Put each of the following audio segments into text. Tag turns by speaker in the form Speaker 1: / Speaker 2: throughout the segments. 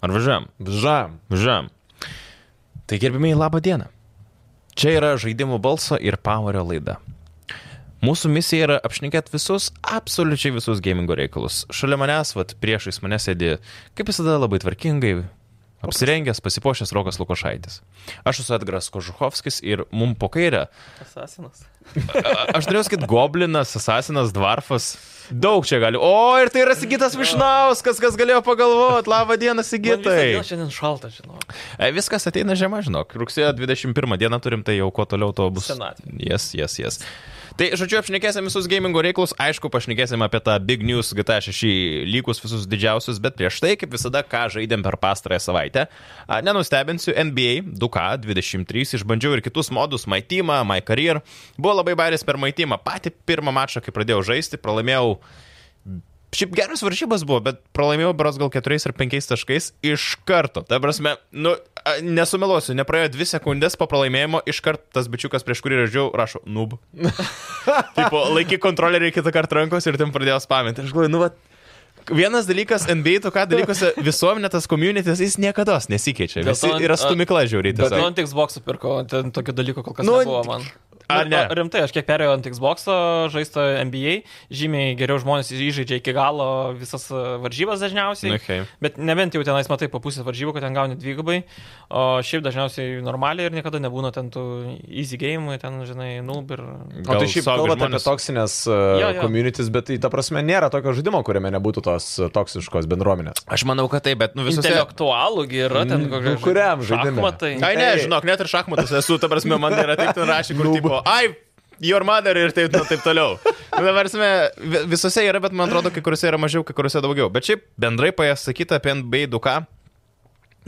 Speaker 1: Ar važiuojam?
Speaker 2: Žam.
Speaker 1: Važiuojam. Tai gerbimiai, labą dieną. Čia yra žaidimų balso ir pavario laida. Mūsų misija yra apšnekėti visus, absoliučiai visus gamingo reikalus. Šalia manęs, vat, priešais mane sėdi, kaip visada, labai tvarkingai, apsirengęs, pasipošęs Rokas Lukošaitis. Aš esu Edgaras Kožuhovskis ir mum po kairę
Speaker 3: Asasinas.
Speaker 1: A- Aš norėjau sakyti goblinas, asasinas, dvarfas. Daug čia gali. O, ir tai yra Sigitas Višnauskas, kas galėjo pagalvoti. Labą dieną, Sigitai.
Speaker 3: Gitai. Šiandien šalta, žinau.
Speaker 1: E, Viskas ateina žiema, žinok. Rugsėjo 21 dieną turim, tai jau kuo toliau to bus.
Speaker 3: Senatvė.
Speaker 1: Jas, jas, jas. Tai, žodžiu, apšnekėsim visus gamingo reikalus, aišku, pašnekėsim apie tą Big News GTA 6 lygus visus didžiausius, bet prieš tai, kaip visada, ką žaidėm per pastarąją savaitę. A, Nenustebinsiu, NBA 2K23 išbandžiau ir kitus modus, My Team, My Career. Buvo labai bairės per My Team. Pati pirmą mačą, kai pradėjau žaisti, pralaimėjau Šiaip geras varžybas buvo, bet pralaimėjau beros gal keturiais ar penkiais taškais iš karto. Ta prasme, nu, a, nesumeluosiu, nepraėjo dvi sekundės po pralaimėjimo, iš karto tas bičiukas, prieš kurį ražiau, rašo, nub. Taip, laikyk kontrolerį kitą kartą rankos ir ten pradėjo spaminti. Aš galvoju, nu, va. Vienas dalykas, NBA, tu ką dalykuose visuomenė, tas communities, jis niekada nesikeičia.
Speaker 3: Dėl
Speaker 1: Visi
Speaker 3: to-
Speaker 1: yra stumikla žiauriai.
Speaker 3: Bet
Speaker 1: tiesiog.
Speaker 3: ant Xbox'o pirko, ten tokio dalyko kol kas
Speaker 1: tai. Nu,
Speaker 3: nu, nebuvo man.
Speaker 1: ar
Speaker 3: Nu,
Speaker 1: ne?
Speaker 3: Rimtai, aš kiek perėjau ant Xbox'o, žaisto NBA, žymiai geriau žmonės įžaidžia iki galo visas e, varžybas dažniausiai.
Speaker 1: Nu, hei.
Speaker 3: Bet nebent jau tenais matai po pusę varžybų, kad ten gauni dvigubai, o šiaip dažniausiai normaliai ir niekada nebūna ten tų easy game, ten, žinai, nulb ir...
Speaker 1: Gal
Speaker 2: O tai šiaip
Speaker 1: suaugę
Speaker 2: kalbate apie
Speaker 1: žmonės-
Speaker 2: toksinės
Speaker 3: Jo,
Speaker 2: uh,
Speaker 3: jo.
Speaker 2: communities, bet tai ta prasme nėra tokio žaidimo, kuriame nebūtų tos uh, toksiškos bendruomenės.
Speaker 1: Aš manau, kad taip, bet nu visose...
Speaker 3: Intelektualų gi yra ten
Speaker 2: Mm,
Speaker 3: kokia...
Speaker 2: nu, kuriam žaidime?
Speaker 3: Matai.
Speaker 1: Ai, ne,
Speaker 2: Ei.
Speaker 1: žinok, net ir šachmatas esu, ta prasme, man yra taip ten rašė, kur tipo, ai, your mother ir taip, nu, taip toliau. Na, varsime, visose yra, bet man atrodo, kai kuriuose yra mažiau, kai kuriuose daugiau. Bet šiaip bendrai pasakyta apie NBA 2K,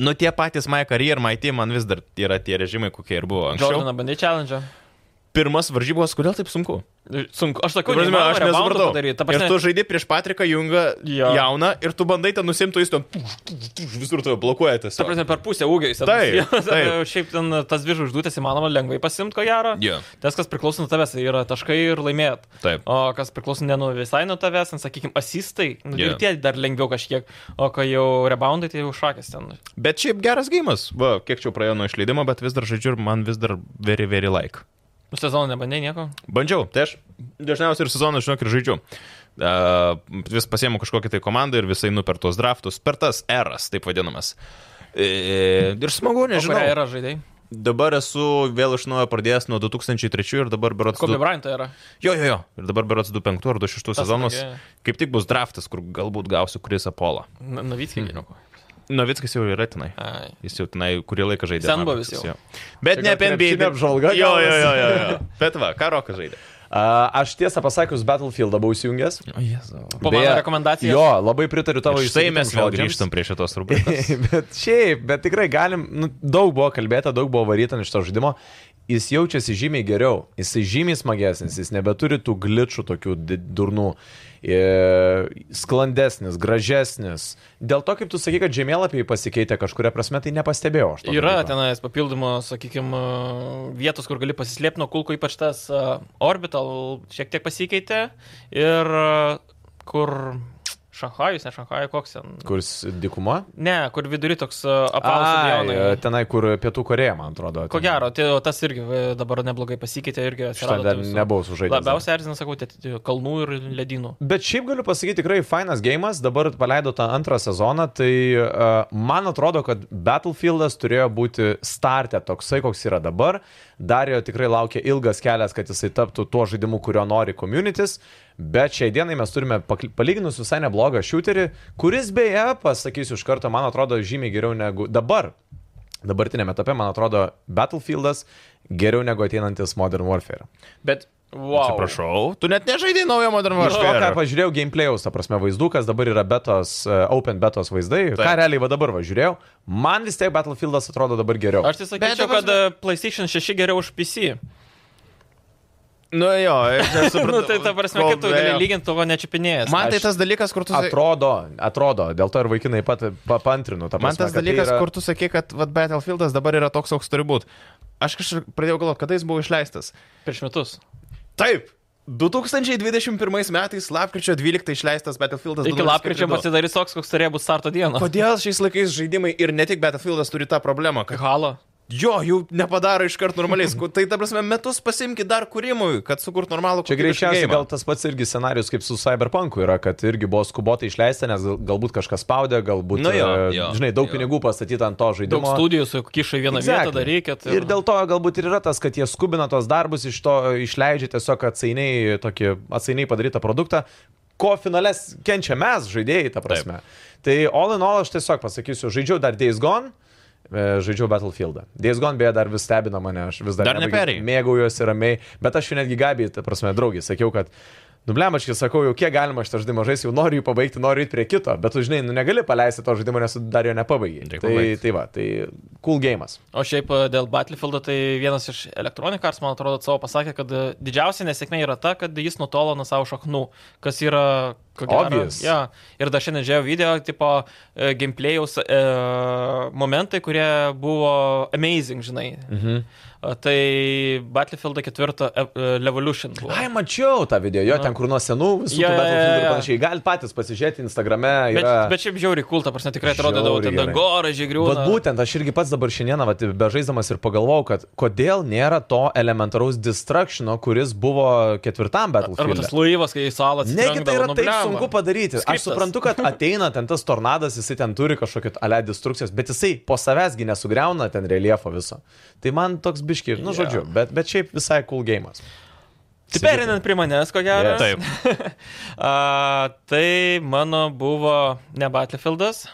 Speaker 1: nu tie patys My Career, My Team, man vis dar yra tie režimai, kokie ir buvo anksčiau.
Speaker 3: Jordaną bandai challenge.
Speaker 1: Pirmas varžybos, kodėl taip sunku?
Speaker 3: Sunku, aš sakau,
Speaker 1: Ta prasme, aš nesupratau.
Speaker 3: Padaryti,
Speaker 1: Ir tu žaidži prieš Patriką Jungą
Speaker 3: Jo.
Speaker 1: jauną ir tu bandai ten nusimti, jis ten tuš, tuš, tuš, visur tave blokuoja
Speaker 3: Ta
Speaker 1: tiesiog.
Speaker 3: prasme, per pusę ūgio jis
Speaker 1: Taip,
Speaker 3: atnusėjo.
Speaker 1: taip.
Speaker 3: Šiaip ten tas dvi žvaigždutės įmanoma lengvai pasimti, ko gero.
Speaker 1: Jo.
Speaker 3: Tas, kas priklauso nuo tavęs, tai yra taškai ir laimėt.
Speaker 1: Taip.
Speaker 3: O kas priklauso ne nuo visai nuo tavęs, sakykime, asistai, nu,
Speaker 1: Jo.
Speaker 3: yeah. tie dar lengviau kažkiek, o kai jau reboundai, tai jau šakės ten.
Speaker 1: Bet šiaip geras gėjimas. Va, kiek čia jau praėjo nuo išleidimo, bet vis dar žaidžiu ir man vis dar very, very like.
Speaker 3: Nu, sezoną nebandai nieko.
Speaker 1: Bandžiau, tai aš dažniausiai ir sezoną, žinok, ir žaidžiu. Uh, vis pasiemu kažkokią tai komandą ir visai nu per tuos draftus, per tas eras, taip vadinamas. E, ir smagu, nežinau.
Speaker 3: Žinai, yra žaidėjai.
Speaker 1: Dabar esu vėl iš naujo pradėjęs nuo 2003 ir dabar berots...
Speaker 3: Kobe
Speaker 1: du-
Speaker 3: Bryant yra.
Speaker 1: Jo, jo, jo. Ir dabar berots 25 ar 26
Speaker 3: Tas
Speaker 1: sezonus.
Speaker 3: irgi.
Speaker 1: Kaip tik bus draftas, kur galbūt gausiu Krisą Polą.
Speaker 3: Navitkai
Speaker 1: Hmm.
Speaker 3: geriau.
Speaker 1: Novickas jau yra tenai.
Speaker 3: Ai.
Speaker 1: Jis jau tenai kurį laiką žaidė.
Speaker 3: Senbuvis jau.
Speaker 1: Bet
Speaker 2: Čia
Speaker 1: ne
Speaker 2: gal
Speaker 1: apie NBA.
Speaker 2: krepšinio apžvalga
Speaker 1: Jo, jo,
Speaker 2: gavosi.
Speaker 1: jo, jo, jo. Bet va, ką Rokas žaidė.
Speaker 2: Uh, aš tiesą pasakius, Battlefield buvau įsijungęs.
Speaker 1: O, Jėzau.
Speaker 3: Po mano
Speaker 2: Beje,
Speaker 3: rekomendacijos.
Speaker 2: Jo, labai pritariu tavo
Speaker 1: Štai
Speaker 2: išsakytiems
Speaker 1: mes vėl
Speaker 2: žodžiams.
Speaker 1: grįžtam prie šitos rubrikos.
Speaker 2: bet šiaip, bet tikrai galim, nu, daug buvo kalbėta, daug buvo varyta iš to žaidimo. Jis jaučiasi žymiai geriau, jis žymiai smagesnis, jis nebeturi tų glitšų tokių di- durnų, E, sklandesnis, gražesnis. Dėl to, kaip tu sakai, kad žemėlapiai pasikeitė kažkuria prasme, tai nepastebėjau aš. to
Speaker 3: Yra
Speaker 2: dalyko.
Speaker 3: tenais papildomos, sakykime, vietos, kur gali pasislėpti nuo kulko, ypač tas a, orbital šiek tiek pasikeitė ir a, kur Šanhajus, ne Šanhajus, koks ten.
Speaker 2: Kurs dikuma?
Speaker 3: Ne, kur vidury toks e,
Speaker 2: Ai, e,
Speaker 3: apausiai.
Speaker 2: tenai, kur Pietų Koreja, man atrodo.
Speaker 3: Ko
Speaker 2: ten.
Speaker 3: gero, tai o tas irgi e, dabar neblogai pasikeitė, irgi
Speaker 2: Šitą
Speaker 3: atsirado.
Speaker 2: dar
Speaker 3: tų visų-
Speaker 2: nebuvau sužaidęs.
Speaker 3: Labiausiai erzina, sakau, tie- tie kalnų ir ledynų.
Speaker 2: Bet šiaip galiu pasakyti, tikrai fainas gėjimas, dabar paleido tą antrą sezoną, tai uh, man atrodo, kad Battlefieldas turėjo būti startę toksai, koks yra dabar. Dar jo tikrai laukia ilgas kelias, kad jisai taptų tuo žaidimu, kurio nori communities, bet šiai dienai mes turime pakl- palyginus visai neblogą šūterį, kuris beje, pasakysiu iš karto, man atrodo žymiai geriau negu dabar. Dabartinėme etape, man atrodo, Battlefieldas geriau negu ateinantis Modern Warfare.
Speaker 1: Bet.
Speaker 3: Wow.
Speaker 1: Atsiprašau, tu net nežaidai naujo Modern
Speaker 2: Aš to, Nu, ką
Speaker 1: Warfare.
Speaker 2: pažiūrėjau gameplayaus, ta prasme, vaizdu, kas dabar yra betos, e, open betos vaizdai, Taip. ką realiai va dabar važiūrėjau, man vis tiek Battlefieldas atrodo dabar geriau.
Speaker 3: Aš tai sakyčiau,
Speaker 1: ta
Speaker 3: kad
Speaker 1: prasme-
Speaker 3: e, PlayStation 6 geriau už PC.
Speaker 1: Nu jo, aš nesuprantu.
Speaker 3: Nu, tai ta prasme,
Speaker 1: Kol
Speaker 3: kaip tu gali
Speaker 1: vėjo.
Speaker 3: lyginti to, ko nečiapinėjęs.
Speaker 1: Man tai
Speaker 2: Aš-
Speaker 1: tas dalykas, kur tu... sa-
Speaker 2: Atrodo, atrodo, dėl to ir vaikinai pat papantrinu. ta
Speaker 1: Man
Speaker 2: prasme,
Speaker 1: tas
Speaker 2: kad tai
Speaker 1: dalykas,
Speaker 2: yra-
Speaker 1: kur tu sakai, kad vat, Battlefieldas dabar yra toks, koks turi būti. Aš kažkaip pradėjau galvoti, kada jis buvo išleistas.
Speaker 3: Prieš metus.
Speaker 1: Taip. 2021 metais, lapkričio 12 išleistas Battlefieldas.
Speaker 3: Iki
Speaker 1: 2042.
Speaker 3: lapkričio pasidarys toks, koks turėjo būti starto diena.
Speaker 1: Kodėl šiais laikais žaidimai ir ne tik Battlefieldas turi tą problemą, kad
Speaker 3: Halo.
Speaker 1: jo, jų nepadaro iš karto normaliais. Ku- Tai, ta prasme, metus pasimki dar kūrimui, kad sukurt normalų
Speaker 2: Čia greičiausiai gal tas pats irgi scenarius kaip su Cyberpunku yra, kad irgi buvo skubotai išleista, nes gal- galbūt kažkas spaudė, galbūt,
Speaker 1: Nu jo,
Speaker 2: e,
Speaker 1: jo,
Speaker 2: žinai, daug
Speaker 1: jo.
Speaker 2: pinigų pastatyta ant to
Speaker 3: Daug
Speaker 2: žaidimo.
Speaker 3: studijų su kišai vieną
Speaker 2: Exactly.
Speaker 3: vietą darykit.
Speaker 2: Ir dėl to galbūt ir yra tas, kad jie skubina tos darbus, iš to e, išleidžia tiesiog atsainiai, tokį atsainiai padarytą produktą, ko finales kenčia mes, žaidėjai, ta prasme. Taip. Tai all in all aš tiesiog pasakysiu, žaidžiau dar Days Gone. e, Žaidžiau Battlefieldą. Days Gone beje dar vis stebina mane, aš vis dar,
Speaker 1: Dar neperėjai?
Speaker 2: nebaigi- mėgaujuosi ramiai, bet aš jau netgi gabiai, ta prasme, draugį sakiau, kad Nublemačkis, sakau, jau kiek galima šitą žaidimą žaisti, jau noriu jį pabaigti, noriu eiti prie kito, bet tu žinai, nu negali paleisti to žaidimo, nes tu dar jo nepabaigai.
Speaker 1: Reik
Speaker 2: Tai,
Speaker 1: pabaigt.
Speaker 2: tai va, tai cool game'as.
Speaker 3: O šiaip e, dėl Battlefield, tai vienas iš elektronikars, man atrodo, savo pasakė, kad e, didžiausia nesėkmė yra ta, kad jis nutolo nuo savo šaknų, kas yra... ko gero,
Speaker 2: Obvious.
Speaker 3: Ja. Ir dar šiandien žiūrėjau video, tipo e, gameplayaus e, momentai, kurie buvo amazing, žinai. Mhm. Tai Battlefield 4 e, e, Revolution buvo.
Speaker 2: Ai, mačiau tą video, jo, ten kur nuo senų visų
Speaker 3: Jo,
Speaker 2: yeah,
Speaker 3: jo,
Speaker 2: Battlefield
Speaker 3: jo,
Speaker 2: ir
Speaker 3: jo.
Speaker 2: panašiai. Galit patys pasižiūrėti Instagrame.
Speaker 3: Bet,
Speaker 2: Yra...
Speaker 3: bet šiaip žiauri kultą, prasme, tikrai atrodydavo
Speaker 2: Žiauriai
Speaker 3: ten
Speaker 2: gerai.
Speaker 3: dangoraižiai griūna.
Speaker 2: Bet būtent aš irgi pats dabar šiandieną, vat, bežaisdamas ir pagalvojau, kad kodėl nėra to elementaraus destructiono, kuris buvo ketvirtam
Speaker 3: Arba tas
Speaker 2: Battlefield.
Speaker 3: laivas, kai į salą atsitrenkdavo.
Speaker 2: Negi tai yra
Speaker 3: nu,
Speaker 2: taip
Speaker 3: blemba.
Speaker 2: sunku padaryti. Aš
Speaker 3: Skriptas.
Speaker 2: suprantu, kad ateina ten tas tornadas, jisai ten turi kažkokį ale destrukcijas, bet jisai po savęsgi nesugriauna ten reliefo viso. Tai man toks biški, nu
Speaker 3: Jo.
Speaker 2: žodžiu, bet, bet šiaip visai cool game'as.
Speaker 3: Tai perinant prie manęs, ko gero.
Speaker 2: Yes.
Speaker 1: Taip.
Speaker 3: A, tai mano buvo ne Battlefieldas,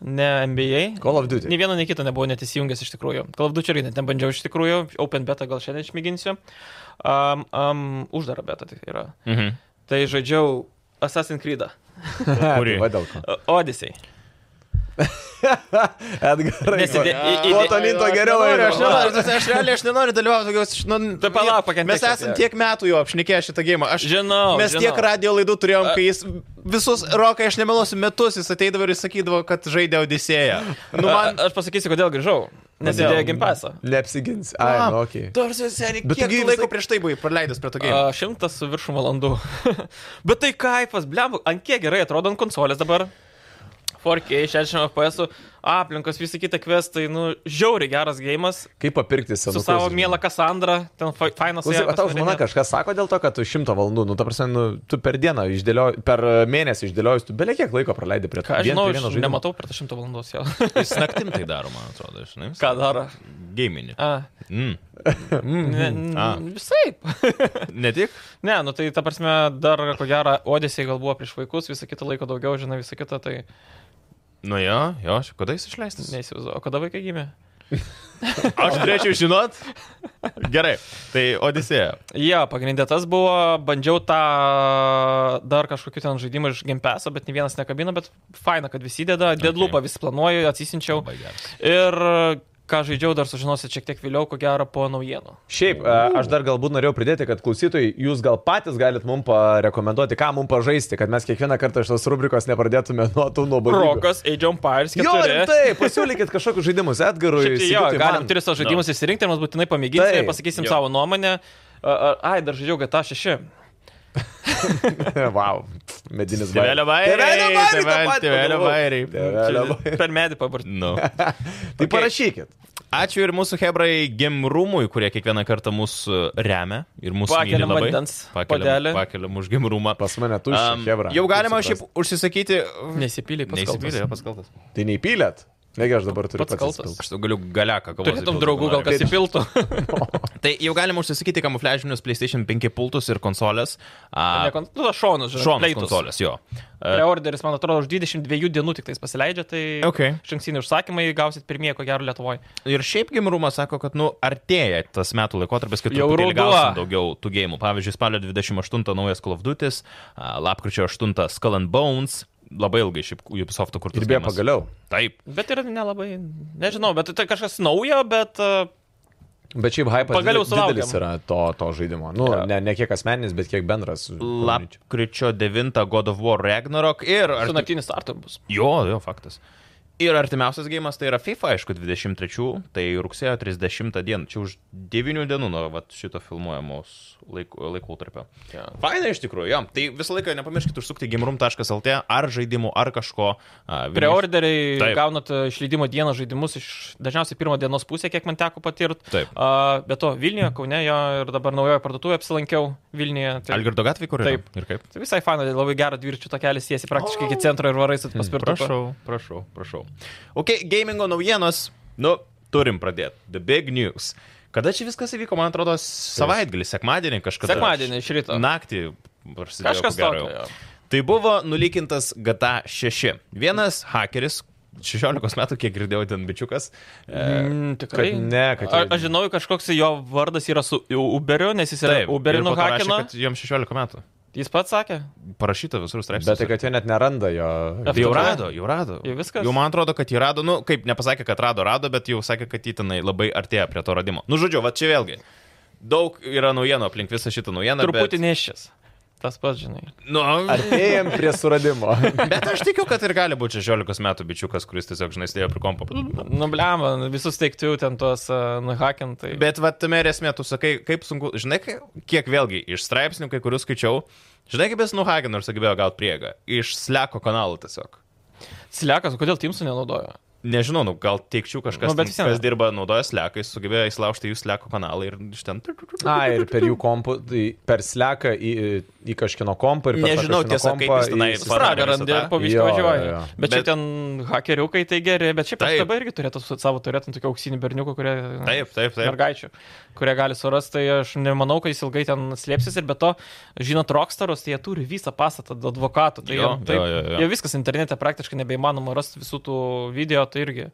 Speaker 3: ne NBA.
Speaker 2: Call of Duty.
Speaker 3: Nei vieno, nei kito nebuvo net įsijungęs iš tikrųjų. Call of Duty irgi net nebandžiau iš tikrųjų. Open beta gal šiandien išmėginsiu. Um, um, uždara beta tik yra.
Speaker 1: Mhm.
Speaker 3: Tai žaidžiau Assassin's Creed.
Speaker 1: Kurį?
Speaker 2: Tai va dėl ko.
Speaker 3: Odyssey.
Speaker 2: Edgarai.
Speaker 3: Nesidė-
Speaker 2: va.
Speaker 3: i- i-
Speaker 2: Kuo tolyn, tuo
Speaker 3: aš
Speaker 2: geriau.
Speaker 3: nenoriu,
Speaker 2: eina.
Speaker 1: Aš nenoriu, ta prasme, aš realiai aš nenoriu dalyvauti tokios... iš- Nu,
Speaker 3: Tai palauk, pakentėk
Speaker 1: Mes esam
Speaker 3: šiek tiek.
Speaker 1: tiek metų jau apšnekėję šitą gėjimą. Aš
Speaker 3: Žinau,
Speaker 1: Mes
Speaker 3: žinau.
Speaker 1: tiek radio laidų turėjom, kai jis visus rokai, aš nemelosiu metus, jis ateidavo ir jis sakydavo, kad žaidė Odisėją. Nu, man...
Speaker 3: A, aš pasakysiu, kodėl grįžau. Nes
Speaker 1: Kodėl?
Speaker 3: idėja gimpasa.
Speaker 2: Neapsigins. Ai, nu, okei.
Speaker 1: Tarsi seniai,
Speaker 2: Bet
Speaker 1: bet
Speaker 2: tu
Speaker 1: kiek
Speaker 2: gi
Speaker 1: tu laiko
Speaker 2: visai-
Speaker 1: prieš tai buvai praleidęs prie to gėjimo?
Speaker 3: A, Šimtas su viršum valandų. Bet tai kaipas, blem, ant kiek gerai atrodo ant konsolės dabar. 4K, 60 FPS, aplinkos, visi kiti kvestai, nu, žiauri geras gėjimas.
Speaker 2: Kaip papirkti
Speaker 3: Su
Speaker 2: senukus?
Speaker 3: savo mielą Kassandrą, ten fa- fainas. su ja
Speaker 2: Klausyk, o tau žmona
Speaker 3: pasvarinėt.
Speaker 2: kažkas sako dėl to, kad tu šimtą valandų, nu, ta prasme, nu, tu per dieną išdėlioji, per e, mėnesį išdėlioji, tu belie kiek laiko praleidai prie to.
Speaker 3: Ką aš
Speaker 2: Vien
Speaker 3: žinau,
Speaker 2: prie vieno
Speaker 3: aš
Speaker 2: žaidimo.
Speaker 3: nematau per tą šimtą valandos jo.
Speaker 1: Jis naktim tai daro, man atrodo, žinai.
Speaker 3: Ką daro?
Speaker 1: Gėminį.
Speaker 3: A,
Speaker 1: Mm.
Speaker 2: Mhm.
Speaker 3: ne,
Speaker 1: A.
Speaker 3: n- visai.
Speaker 1: Ne tik.
Speaker 3: Ne, nu tai ta prasme, dar ko gero, Odėsiai gal buvo prieš vaikus, visą kitą laiko daugiau, žinai, visą kitą, tai
Speaker 1: Nu jo, jo, aš- kada jis išleistas?
Speaker 3: neįsivaizduoju. O kada vaikai gimė?
Speaker 1: Aš turėčiau žinot. Gerai, tai Odisėja.
Speaker 3: Jo, pagrindė tas buvo, bandžiau tą dar kažkokį ten žaidimą iš Gempeso, bet ne vienas nekabino, bet faina, kad visi deda, deadloopą okay. vis planuoju, atsisinčiau.
Speaker 1: Labai geras.
Speaker 3: Ir ką žaidžiau, dar sužinosit šiek tiek vėliau, ko gero po naujienų.
Speaker 2: Šiaip, e, aš dar galbūt norėjau pridėti, kad klausytojai, jūs gal patys galit mum parekomenduoti, ką mum pažaisti, kad mes kiekvieną kartą iš tos rubrikos nepradėtume nuo tų nuobodžių.
Speaker 3: Rokas, Age of Empires,
Speaker 2: Jo,
Speaker 3: keturi.
Speaker 2: rimtai, pasiūlykit kažkokius žaidimus Edgarui.
Speaker 3: Šiaip tai jo,
Speaker 2: Sigitui,
Speaker 3: galim
Speaker 2: man.
Speaker 3: tris savo žaidimus no. išsirinkti ir mes būtinai pamėginsime
Speaker 2: Taip.
Speaker 3: ir
Speaker 1: Jo.
Speaker 3: pasakysim jo. savo nuomonę. A, a- Ai, dar žaidžiau GTA 6.
Speaker 2: Tai Vau, medinis
Speaker 1: Tėvelio bairiai.
Speaker 2: Tėvelio bairiai, tą
Speaker 1: tėvel-
Speaker 2: patį
Speaker 1: Tėvelio
Speaker 2: pagalvojau.
Speaker 1: bairiai.
Speaker 2: Tėvelio bairiai.
Speaker 3: Per medį pabarti.
Speaker 1: Nu.
Speaker 2: Tai parašykit.
Speaker 1: Ačiū ir mūsų hebrai gimrumui, kurie kiekvieną kartą mūsų remia ir mūsų
Speaker 3: Pakeliam
Speaker 1: myli labai.
Speaker 3: vandens
Speaker 1: pakeliam,
Speaker 3: puodelį.
Speaker 1: pakeliam už gimrumą.
Speaker 2: Pas mane tuščia, um,
Speaker 1: Am,
Speaker 2: Hebra.
Speaker 1: jau galima
Speaker 2: Kaip
Speaker 1: šiaip
Speaker 2: suprast.
Speaker 1: užsisakyti.
Speaker 3: Nesipylė,
Speaker 1: Neįsipylė,
Speaker 3: pasipylė.
Speaker 1: pats kaltas.
Speaker 2: Tai neįpylėt? Negi aš dabar turiu
Speaker 3: Pats kaltas.
Speaker 2: atsispilt.
Speaker 1: Aš tau galiu galiaką kalbėti.
Speaker 3: Turėtum draugų, gal kas įpiltų.
Speaker 1: Tai jau galima užsisakyti kamufliažinius PlayStation 5 pultus ir konsolės.
Speaker 3: Ne,
Speaker 1: A,
Speaker 3: kon- Nu, tas šonus, žinai.
Speaker 1: šonus
Speaker 3: pleitus.
Speaker 1: konsolės, jo. E, A,
Speaker 3: Preorderis, man atrodo, už 22 dienų tik tais pasileidžia, tai
Speaker 1: Ok.
Speaker 3: šanksiniai užsakymai gausit pirmieji, ko gero, Lietuvoje.
Speaker 1: Ir šiaip gimrumas sako, kad, nu, artėja tas metų laikotarpis, kai
Speaker 3: Jau
Speaker 1: truputėlį
Speaker 3: ruduo.
Speaker 1: gausim daugiau tų gėjimų. Pavyzdžiui, spalio 28 naujas Call of Duty, lapkričio 8 Skull and Bones, labai ilgai šiaip Ubisofto kurtas.
Speaker 2: Ir beje,
Speaker 1: geimas.
Speaker 2: pagaliau.
Speaker 1: Taip.
Speaker 3: Bet yra nelabai, nežinau, bet tai kažkas naujo, bet uh,
Speaker 2: Bet šiaip hype
Speaker 3: Pagaliau
Speaker 2: didelis
Speaker 3: sulaukėm.
Speaker 2: yra to, to žaidimo. Nu, ne, ne kiek asmeninis, bet kiek bendras.
Speaker 1: Lapkričio 9 God of War Ragnarok ir...
Speaker 3: su
Speaker 1: Ar...
Speaker 3: naktinis startu bus.
Speaker 1: Jo, jo, faktas. Ir artimiausias gėjimas tai yra FIFA, aišku, 23, tai rugsėjo 30 dieną, čia už 9 dienų nuo vat šito filmuojamos laikų tarpio. Faina iš tikrųjų, jo. Tai visą laiką nepamirškit užsukti gimrum.lt ar žaidimų, ar kažko. a, Vilnius-
Speaker 3: Preorderiai
Speaker 1: Taip.
Speaker 3: gaunat e, išleidimo dieną žaidimus iš dažniausiai pirmą dienos pusę, kiek man teko patirti.
Speaker 1: Taip.
Speaker 3: Be to, Vilniuje, Kaune jo ir dabar naujoje parduotuvėje apsilankiau Vilniuje. Tai,
Speaker 1: Algirdo gatvė, kur yra?
Speaker 3: Taip.
Speaker 1: Ir kaip?
Speaker 3: tai visai fanai, labai gerą dviračių takelį siesi praktiškai iki centro ir varai su paspirtuku.
Speaker 1: Hmm, Prašau, prašau, prašau. Ok, gamingo naujienos. Nu, turim pradėti. The big news. Kada čia viskas įvyko, man atrodo, savaitgalį, sekmadienį kažkada.
Speaker 3: Sekmadienį iš ryto.
Speaker 1: Naktį. prasidėjo, ko
Speaker 3: Kažkas
Speaker 1: gero,
Speaker 3: tokio.
Speaker 1: jau.
Speaker 3: jo.
Speaker 1: Tai buvo nulykintas GTA 6. Vienas hakeris, 16 metų, kiek girdėjau, ten bičiukas. E,
Speaker 3: Mm, Tikrai.
Speaker 2: kad ne, kad
Speaker 3: A,
Speaker 2: jie-
Speaker 3: aš žinau, kažkoks jo vardas yra su Uberiu, nes jis yra
Speaker 1: E, ir
Speaker 3: tai Uberinu
Speaker 1: po to rašė,
Speaker 3: hakino.
Speaker 1: kad Jam 16 metų.
Speaker 3: Jis pats sakė.
Speaker 1: Parašyta visur straipsniuose.
Speaker 2: Bet tai, kad jie net neranda jo.
Speaker 1: Tai jau
Speaker 3: Taip.
Speaker 1: rado, jau rado.
Speaker 3: Jau viskas?
Speaker 1: Jau man atrodo, kad jį rado, nu, kaip nepasakė, kad rado, rado, bet jau sakė, kad jį tenai labai artėja prie to radimo. Nu, žodžiu, va čia vėlgi. Daug yra naujienų aplink visą šitą naujieną.
Speaker 3: Truputį nešis. Tas pats, žinai.
Speaker 1: Bet, nu,
Speaker 2: Artėjom prie suradimo.
Speaker 1: bet aš tikiu, kad ir gali būti 16 metų bičiukas, kuris tiesiog, žinai, stėjo prie kompo.
Speaker 3: Nu, Nubliama, visus teiktų ten tuos uh, nuhakintai.
Speaker 1: Bet va tame ir esmė, tu sakai, kaip sunku, žinai, kai- kiek vėlgi iš straipsnių, kai kurių skaičiau, žinai, kaip jis nuhagino ir sugebėjo gauti prieigą. Iš sleko kanalų tiesiog.
Speaker 3: Slekas, kodėl Timsų nenaudojo?
Speaker 1: Nežinau, nu, gal teikčiau kažkas,
Speaker 3: Nu,
Speaker 1: nu, ten,
Speaker 3: bet vis vien.
Speaker 1: kas dirba naudojęs slekais, sugebėjo įsilaužti jų sleko kanalą ir iš ten.
Speaker 2: A, ir per jų kompų, tai per sleką į, į kažkino kompą ir per tą
Speaker 1: Nežinau,
Speaker 2: kažkino
Speaker 1: tiesa, kaip
Speaker 2: kompą
Speaker 1: jis tenai Padarė
Speaker 2: į-
Speaker 3: Spragą randi
Speaker 1: visą tą.
Speaker 3: ir po viską
Speaker 2: Jo, jo,
Speaker 3: važiuoja.
Speaker 2: jo.
Speaker 3: Bet čia
Speaker 1: Bet-
Speaker 3: ten hakeriukai tai geri, bet šiaip
Speaker 1: Taip.
Speaker 3: dabar irgi turėtų su- savo turėtum tokių auksinių berniukų, kurie...
Speaker 1: Taip, taip, taip.
Speaker 3: Mergaičių, kurie gali surasti, tai aš nemanau, kad jis ilgai ten slėpsis ir be to, žinot, rockstarus, tai jie turi visą pastatą advokatų. Tai
Speaker 1: Jo,
Speaker 3: jiem taip,
Speaker 1: jo, jo, jo.
Speaker 3: Jau viskas internete praktiškai nebeįmanoma rasti visų tų video, tai irgi.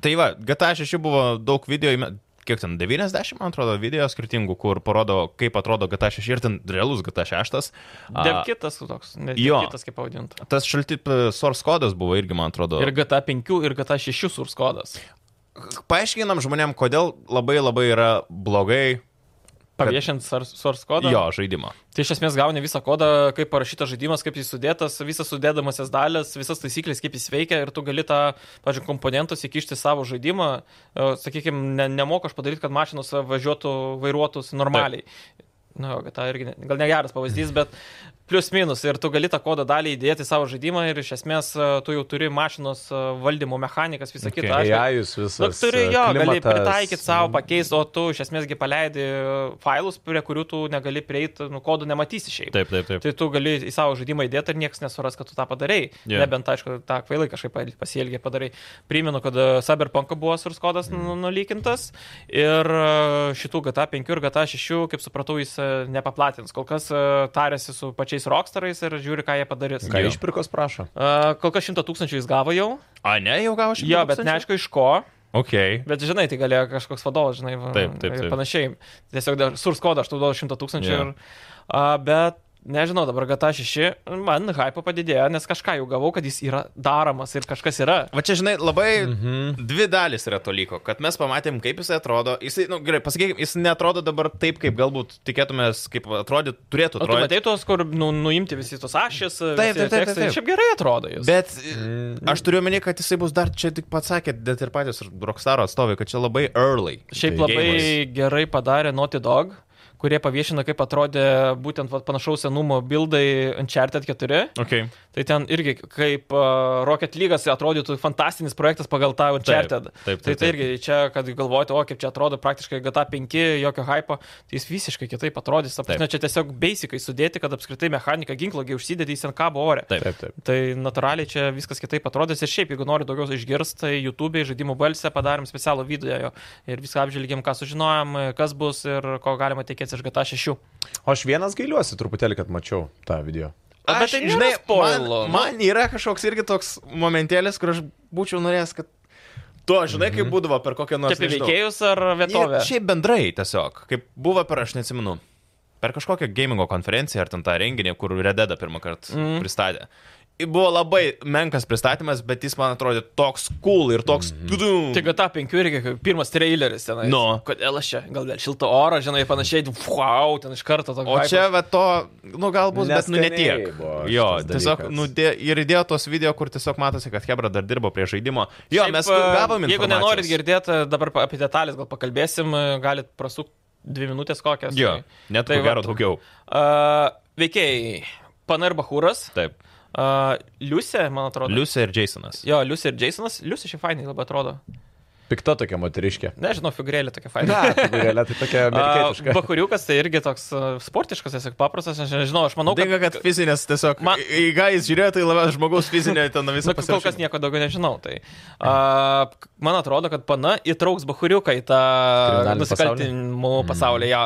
Speaker 1: Tai va, GTA 6 buvo daug video, įme- kiek ten 90, man atrodo, video skirtingų, kur parodo, kaip atrodo GTA 6 ir ten realus GTA 6. A,
Speaker 3: Dev kitas toks, ne
Speaker 1: jo.
Speaker 3: kitas kaip pavadinta.
Speaker 1: Tas šalti p- source kodas buvo irgi, man atrodo.
Speaker 3: Ir GTA 5 ir GTA 6 surs kodas.
Speaker 1: paaiškinam žmonėm, kodėl labai labai yra blogai
Speaker 3: Paviešint surs kodą.
Speaker 1: jo žaidimo.
Speaker 3: Tai iš esmės gauni visą kodą, kaip parašytas žaidimas, kaip jis sudėtas, visas sudėdamasias dalis, visas taisyklės, kaip jis veikia ir tu gali tą, pažiūrėjau, komponentus įkišti į savo žaidimą. Sakykime, ne, nemoku aš padaryti, kad mašinos važiuotų, vairuotųsi normaliai. Na, jo, tai irgi ne, gal negeras pavyzdys, bet plius minus. Ir tu gali tą kodą dalį įdėti į savo žaidimą ir iš esmės e, tu jau turi mašinos e, valdymo mechanikas, visą
Speaker 1: Okay.
Speaker 3: okay. kitą. Aš-
Speaker 2: AI jūs visas. e,
Speaker 3: Nu, turi jo, gali
Speaker 2: klimatas. Mhm.
Speaker 3: pritaikyti savo, pakeisti, o tu iš esmėsgi paleidi failus, prie kurių tu negali prieiti, nu, kodų nematysi šiaip.
Speaker 1: Taip, taip, taip.
Speaker 3: Tai tu gali į savo žaidimą įdėti ir niekas nesuras, kad tu tą padarai.
Speaker 1: Jo.
Speaker 3: Yeah. Nebent, aišku, tą kvailai kažkaip pasielgiai padarai. Primenu, kad e, Cyberpunk buvo surs kodas nu- nulykintas ir e, šitų GTA 5 ir GTA 6, kaip supratau, jis e, nepaplatins. Kol kas e, tarėsi su pačiais rockstarais ir žiūri, ką jie padarys.
Speaker 2: Ką
Speaker 1: Jo.
Speaker 2: išpirkos prašo?
Speaker 3: E, Kol kas 100 tūkstančių jis gavo jau.
Speaker 1: A, ne, jau gavo šį.
Speaker 3: Jo, bet neaišku iš ko.
Speaker 1: Ok.
Speaker 3: Bet žinai, tai galėjo kažkoks vadovas, žinai, va,
Speaker 1: Taip, taip,
Speaker 3: ir
Speaker 1: taip.
Speaker 3: panašiai. Tiesiog dar surs kodą, aš tau duodu 100 tūkstančių.
Speaker 1: Jo.
Speaker 3: Yeah. Bet nežinau, dabar GTA 6, man hypo padidėjo, nes kažką jau gavau, kad jis yra daromas ir kažkas yra.
Speaker 1: Va čia, žinai, labai mhm. dvi dalis yra to lygo, kad mes pamatėm, kaip jis atrodo. Jis, nu, gerai, pasakykime, jis netrodo dabar taip, kaip galbūt tikėtumės, kaip atrodytų, turėtų
Speaker 3: O tu
Speaker 1: atrodyti.
Speaker 3: matai tuos, kur nu, nuimti visi tos ašės,
Speaker 1: Taip, taip,
Speaker 3: visi
Speaker 1: taip,
Speaker 3: tekstai.
Speaker 1: taip, taip.
Speaker 3: Šiaip gerai atrodo jis.
Speaker 1: Bet e, aš turiu omeny, kad jisai bus dar, čia tik pats sakė, bet ir patys Rockstaro atstovai, kad čia labai early.
Speaker 3: Šiaip
Speaker 2: Tai
Speaker 3: labai
Speaker 1: geimas.
Speaker 3: gerai padarė Naughty Dog, kurie paviešino, kaip atrodė būtent va, panašaus senumo bildai Uncharted 4.
Speaker 1: Okay.
Speaker 3: Tai ten irgi kaip uh, Rocket League'as atrodytų fantastinis projektas pagal tą Uncharted.
Speaker 1: taip, taip,
Speaker 3: tai
Speaker 1: taip.
Speaker 3: tai irgi čia, kad galvojate, o kaip čia atrodo praktiškai GTA 5, jokio hypo, tai jis visiškai kitaip atrodys. Ta prasme,
Speaker 1: Taip.
Speaker 3: čia tiesiog basicai sudėti, kad apskritai mechanika ginklogi užsidedi, jis ant kabo ore.
Speaker 1: Taip.
Speaker 2: Taip, taip.
Speaker 3: Tai natūraliai čia viskas kitaip atrodys ir šiaip, jeigu nori daugiau išgirsti, tai YouTube'e žaidimų balsę padarėm specialų video ir viską apžvelgėm, ką sužinojom, kas bus ir ko galima tikėtis iš GTA 6.
Speaker 2: O aš vienas gailiuosi truputėlį, kad mačiau tą video.
Speaker 3: A, bet
Speaker 1: Aš,
Speaker 3: tai nėra
Speaker 1: žinai,
Speaker 3: spoilo,
Speaker 1: man,
Speaker 3: nu.
Speaker 1: man yra kažkoks irgi toks momentėlis, kur aš būčiau norėjęs, kad... Tu, žinai, kaip būdavo per kokią nors...
Speaker 3: Čia apie
Speaker 1: nežinau,
Speaker 3: veikėjus ar
Speaker 1: Ne,
Speaker 3: vietovę?
Speaker 1: Šiaip bendrai tiesiog, kaip buvo per, aš neatsimenu, per kažkokią gamingo konferenciją ar ten tą renginį, kur Rededa pirmą kartą mm. pristatė. buvo labai menkas pristatymas, bet jis man atrodė toks cool ir toks... Mm
Speaker 3: Tik
Speaker 1: -hmm.
Speaker 3: GTA 5 irgi kaip pirmas traileris ten.
Speaker 1: Nu.
Speaker 3: Kodėl aš čia? Gal dėl šilto oro, žinai, panašiai. Wow, ten iš karto toks.
Speaker 1: O čia, va, to, nu, galbūt, bet, nu,
Speaker 2: Neskaniai
Speaker 1: netiek.
Speaker 2: buvo šitas
Speaker 1: Jo, tiesiog,
Speaker 2: dalykas.
Speaker 1: nu, dė, ir įdėjo tos video, kur tiesiog matosi, kad Hebra dar dirbo prie žaidimo. Jo, Šiaip, mes gavom informacijos.
Speaker 3: Jeigu nenorit girdėti, dabar pa- apie detalės gal pakalbėsim, e, galit prasukti dvi minutės kokias.
Speaker 1: Jo, net tai
Speaker 3: Tai
Speaker 1: ko gero
Speaker 3: vat.
Speaker 1: daugiau.
Speaker 3: Uh, veikėjai. Panar Bahūras,
Speaker 1: Taip.
Speaker 3: uh, Liusė, man atrodo.
Speaker 1: Liusė ir Jasonas.
Speaker 3: Jo, Liusė ir Jasonas. Liusė šiaip fainai labai atrodo.
Speaker 2: Pikta tokia moteriškė.
Speaker 3: Nežinau, figūrėlė tokia faina.
Speaker 2: Na, figūrėlė, tai tokia amerikietiška.
Speaker 3: Bakuriukas tai irgi toks a, sportiškas, tiesiog paprastas, aš nežinau, aš manau,
Speaker 1: Manau,
Speaker 3: kad,
Speaker 1: kad, kad fizinės tiesiog.
Speaker 3: Man-
Speaker 1: Man... Į ką jis žiūrėjo, tai labiau žmogaus fizinė ten
Speaker 3: nu,
Speaker 1: visą
Speaker 3: kol kas nieko daugiau nežinau. Tai, a, k- man atrodo, kad pana įtrauks Bakuriuką į tą
Speaker 2: Kriminalinį
Speaker 3: nusikaltimų pasaulį. Ja.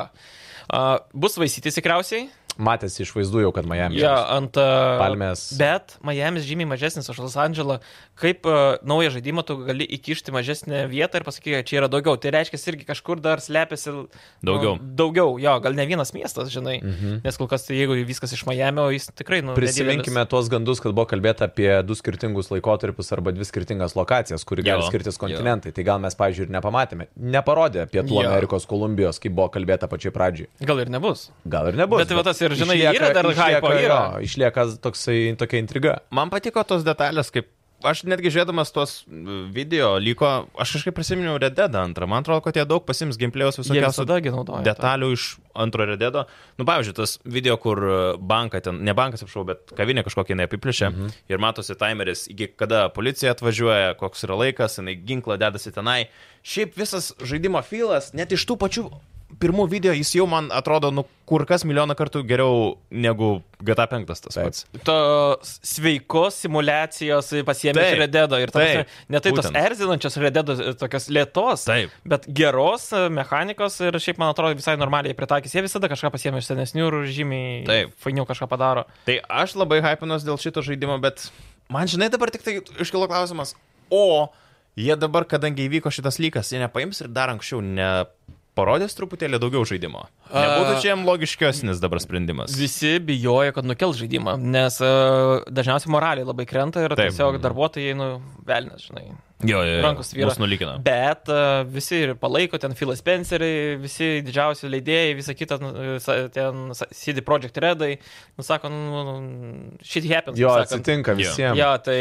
Speaker 3: A, bus vaisytis tikriausiai,
Speaker 2: Matėsi iš vaizdų jau, kad Miami.
Speaker 3: ja, ant a,
Speaker 2: Palmės.
Speaker 3: Bet Miami's žymiai mažesnis už Los Andželą. Kaip a, naują žaidimą tu gali įkišti mažesnę vietą ir pasakyti, kad čia yra daugiau. Tai reiškia, irgi kažkur dar slepiasi nu,
Speaker 1: Daugiau.
Speaker 3: Daugiau, jo, gal ne vienas miestas, žinai. Mhm. Nes kol kas, tai jeigu viskas iš Miami, o jis tikrai, nu,
Speaker 2: Prisiminkime tuos gandus, kad buvo kalbėta apie du skirtingus laikotarpius arba dvi skirtingas lokacijas, kuri gali
Speaker 1: Jo,
Speaker 2: skirtis
Speaker 1: jo.
Speaker 2: kontinentai. Tai gal mes, pavyzdžiui, ir nepamatėme. Neparodė Pietų
Speaker 3: Jo.
Speaker 2: Amerikos Kolumbijos, kaip buvo kalbėta pačiai pradžiai.
Speaker 3: nedidelis. Gal ir nebus.
Speaker 2: Gal ir nebus.
Speaker 3: Bet tai va tas ir, žinai, yra dar hypo,
Speaker 2: jo,
Speaker 3: yra.
Speaker 2: Išlieka toksai, tokia intriga.
Speaker 1: Man patiko tos detalės, kaip aš netgi žiūrėdamas tuos video lygo, aš kažkaip prisiminiau Red Dead antrą. Man atrodo, kad jie daug pasims gameplay'os
Speaker 3: Jie
Speaker 1: visokiausių
Speaker 3: visada gi naudoja tą.
Speaker 1: detalių iš antro Red Dead'o. Nu, pavyzdžiui, tas video, kur e, banką ten, ne bankas apšau, bet kavinė kažkokia neapiplėšė mhm. ir matosi timeris, iki kada policija atvažiuoja, koks yra laikas, jinai ginklą dedasi tenai. Šiaip visas žaidimo filas, net iš tų pačių pirmų video, jis jau man atrodo, nu, kur kas milijoną kartų geriau negu GTA 5 tas
Speaker 2: Taip.
Speaker 1: pats.
Speaker 3: tos sveikos simulacijos pasiemė
Speaker 1: Taip,
Speaker 3: iš Rededo ir ta prasme,
Speaker 1: taip,
Speaker 3: ne tai tos
Speaker 1: būtent.
Speaker 3: erzinančios Rededo e, tokios lėtos,
Speaker 1: Taip.
Speaker 3: bet geros e, mechanikos ir šiaip man atrodo visai normaliai pritaikys. Jie visada kažką pasiemė iš senesnių ir žymiai
Speaker 1: Taip.
Speaker 3: fainiau kažką padaro.
Speaker 1: Tai aš labai hypinos dėl šito žaidimo, bet man žinai dabar tik tai iškilo klausimas, o jie dabar, kadangi įvyko šitas lygas, jie nepaims ir dar anksčiau neparodės truputėlį daugiau žaidimo. Nebūtų čia jam logiškesnis dabar sprendimas.
Speaker 3: Visi bijojo, kad nukels žaidimą, nes uh, dažniausiai moraliai labai krenta ir
Speaker 1: Taip.
Speaker 3: Taip. tiesiog darbuotojai, nu, velnės, žinai.
Speaker 1: Jo, jo,
Speaker 3: Rankos vyras.
Speaker 1: Mus nulikino.
Speaker 3: Bet uh, visi ir palaiko, ten Phil Spencer'ai, visi didžiausi leidėjai, visa kita, nu, sa- ten sa- CD Projekt Redai, nusako, nu, nu, shit happens.
Speaker 2: Jo,
Speaker 3: kaip sakant.
Speaker 2: atsitinka
Speaker 1: Jo.
Speaker 2: visiems.
Speaker 3: Jo, tai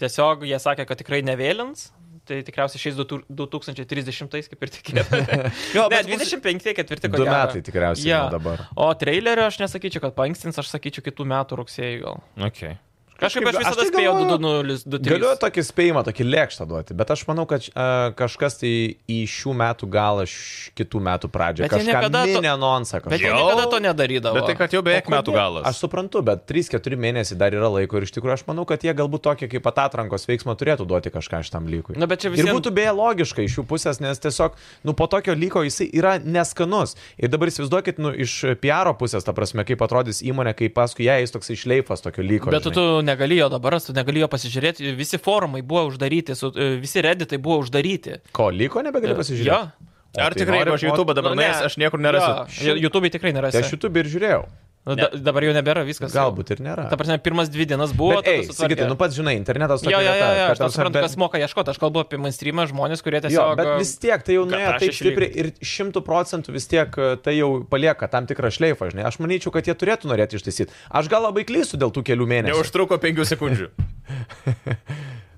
Speaker 3: tiesiog jie sakė, kad tikrai nevėlins. Tai tikriausiai šiais 2030, kaip ir tikėtina.
Speaker 1: Jo,
Speaker 3: ne,
Speaker 1: bet
Speaker 3: 25, 4
Speaker 2: Du metai tikriausiai
Speaker 3: Jo.
Speaker 2: nuo dabar.
Speaker 3: O trailerio aš nesakyčiau, kad paankstins, aš sakyčiau kitų metų rugsėjį gal.
Speaker 1: Okay.
Speaker 3: Kažkaip
Speaker 2: Kažkaip-
Speaker 3: aš
Speaker 2: aš
Speaker 3: visada
Speaker 2: tai
Speaker 3: spėjau
Speaker 2: galvoju-
Speaker 3: 2023.
Speaker 2: Galiu tokį spėjimą, tokį lėkštą duoti, bet aš manau, kad uh, kažkas tai į šių metų galą, š- kitų metų pradžią.
Speaker 3: Bet jie
Speaker 2: Kažką
Speaker 3: niekada to-
Speaker 2: mini anonsą.
Speaker 3: Bet jie
Speaker 1: Jo.
Speaker 3: niekada to nedarydavo.
Speaker 1: Bet tai, kad jau beveik metų galas.
Speaker 2: Aš suprantu, bet 3-4 mėnesiai dar yra laiko ir iš tikrųjų aš manau, kad jie galbūt tokį kaip atatrankos veiksmą turėtų duoti kažką šitam lygui.
Speaker 3: Na, bet čia
Speaker 2: Ir
Speaker 3: visiem-
Speaker 2: būtų beje logiška iš jų pusės, nes tiesiog, nu, po tokio lygo jisai yra neskanus. Ir dabar įsivaizduokit, nu, iš PR pusės, ta prasme, kaip atrodys įmonė, kai paskui ją jis toks išleifas tokio lygo.
Speaker 3: Bet tu, tu negalėjo dabar, tu negalėjo pasižiūrėti, visi forumai buvo uždaryti, su, e, visi redditai buvo uždaryti. E,
Speaker 2: Ko, lygo nebegali pasižiūrėti?
Speaker 3: Jo.
Speaker 2: O,
Speaker 1: Ar
Speaker 2: tai
Speaker 1: tikrai,
Speaker 2: nori
Speaker 1: jeigu aš YouTube dabar
Speaker 3: Nu, ne.
Speaker 1: nuėjęs, aš niekur nerasiu.
Speaker 3: Jo, YouTube tikrai nerasi. Nu,
Speaker 2: Tai aš YouTube ir žiūrėjau.
Speaker 3: Da, dabar jau nebėra viskas.
Speaker 2: Galbūt ir nėra.
Speaker 3: Ta prasme, pirmas dvi dienas buvo.
Speaker 2: Bet, ei, sakytai, nu pats žinai, internetas tokia
Speaker 3: Jo, jo, jo,
Speaker 2: vieta,
Speaker 3: jo, aš
Speaker 2: kad ta
Speaker 3: tą
Speaker 2: prasme,
Speaker 3: suprantu,
Speaker 2: bet-
Speaker 3: kas moka ieškoti, aš kalbu apie mainstreamą žmonės, kurie
Speaker 2: Jo,
Speaker 3: tiesiog... e,
Speaker 2: bet vis tiek tai jau
Speaker 3: Kad
Speaker 2: nuėjo
Speaker 3: aš
Speaker 2: taip
Speaker 3: išlyginu.
Speaker 2: stipriai ir šimtų procentų vis tiek e, tai jau palieka tam tikrą šleifą, žinai. Aš manyčiau, kad jie turėtų norėti ištaisyti. Aš gal labai klysiu dėl tų kelių mėnesių.
Speaker 1: Neužtruko penkių sekundžių.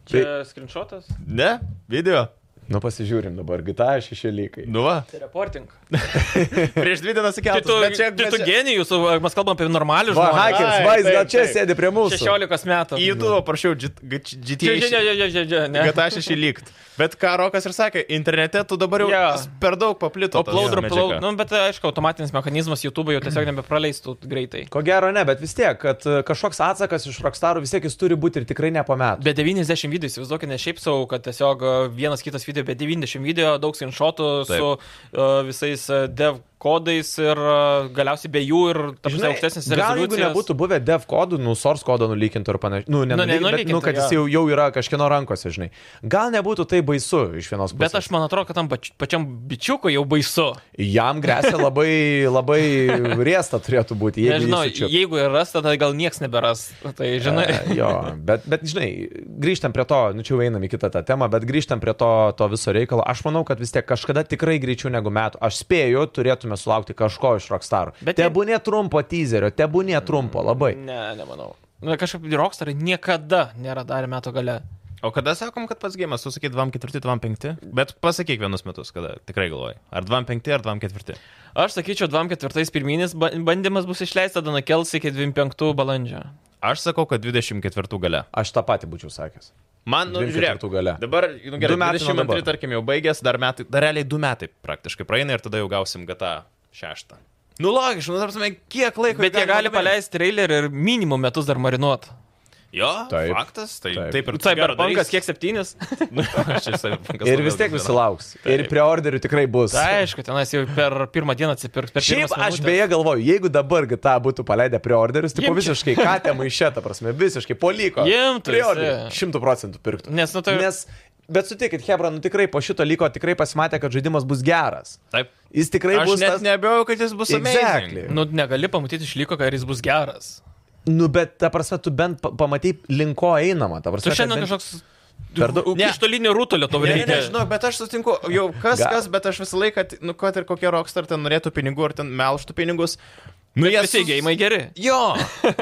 Speaker 3: Čia
Speaker 2: tai-
Speaker 3: Screenshotas?
Speaker 1: Ne? Video?
Speaker 2: Nu pasižiūrim dabar, GTA šešėlykai.
Speaker 1: Nu va.
Speaker 3: Tai reporting.
Speaker 1: Prieš dvi dienas
Speaker 3: Tai
Speaker 1: įkeltas.
Speaker 3: tu,
Speaker 1: bet
Speaker 3: čia,
Speaker 1: čia-
Speaker 3: tai
Speaker 1: bet
Speaker 3: tu
Speaker 1: čia-
Speaker 3: genijus, o mes kalbam apie normalių
Speaker 2: Va,
Speaker 3: žmonių.
Speaker 2: hakeris,
Speaker 1: Ai,
Speaker 2: va, jis gal
Speaker 1: taip,
Speaker 2: čia
Speaker 1: taip.
Speaker 2: sėdi prie mūsų.
Speaker 3: 16 metų.
Speaker 1: Į YouTube prašiau GTA.
Speaker 3: Čia, čia, čia, čia, čia, ne.
Speaker 1: GTA 6 lygt. Bet ką Rokas ir sakė, internete tu dabar jau
Speaker 3: Jo.
Speaker 1: yeah. per daug paplito. tas
Speaker 3: Upload,
Speaker 1: medžiaga.
Speaker 3: upload. Nu, bet aišku, automatinis mechanizmas YouTube jau tiesiog nebepraleistų greitai.
Speaker 2: Ko gero ne, bet vis tiek, kad e, kažkoks atsakas iš Rockstarų vis tiek jis turi būti ir tikrai ne po metų.
Speaker 3: Be 90 video, įsivaizduokit, ne šiaip savo, kad tiesiog e, vienas kitas video, bet 90 video, daug screenshotų su
Speaker 1: Taip.
Speaker 3: uh, visais e, dev kodais ir e, galiausiai be jų ir ta prasme, aukštesnis
Speaker 2: gal jeigu
Speaker 3: rezoliucijas.
Speaker 2: nebūtų buvę dev kodų, nu, source kodo nulykintų ir panašiai. Nu, ne,
Speaker 3: Nu,
Speaker 2: nu,
Speaker 3: ne,
Speaker 2: bet, nu,
Speaker 3: nulykintų,
Speaker 2: kad jis
Speaker 3: jo.
Speaker 2: jau, jau yra kažkieno rankose, žinai. Gal nebūtų tai baisu iš vienos pusės.
Speaker 3: Bet aš man atrodo, kad tam pač- pačiam bičiukui jau baisu.
Speaker 2: Jam grėsia labai, labai riesta turėtų būti. jeigu jį
Speaker 3: Nežinau,
Speaker 2: sučiups.
Speaker 3: jeigu ir ras, tada gal nieks neberas. Tai žinai.
Speaker 2: E, jo, bet, bet žinai, grįžtam prie to, nu čia jau einam į kitą tą temą, bet grįžtam prie to, to viso reikalo. Aš manau, kad vis tiek kažkada tikrai greičiau negu metų, aš spėju, turėtume sulaukti kažko iš Rockstar.
Speaker 3: Bet Mm,
Speaker 2: Bet tebūnė trumpo teaserio, tebūnė trumpo labai.
Speaker 3: Ne, nemanau. Na, kažkaip Rockstarai niekada nėra darę metų gale.
Speaker 1: O kada sakom, kad pats gėjimas, tu sakai 24, 25, bet pasakyk vienus metus, kada tikrai galvoji. Ar 25, ar 24.
Speaker 3: Aš sakyčiau, 24 pirminis ba- bandymas bus išleistas, tada nukels iki 25 balandžio.
Speaker 1: Aš sakau, kad 24 gale.
Speaker 2: Aš tą patį būčiau sakęs.
Speaker 1: Man, nu,
Speaker 2: 24
Speaker 1: žiūrėk,
Speaker 2: gale.
Speaker 1: dabar, nu, gerai,
Speaker 2: Du metai
Speaker 1: 22,
Speaker 2: nuo dabar.
Speaker 1: tarkim, jau baigęs, dar, metai, dar realiai 2 metai praktiškai praeina ir tada jau gausim GTA 6. Nu, logiška, nu, tarsi, kiek laiko.
Speaker 3: Bet jie
Speaker 1: galima
Speaker 3: gali
Speaker 1: nuveikti?
Speaker 3: paleisti trailerį ir minimum metus dar marinuot.
Speaker 1: Jo, taip,
Speaker 2: Taip.
Speaker 1: faktas, tai taip,
Speaker 2: Taip.
Speaker 1: taip ir
Speaker 3: Cyberpunkas kiek septynis?
Speaker 1: kiek.
Speaker 2: Ir vis tiek visi lauks. Ir preorderių tikrai bus.
Speaker 3: Tai aišku, tenais jau per pirmą dieną atsipirks. Per
Speaker 2: Šiaip
Speaker 3: pirmas
Speaker 2: aš
Speaker 3: minutės.
Speaker 2: beje galvoju, jeigu dabar GTA būtų paleidę preorderius, tai po
Speaker 3: Imčiau.
Speaker 2: visiškai katę maišę, ta prasme, visiškai poliko.
Speaker 3: Imtųsi.
Speaker 2: Šimtų procentų pirktų.
Speaker 3: Nes, nu, tai-
Speaker 2: Nes, bet sutikit, Hebra, nu tikrai po šito liko tikrai pasimatė, kad žaidimas bus geras.
Speaker 1: Taip.
Speaker 2: Jis tikrai
Speaker 1: Aš
Speaker 2: bus
Speaker 1: net
Speaker 2: tas...
Speaker 1: nebejoju, kad jis bus
Speaker 2: Exactly.
Speaker 1: amazing.
Speaker 3: Nu, negali pamatyti išliko, kad jis bus geras.
Speaker 2: Nu, bet, ta prasme, tu bent pa- pamatai, link ko einama. Ta prasme,
Speaker 3: Tu
Speaker 2: kad
Speaker 3: šiandien
Speaker 2: bent-
Speaker 3: kažkoks...
Speaker 2: Per daug-
Speaker 1: Ne.
Speaker 3: Iš tolinio rutulio to
Speaker 1: Ne, ne, ne,
Speaker 3: reikia.
Speaker 1: žinau, bet aš sutinku, jau kas,
Speaker 2: Ga-
Speaker 1: kas, bet aš visą laiką, t- nu, kad ir kokie rockstar ten norėtų pinigų ar ten melštų pinigus. Nu, jie
Speaker 3: Visi
Speaker 1: sus-
Speaker 3: gėjimai geri.
Speaker 1: Jo,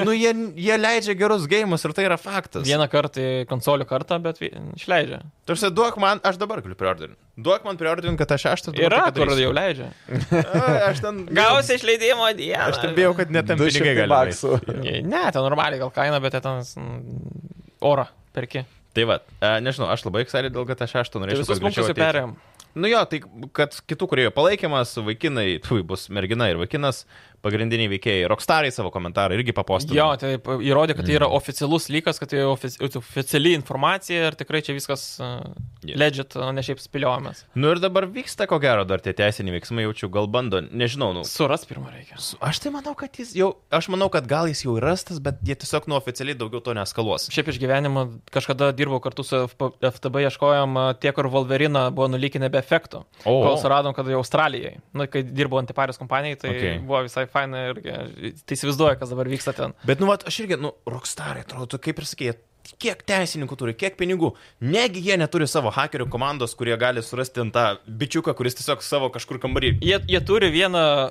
Speaker 1: nu, jie, jie leidžia gerus gėjimus ir tai yra faktas.
Speaker 3: Vieną kartą į konsolių kartą, bet vi- išleidžia.
Speaker 1: Tarsi, duok man, aš dabar galiu priordinti. Duok man priordinti, kad aš šeštą dabar
Speaker 3: Yra,
Speaker 1: tai
Speaker 3: kur
Speaker 1: padarysiu.
Speaker 3: jau leidžia.
Speaker 1: A, Aš ten
Speaker 3: Gausi išleidimo dieną.
Speaker 1: Aš ten bijau, kad net ten pinigai gali.
Speaker 2: 200
Speaker 1: nueit.
Speaker 2: baksų.
Speaker 3: Ne, ten normaliai gal kaina, bet jie ten mm, orą perki.
Speaker 1: Tai va, a, nežinau, aš labai excited dėl GTA 6
Speaker 3: Tai
Speaker 1: norėčiau.
Speaker 3: visus
Speaker 1: kad greičiau
Speaker 3: punktus jau
Speaker 1: ateitų.
Speaker 3: perėm.
Speaker 1: Nu jo, tai kad kitų kuriejų palaikymas, vaikinai, tu bus mergina ir vaikinas, pagrindiniai veikėjai, rokstarai savo komentarą irgi papostino.
Speaker 3: Jo, tai p- įrodė, kad tai
Speaker 1: Mm.
Speaker 3: yra oficialus lygas, kad tai ofici oficiali informacija ir tikrai čia viskas uh,
Speaker 1: Jo.
Speaker 3: legit, o ne šiaip spėliojamas.
Speaker 1: Nu ir dabar vyksta, ko gero, dar tie teisiniai veiksmai, jaučiu, gal bando, nežinau, nu.
Speaker 3: Suras pirmą reikia.
Speaker 1: su- Aš tai manau, kad jis jau, aš manau, kad gal jis jau ir rastas, bet jie tiesiog nu oficialiai daugiau to neskaluos.
Speaker 3: Šiaip iš gyvenimo kažkada dirbau kartu su FP FTB, ieškojom a, tie, kur Wolverina buvo nulykinę be efektų.
Speaker 1: O.
Speaker 3: Kol suradom, kad jau Australijai. Na, kai dirbau Antiparijos kompanijai, tai okay.
Speaker 1: Okay.
Speaker 3: buvo visai faina ir e, tai įsivaizduoju, kas dabar vyksta ten.
Speaker 1: Bet nu, vat, aš irgi, nu, rokstarai, atrodo, tu kaip ir sakėjai, kiek teisininkų turi, kiek pinigų. Negi jie neturi savo hakerių komandos, kurie gali surasti ten tą bičiuką, kuris tiesiog savo kažkur kambarį
Speaker 3: Jie, jie turi vieną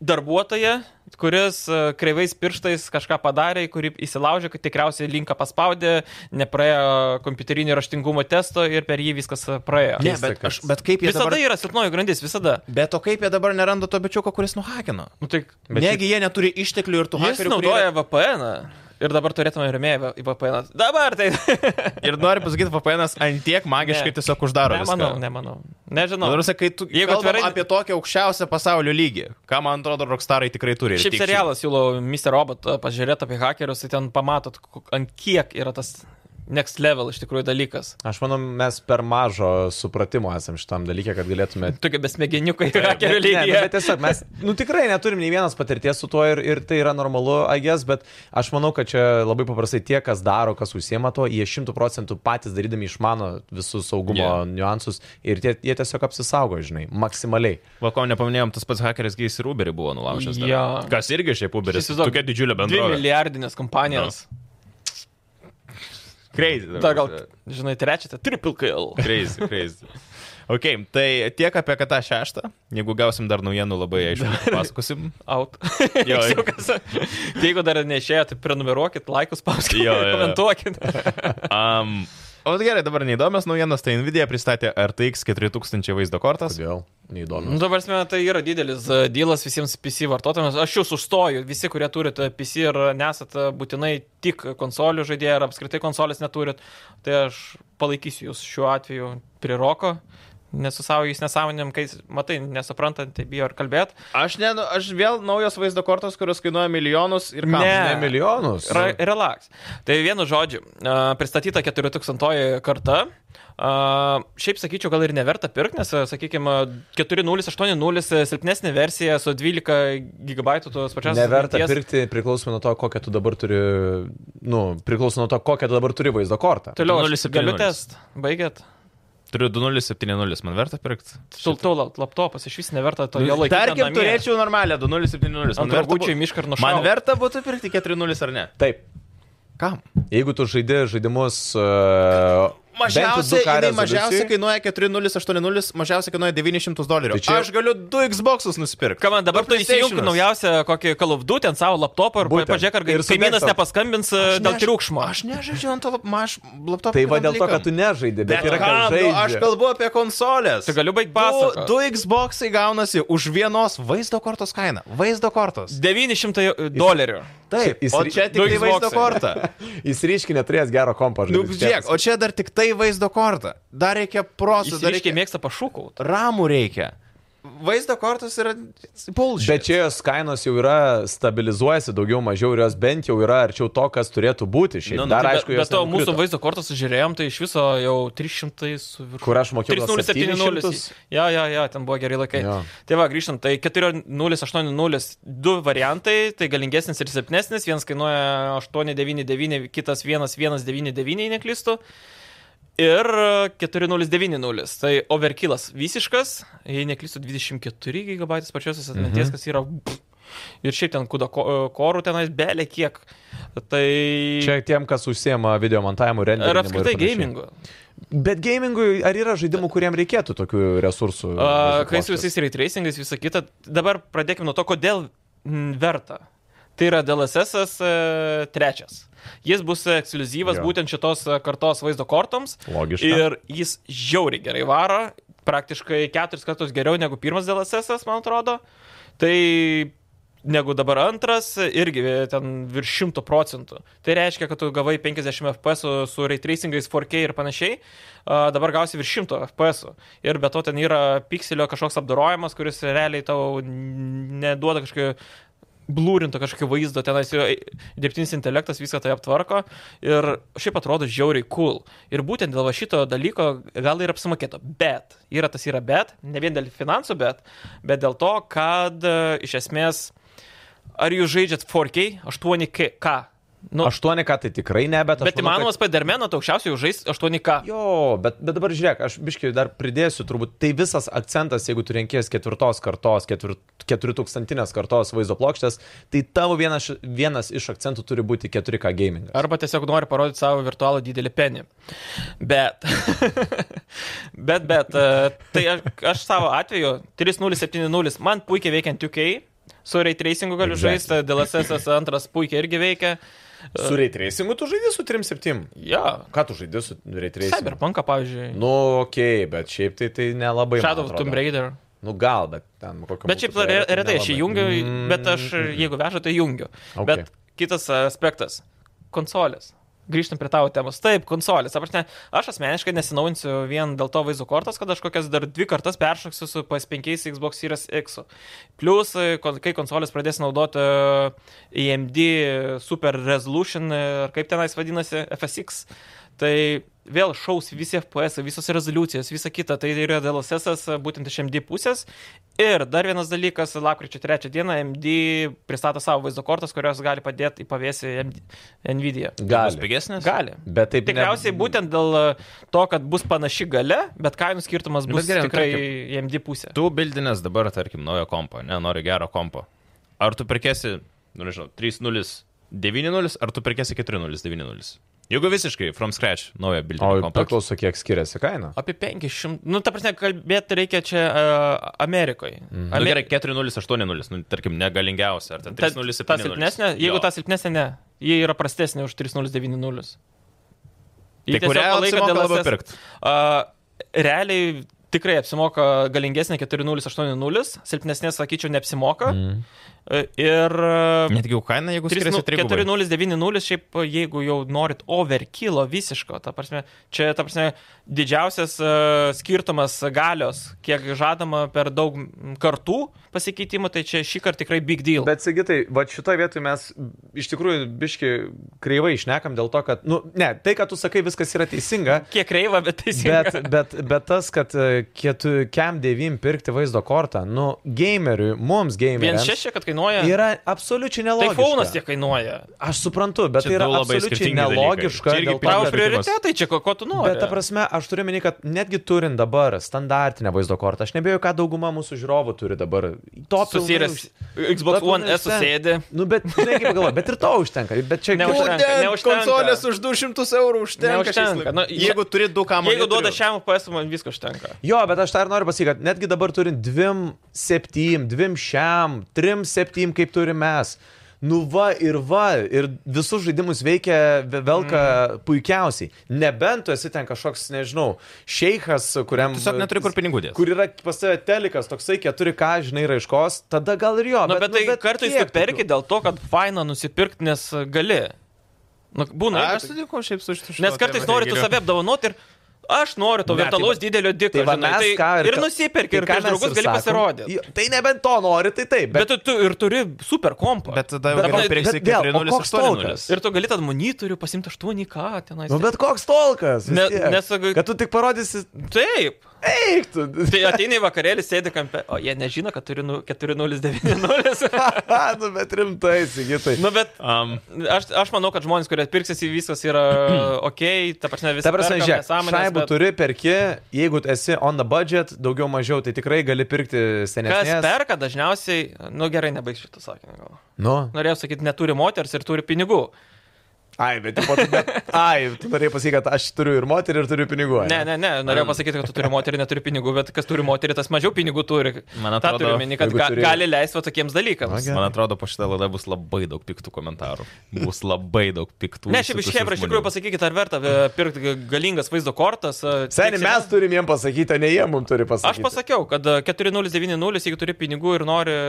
Speaker 3: darbuotoją, kuris e, kreivais pirštais kažką padarė, į kurį įsilaužė, kad tikriausiai linką paspaudė, nepraėjo kompiuterinio raštingumo testo ir per jį viskas e, praėjo.
Speaker 1: Ne,
Speaker 2: Keista,
Speaker 1: bet,
Speaker 2: kad-
Speaker 1: aš, bet kaip jie
Speaker 3: Visada
Speaker 1: dabar...
Speaker 3: dabar... yra silpnoji grandis, visada.
Speaker 1: Bet o kaip jie dabar neranda to bičiuko, kuris nuhakino?
Speaker 3: Nu, tai
Speaker 1: Bet Negi jie neturi išteklių ir tų
Speaker 3: jis
Speaker 1: hakerių. kurie-
Speaker 3: naudoja VPN. -ą. Ir dabar turėtume remėją į VPN. -ą. Dabar tai.
Speaker 1: Ir nori pasakyti, VPN'as ant tiek magiškai
Speaker 3: Ne.
Speaker 1: tiesiog uždaro.
Speaker 3: nemanau, nemanau. Nežinau.
Speaker 1: Nors, kai tu
Speaker 3: Jeigu
Speaker 1: Jeigu atvirai...
Speaker 3: atvirai-
Speaker 1: apie tokį aukščiausią pasaulio lygį, ką man atrodo, rockstarai tikrai turi. ir
Speaker 3: Šiaip
Speaker 1: tik šį.
Speaker 3: serialas siūlo Mr. Robot pažiūrėti apie hakerius, tai ten pamatot, ko- ant kiek yra tas next level iš tikrųjų dalykas.
Speaker 2: Aš manau, mes per mažo supratimo esam šitam dalykė, kad galėtume
Speaker 3: Tokie besmegeniukai hakerių
Speaker 2: Ne, nu,
Speaker 3: lygyje.
Speaker 2: bet tiesiog mes nu, tikrai neturim nei vienas patirties su tuo ir, ir tai yra normalu, agės, bet aš manau, kad čia labai paprastai tie, kas daro, kas užsiema tuo, jie šimtų procentų patys darydami išmano visus saugumo yeah.
Speaker 1: Jo.
Speaker 2: niuansus ir tie, jie tiesiog apsisaugo, žinai, maksimaliai.
Speaker 1: Va, ko nepaminėjom, tas pats hakeris Gais ir Uberį buvo nulaužęs. dar.
Speaker 3: Jo.
Speaker 1: Kas irgi šiaip Uberis.
Speaker 3: Įsivaizduok,
Speaker 1: Tokia didžiulė
Speaker 3: Dvi
Speaker 1: bendrovė. Nu,
Speaker 3: milijardinės kompanijos.
Speaker 1: Crazy.
Speaker 3: Dar gal, žinai, trečią, tai triple kill.
Speaker 1: Crazy, crazy. Ok, tai tiek apie KT 6. Jeigu gausim dar naujienų, labai aišku, pasakosim.
Speaker 3: Out.
Speaker 1: Jo.
Speaker 3: Tiesiog, kas- tai Jeigu dar neišėjo, tai prenumeruokit, laikus spauskit,
Speaker 1: Jo, jo, jo.
Speaker 3: komentuokit.
Speaker 1: Um, o gerai, dabar neįdomios naujienos, tai Nvidia pristatė RTX 4000 vaizdo kortas.
Speaker 2: Kodėl? Neįdomu.
Speaker 3: Nu, dabar, mes, tai yra didelis e, dylas visiems PC vartotojams. Aš jūs užstoju, visi, kurie turite PC ir nesat e, būtinai tik konsolių žaidėjai ar apskritai konsolės neturit, tai aš palaikysiu jūs šiuo atveju prie roko. Nesu savo jais nesąmonėm, kai matai, nesuprantant, tai bijo ir kalbėt.
Speaker 1: Aš, ne, aš vėl naujos vaizdo kortos, kurios kainuoja milijonus ir kam.
Speaker 3: Ne.
Speaker 2: Ne milijonus.
Speaker 3: Ra relax. Tai vienu žodžiu, a, pristatyta 4000 karta. A, Šiaip sakyčiau, gal ir neverta pirkti, nes, e, sakykime, 4080 e, silpnesnė versija su 12 GB tos pačios.
Speaker 2: Neverta
Speaker 3: atminties.
Speaker 2: pirkti priklausomai nuo to, kokią tu dabar turi, nu, priklausomai nuo to, kokią tu dabar turi vaizdo kortą.
Speaker 3: Toliau, aš
Speaker 1: 0,70.
Speaker 3: galiu test, baigėt.
Speaker 1: Turiu 2070, man verta pirkti.
Speaker 3: Sultau laptopas, iš vis neverta to jo
Speaker 1: Nu,
Speaker 3: laikyti.
Speaker 1: Tarkim, turėčiau normalią 2070.
Speaker 3: Ant
Speaker 1: Man verta,
Speaker 3: rūgučių į mišką ir
Speaker 1: bū-
Speaker 3: nušaut.
Speaker 1: man verta būtų pirkti 4.0 ar ne?
Speaker 2: Taip.
Speaker 1: Kam?
Speaker 2: Jeigu tu žaidži žaidimus... Uh,
Speaker 1: Mažiausiai, jinai mažiausiai kainuoja 4.080, mažiausiai kainuoja 900 dolerių.
Speaker 2: Tai čia-
Speaker 1: Aš galiu 2 Xbox'us nusipirkti.
Speaker 3: Ką man dabar tu įsijungi naujausią kokį kalvdų ten savo laptopą ir
Speaker 2: Būtent.
Speaker 3: Būtent. pažiūrėk, ar
Speaker 2: Ir
Speaker 3: gal
Speaker 2: su
Speaker 3: kaimynas
Speaker 2: desktop.
Speaker 3: nepaskambins e, dėl triukšmo.
Speaker 1: Aš nežaidžiu ant to lap- ma- aš laptopo.
Speaker 2: Tai va dėl to, kad tu nežaidži, bet,
Speaker 1: Bet
Speaker 2: bet yra
Speaker 1: kam,
Speaker 2: kad
Speaker 1: nu,
Speaker 2: žaidži.
Speaker 1: aš kalbu apie konsolės.
Speaker 3: Tai galiu baigt pasakot.
Speaker 1: Du, du Xbox'ai gaunasi už vienos vaizdo kortos kainą. Vaizdo kortos.
Speaker 3: 900 dolerių.
Speaker 1: Taip,
Speaker 2: Jis-
Speaker 1: o čia tik
Speaker 3: du
Speaker 1: tai vaizdo
Speaker 3: Xboxai.
Speaker 1: kortą.
Speaker 2: Jis ryškiai neturės gero kompo
Speaker 1: Nu,
Speaker 2: žaidimus.
Speaker 1: žiūrėk, o čia dar tik tai vaizdo kortą. Dar reikia procesų,
Speaker 3: Jis
Speaker 1: dar
Speaker 3: reiškia
Speaker 1: reikia
Speaker 3: mėgsta pašūkauti.
Speaker 1: ramų reikia. Vaizdo kortos yra bullshit.
Speaker 2: Bet čia jos kainos jau yra stabilizuojasi daugiau mažiau ir jos bent jau yra arčiau to, kas turėtų būti. Šiaip
Speaker 1: Nu, nu,
Speaker 2: dar
Speaker 1: tai
Speaker 3: Bet,
Speaker 2: aišku,
Speaker 3: bet
Speaker 2: jos
Speaker 3: to mūsų
Speaker 2: nenukrito.
Speaker 3: vaizdo kortą sužiūrėjom, tai iš viso jau 300 su virš.
Speaker 2: Kur aš mokėjau gal
Speaker 3: 3070.
Speaker 2: 700?
Speaker 3: Ja, ja, ja, ten buvo geri laikai.
Speaker 2: Jo.
Speaker 3: Tai va, grįžtant, tai 4080, du variantai, tai galingesnis ir silpnesnis, vienas kainuoja 899, kitas 1199, jei neklystu. Ir e, 4090, tai overkillas visiškas, jei neklystu, 24 GB pačiosios
Speaker 2: Mhm.
Speaker 3: atminties, kas yra... pff, Ir šiaip ten kuda ko- e, korų tenais belė kiek. Tai...
Speaker 2: Čia tiem, kas užsiema video montavimu, renderiu.
Speaker 3: Ir apskritai gamingu.
Speaker 2: Bet gamingui, ar yra žaidimų, kuriem reikėtų tokių
Speaker 3: A,
Speaker 2: resursų? vaizdo
Speaker 3: Kai su
Speaker 2: kortos?
Speaker 3: visais ray tracingais, visą kitą. Dabar pradėkime nuo to, kodėl mm, verta. Tai yra DLSS e, trečias. Jis bus ekskluzyvas
Speaker 2: Jo.
Speaker 3: būtent šitos e, kartos vaizdo kortoms.
Speaker 2: Logiška.
Speaker 3: Ir jis žiauriai gerai varo. Praktiškai keturis kartus geriau negu pirmas DLSS, man atrodo. Tai negu dabar antras, irgi ten virš 100 procentų. Tai reiškia, kad tu gavai 50 FPS su, su ray tracingais 4K ir panašiai, a, dabar gausi virš 100 FPS. -ų. Ir be to ten yra pikselio kažkoks apdarojimas, kuris realiai tau n- neduoda kažkokio blūrinto kažkokio vaizdo, tenais jo dirbtinis intelektas viską tai aptvarko ir šiaip atrodo žiauriai cool. Ir būtent dėl va šito dalyko gal ir apsimokėto, bet yra tas yra bet, ne vien dėl finansų bet, bet dėl to, kad e, iš esmės Ar jūs žaidžiat 4K, 8K? Nu,
Speaker 2: 8K tai tikrai ne, bet... aš
Speaker 3: bet
Speaker 2: manau, kad-
Speaker 3: įmanomas kad... Spider-Man'o, tai aukščiausiai jau žais 8K.
Speaker 2: Jo, bet, bet dabar žiūrėk, aš biškai dar pridėsiu, turbūt tai visas akcentas, jeigu tu renkies ketvirtos kartos, ketvir, keturitukstantinės kartos vaizdo plokštės, tai tavo vienas, vienas iš akcentų turi būti 4K gaming.
Speaker 3: Arba tiesiog nori parodyti savo virtualų didelį penį. Bet. bet, bet. e, Tai aš, aš savo atveju 3070, man puikiai veikiant UK, su Ray Tracingu galiu
Speaker 2: Exactly.
Speaker 3: žaisti, DLSS antras puikiai irgi veikia. E,
Speaker 2: Su reitraisingu tu žaidži su 3.7.
Speaker 3: Ja.
Speaker 2: Ką tu žaidži su reitraisingu?
Speaker 3: Cyberpunk, pavyzdžiui.
Speaker 2: Nu, okei, okay, bet šiaip tai tai nelabai. man
Speaker 3: Shadow of
Speaker 2: atrodo.
Speaker 3: Tomb Raider.
Speaker 2: Nu gal, bet ten kokio. tai
Speaker 3: Bet šiaip re- retai aš įjungiu,
Speaker 2: Mm.
Speaker 3: bet aš jeigu vežu, tai jungiu.
Speaker 2: Okay.
Speaker 3: Okay. Bet kitas aspektas - konsolės. Grįžtam prie tavo temos. Taip, konsolės. Ta prasme, Aš asmeniškai nesinaujinsiu vien dėl to vaizdo kortos, kad aš kokias dar dvi kartas peršoksiu su PS5 Xbox Series X. Plus, e, kon- kai konsolės pradės naudoti e, AMD Super Resolution, e, ar kaip tenais vadinasi, FSX, tai vėl šaus visi FPS, visos rezoliucijos, visa kita. Tai yra DLSS būtent iš MD pusės. Ir dar vienas dalykas, lakryčio 3 dieną MD pristato savo vaizdo kortas, kurios gali padėti į pavėsį MD Nvidia.
Speaker 1: Gali.
Speaker 2: Gali.
Speaker 1: Pigesnės?
Speaker 3: Gali.
Speaker 2: Bet taip.
Speaker 3: Tikriausiai būtent dėl to, kad bus panaši gale, bet kainų skirtumas
Speaker 1: Bet
Speaker 3: bus
Speaker 1: gerai,
Speaker 3: gerai,
Speaker 1: nu,
Speaker 3: tikrai į MD pusę.
Speaker 1: Tu bildinės dabar, tarkim, naujo kompo, ne, nori gero kompo. Ar tu pirkėsi, nu nežinau, 3.090, ar tu pirkėsi 4.090? Jeigu visiškai from scratch naujo
Speaker 2: O
Speaker 1: bildinio kompo.
Speaker 2: paklauso, kiek skiriasi kaina.
Speaker 3: Apie 500, nu ta prasme, kalbėti reikia čia uh, Amerikoje. Mm.
Speaker 1: Ar Nu, gerai, 4.080, nu, tarkim, negalingiausia, ar ten
Speaker 3: ta,
Speaker 1: 3.070.
Speaker 3: ta silpnesnė, jeigu
Speaker 1: Jo.
Speaker 3: ta silpnesnė, ne, jie yra prastesnė už 3090.
Speaker 1: Tai kurią laiką dėl labiau pirkti?
Speaker 3: Uh, realiai tikrai apsimoka galingesnė 4080, silpnesnė, sakyčiau, neapsimoka. Mm. E, Ir... e,
Speaker 1: Netgi jau kaina, jeigu
Speaker 3: trys
Speaker 1: skiriasi
Speaker 3: nu-
Speaker 1: 3 gubai.
Speaker 3: 4090, šiaip jeigu jau norit overkilo visiško, ta prasme, čia ta prasme, didžiausias e, skirtumas galios, kiek žadama per daug mm, kartų pasikeitimų, tai čia šį kartą tikrai big deal.
Speaker 2: Bet, sakytai, va šitoje vietoje mes iš tikrųjų biški kreivai išnekam dėl to, kad, nu, ne, tai, kad tu sakai, viskas yra teisinga,
Speaker 3: Kiek reiva, bet teisingai.
Speaker 2: Bet, bet, bet tas, kad e, Kem 9 pirkti vaizdo kortą, nu, gameriui, mums
Speaker 3: Vien
Speaker 2: gameriui,
Speaker 3: šešia, kad kainuoja.
Speaker 2: yra absoliučiai
Speaker 3: Tai
Speaker 2: nelogiška.
Speaker 3: faunas tiek kainuoja.
Speaker 2: Aš suprantu, bet
Speaker 1: Čia
Speaker 2: tai yra
Speaker 1: du labai
Speaker 2: absoliučiai
Speaker 1: skirtingi dalykai.
Speaker 2: nelogiška.
Speaker 1: Čia irgi
Speaker 2: dėl to,
Speaker 1: Tau
Speaker 3: Tavo
Speaker 1: pirmas
Speaker 2: kad-
Speaker 1: pirkimas.
Speaker 3: prioritetai čia, ko, ko tu nori.
Speaker 2: Bet, ta prasme, aš turiu meni, kad netgi turint dabar standartinę vaizdo kortą, aš nebėjau, ką dauguma mūsų žiūrovų turi dabar. To pilnai
Speaker 3: susirės
Speaker 2: už-
Speaker 3: Xbox
Speaker 2: to pilnai
Speaker 3: One S
Speaker 2: užtenka.
Speaker 3: susėdė.
Speaker 2: Nu, bet, žinai, kaip galvo, bet ir to užtenka. Bet čia
Speaker 3: Neužtenka. neužtenka.
Speaker 1: Konsolės už 200 eurų užtenka. šiais
Speaker 3: Neužtenka.
Speaker 1: laikais.
Speaker 3: Nu,
Speaker 1: jeigu turi du kamuolius.
Speaker 3: Jeigu duoda šiam PS, man visko užtenka.
Speaker 2: Jo, bet aš tą ir noriu pasakyti, kad netgi dabar turint 2, 7, 2, šiam, 3, 7, kaip turime mes. Nu va ir va, ir visus žaidimus veikia ve- velka mm. puikiausiai. Nebent tu esi ten kažkoks, nežinau, šeikas, kuriam...
Speaker 1: Tiesiog neturi kur pinigų dėti.
Speaker 2: Kur yra pas tave telikas, toksai 4K, žinai, raiškos, tada gal ir jo.
Speaker 3: Na, bet, bet,
Speaker 2: nu,
Speaker 3: tai bet kartais tu
Speaker 2: kiek
Speaker 3: perki
Speaker 2: tokių?
Speaker 3: dėl to, kad faina nusipirkti, nes gali. Nu, būna. irgi
Speaker 1: Aš tai
Speaker 3: taip.
Speaker 1: sutinku šiaip su šitu.
Speaker 3: Nes kartais nori tu save apdovanoti ir aš noriu to
Speaker 2: Ne,
Speaker 3: virtualaus
Speaker 2: tai
Speaker 3: didelio diko.
Speaker 2: Tai va,
Speaker 3: žinai, tai
Speaker 2: mes ką
Speaker 3: ir nusipirki, ir
Speaker 2: ką
Speaker 3: prieš
Speaker 2: mes
Speaker 3: draugus gali
Speaker 2: sakom.
Speaker 3: pasirodyti.
Speaker 2: Jo, Tai nebent to nori, tai taip.
Speaker 3: Bet, bet tu, tu ir turi super kompą.
Speaker 1: Bet tada jau
Speaker 3: Bet-
Speaker 1: geriau
Speaker 3: bet-
Speaker 1: pirksi
Speaker 2: bet vėl, o
Speaker 1: 4.0
Speaker 2: koks tautas?
Speaker 1: 8.0.
Speaker 3: Ir tu gali tą monitorių pasimti 8K tenais.
Speaker 2: Nu, bet koks tolkas? vis
Speaker 3: Ne-
Speaker 2: tiek.
Speaker 3: nes, jeigu-
Speaker 2: Kad tu tik parodysi,
Speaker 3: Taip.
Speaker 2: eik tu.
Speaker 3: Tai ateini į vakarėlį, sėdi kampe. O jie nežino, kad turi nu- 4090.
Speaker 2: A, nu, bet rimtai, sigitai.
Speaker 3: nu, bet
Speaker 1: Um,
Speaker 3: Aš, aš manau, kad žmonės, kurie pirksėsi, viskas yra ok, ta prasme visą
Speaker 2: Ta prasme, žiūrėk, šaibų bet... turi, perki, jeigu tu esi on the budget, daugiau mažiau, tai tikrai gali pirkti
Speaker 3: Kas
Speaker 2: senesnės.
Speaker 3: perka dažniausiai, nu gerai, nebaig šitą sakinį gal.
Speaker 2: Nu,
Speaker 3: Norėjau sakyti, neturi moters ir turi pinigų.
Speaker 2: ai, bet, tipo, tu, bet ai, tu norėjai pasakyti, kad aš turiu ir moterį, ir turiu pinigų.
Speaker 3: Ne, ne, ne, norėjau pasakyti, kad tu turi moterį, neturi pinigų, bet kas turi moterį, tas mažiau pinigų turi.
Speaker 1: Man
Speaker 3: Ta
Speaker 1: atrodo,
Speaker 3: turiu meni, kad
Speaker 2: jeigu
Speaker 3: ga,
Speaker 2: turi-
Speaker 3: gali leisti va tokiems dalykams.
Speaker 2: Ogi.
Speaker 1: Man atrodo, po šitą laidą bus labai daug piktų komentarų. Bus labai daug piktų.
Speaker 3: Ne, šiaip iš
Speaker 1: įsitusių
Speaker 3: Hebra, iš
Speaker 1: žmonių.
Speaker 3: tikrųjų pasakykit, ar verta e, pirkti ga- galingas vaizdo kortas. e,
Speaker 2: Seniai,
Speaker 3: tiek
Speaker 2: mes turim jiem pasakyti, o ne jie mums turi pasakyti.
Speaker 3: Aš pasakiau, kad e, 4090, jeigu turi pinigų ir nori,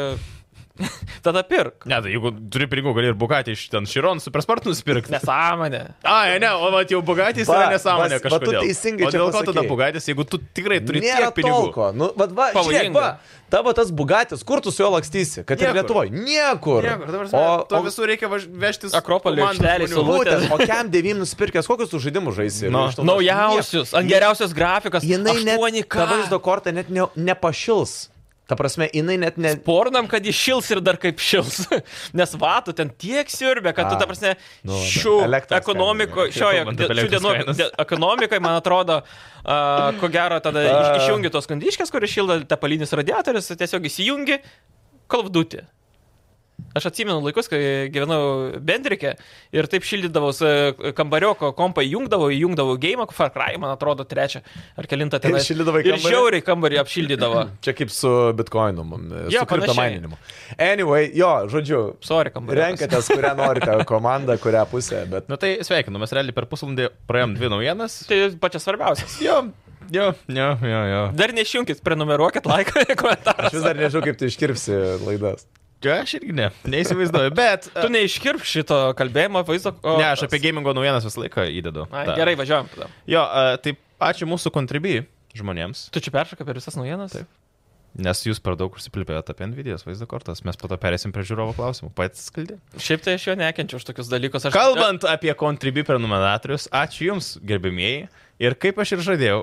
Speaker 3: tada pirk.
Speaker 1: Ne, tai jeigu turi pinigų, gali ir bukatį iš ten Širon supersport nusipirkti.
Speaker 3: Nesąmonė.
Speaker 1: Ai, ne, o vat jau bugatys
Speaker 2: Va,
Speaker 1: yra nesąmonė
Speaker 2: vas- va tu
Speaker 1: kažkodėl.
Speaker 2: teisingai
Speaker 1: o
Speaker 2: čia
Speaker 1: dėl ko tada
Speaker 2: pasakei.
Speaker 1: bugatys, jeigu tu tikrai turi tiek
Speaker 2: Nėra
Speaker 1: pinigų?
Speaker 2: Tolko. Nu, va, va, žiūrėk,
Speaker 3: Pavojinga.
Speaker 2: va, tavo tas bugatis, kur tu su juo lakstysi? Kad ir
Speaker 1: Niekur.
Speaker 2: Lietuvoje. Niekur.
Speaker 1: o,
Speaker 2: o,
Speaker 1: to visur reikia važ- vežtis
Speaker 3: Akropolio
Speaker 1: komandos
Speaker 3: aikštelėj
Speaker 1: žmonių.
Speaker 3: su Lu-
Speaker 2: Būtent, o Kem 9 nusipirkęs, kokius tu žaidimus žaisi?
Speaker 1: Nu,
Speaker 2: Iš to-
Speaker 3: Naujausius, ant geriausios grafikas.
Speaker 2: Jinai net,
Speaker 3: 8K.
Speaker 2: ta vaizdo kortą net ne, nepašils. Ta prasme, jinai net ne...
Speaker 3: Pornam, kad jis šils ir dar kaip šils. Nes vatų ten tiek siurbė, kad tu,
Speaker 2: A,
Speaker 3: ta prasme,
Speaker 2: nu,
Speaker 3: šių
Speaker 2: elektros
Speaker 3: ekonomiko,
Speaker 2: kaina,
Speaker 3: šioje,
Speaker 1: kalbant
Speaker 3: dėl-
Speaker 1: apie
Speaker 3: šių
Speaker 1: elektros
Speaker 3: dienų
Speaker 1: kainas.
Speaker 3: dėl ekonomikai, man atrodo, a, ko gero, tada
Speaker 2: A.
Speaker 3: iš, išjungi tos kondiškės, kuris šildo tepalinis radiatorius, tiesiog įsijungi kalvdutį. Aš atsimenu laikus, kai gyvenau Bendrike ir taip šildydavau e, kambarioko kompą, įjungdavau, įjungdavau game, Far Cry, man atrodo, trečią ar kelintą ten.
Speaker 2: šildydavai
Speaker 3: ir
Speaker 2: kambarį?
Speaker 3: žiauriai kambarį apšildydavo.
Speaker 2: Čia kaip su bitkoinu, mum,
Speaker 3: Jo,
Speaker 2: su kriptomaininimu. Anyway, jo, žodžiu,
Speaker 3: Sorry, kambarį.
Speaker 2: renkatės, kurią norite, komandą, kurią pusę, bet...
Speaker 1: Nu tai sveikinu, mes realiai per pusvalandį praėjom dvi naujienas.
Speaker 3: Tai pačias svarbiausias.
Speaker 1: Jo, jo, jo, jo, jo.
Speaker 3: Dar neišjunkit, prenumeruokit, laiką, komentarą.
Speaker 2: Aš vis dar nežinau, kaip tu iškirpsi laidas.
Speaker 1: Aš irgi ne, neįsivaizduoju, bet... e,
Speaker 3: Tu neiškirp šito kalbėjimo vaizdo. o-
Speaker 1: Ne, aš apie gamingo naujienas visą laiką įdedu.
Speaker 3: Ai,
Speaker 1: Ta.
Speaker 3: Gerai, važiuojam tada.
Speaker 1: Jo, a, tai ačiū mūsų kontribijai žmonėms,
Speaker 3: Tu čia peršokai per visas naujienas? Taip.
Speaker 1: nes jūs per daug užsiplipėjote apie Nvidia vaizdo kortas, mes po to perėsim prie žiūrovo klausimų. Pats skaldė.
Speaker 3: Šiaip tai aš jo nekenčiu už tokius dalykus. Aš...
Speaker 1: Kalbant apie kontribijų prenumeratorius, ačiū Jums, gerbimieji. Ir kaip aš ir žadėjau,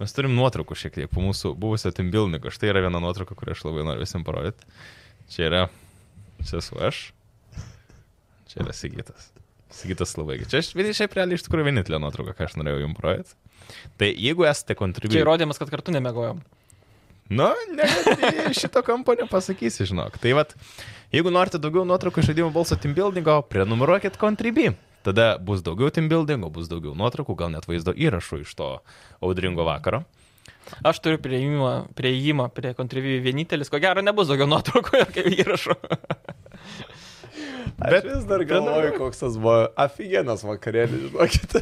Speaker 1: mes turim nuotraukų šiek tiek po mūsų buvusio Timbilniko. Štai yra viena nuotrauka, kurią aš labai noriu visiems parodyti. Čia yra, čia esu aš, čia yra Sigitas. Sigitas labai. Čia aš vienintelė, šiaip realiai iš tikrųjų vienintelė nuotrauka, ką aš norėjau Jums parodyti. Tai jeigu esate
Speaker 3: Čia
Speaker 1: kontribijų...
Speaker 3: įrodymas, kad kartu nemegojom.
Speaker 1: Nu, ne, tai šito kampo nepasakysi, žinok. Tai vad, jeigu norite daugiau nuotraukų iš žaidimų balso teambuildingo, prenumeruokit Contribui. Tada bus daugiau teambuildingo, bus daugiau nuotraukų, gal net vaizdo įrašų iš to audringo vakaro.
Speaker 3: Aš turiu prieimą, prieimą prie kontrivijų vienintelis, ko gero nebus daugiau nuotraukų ir kaip įrašų.
Speaker 2: Aš
Speaker 1: Bet-
Speaker 2: bet vis dar galvoju, koks tas buvo aфиgenas vakarėlis, žinokit.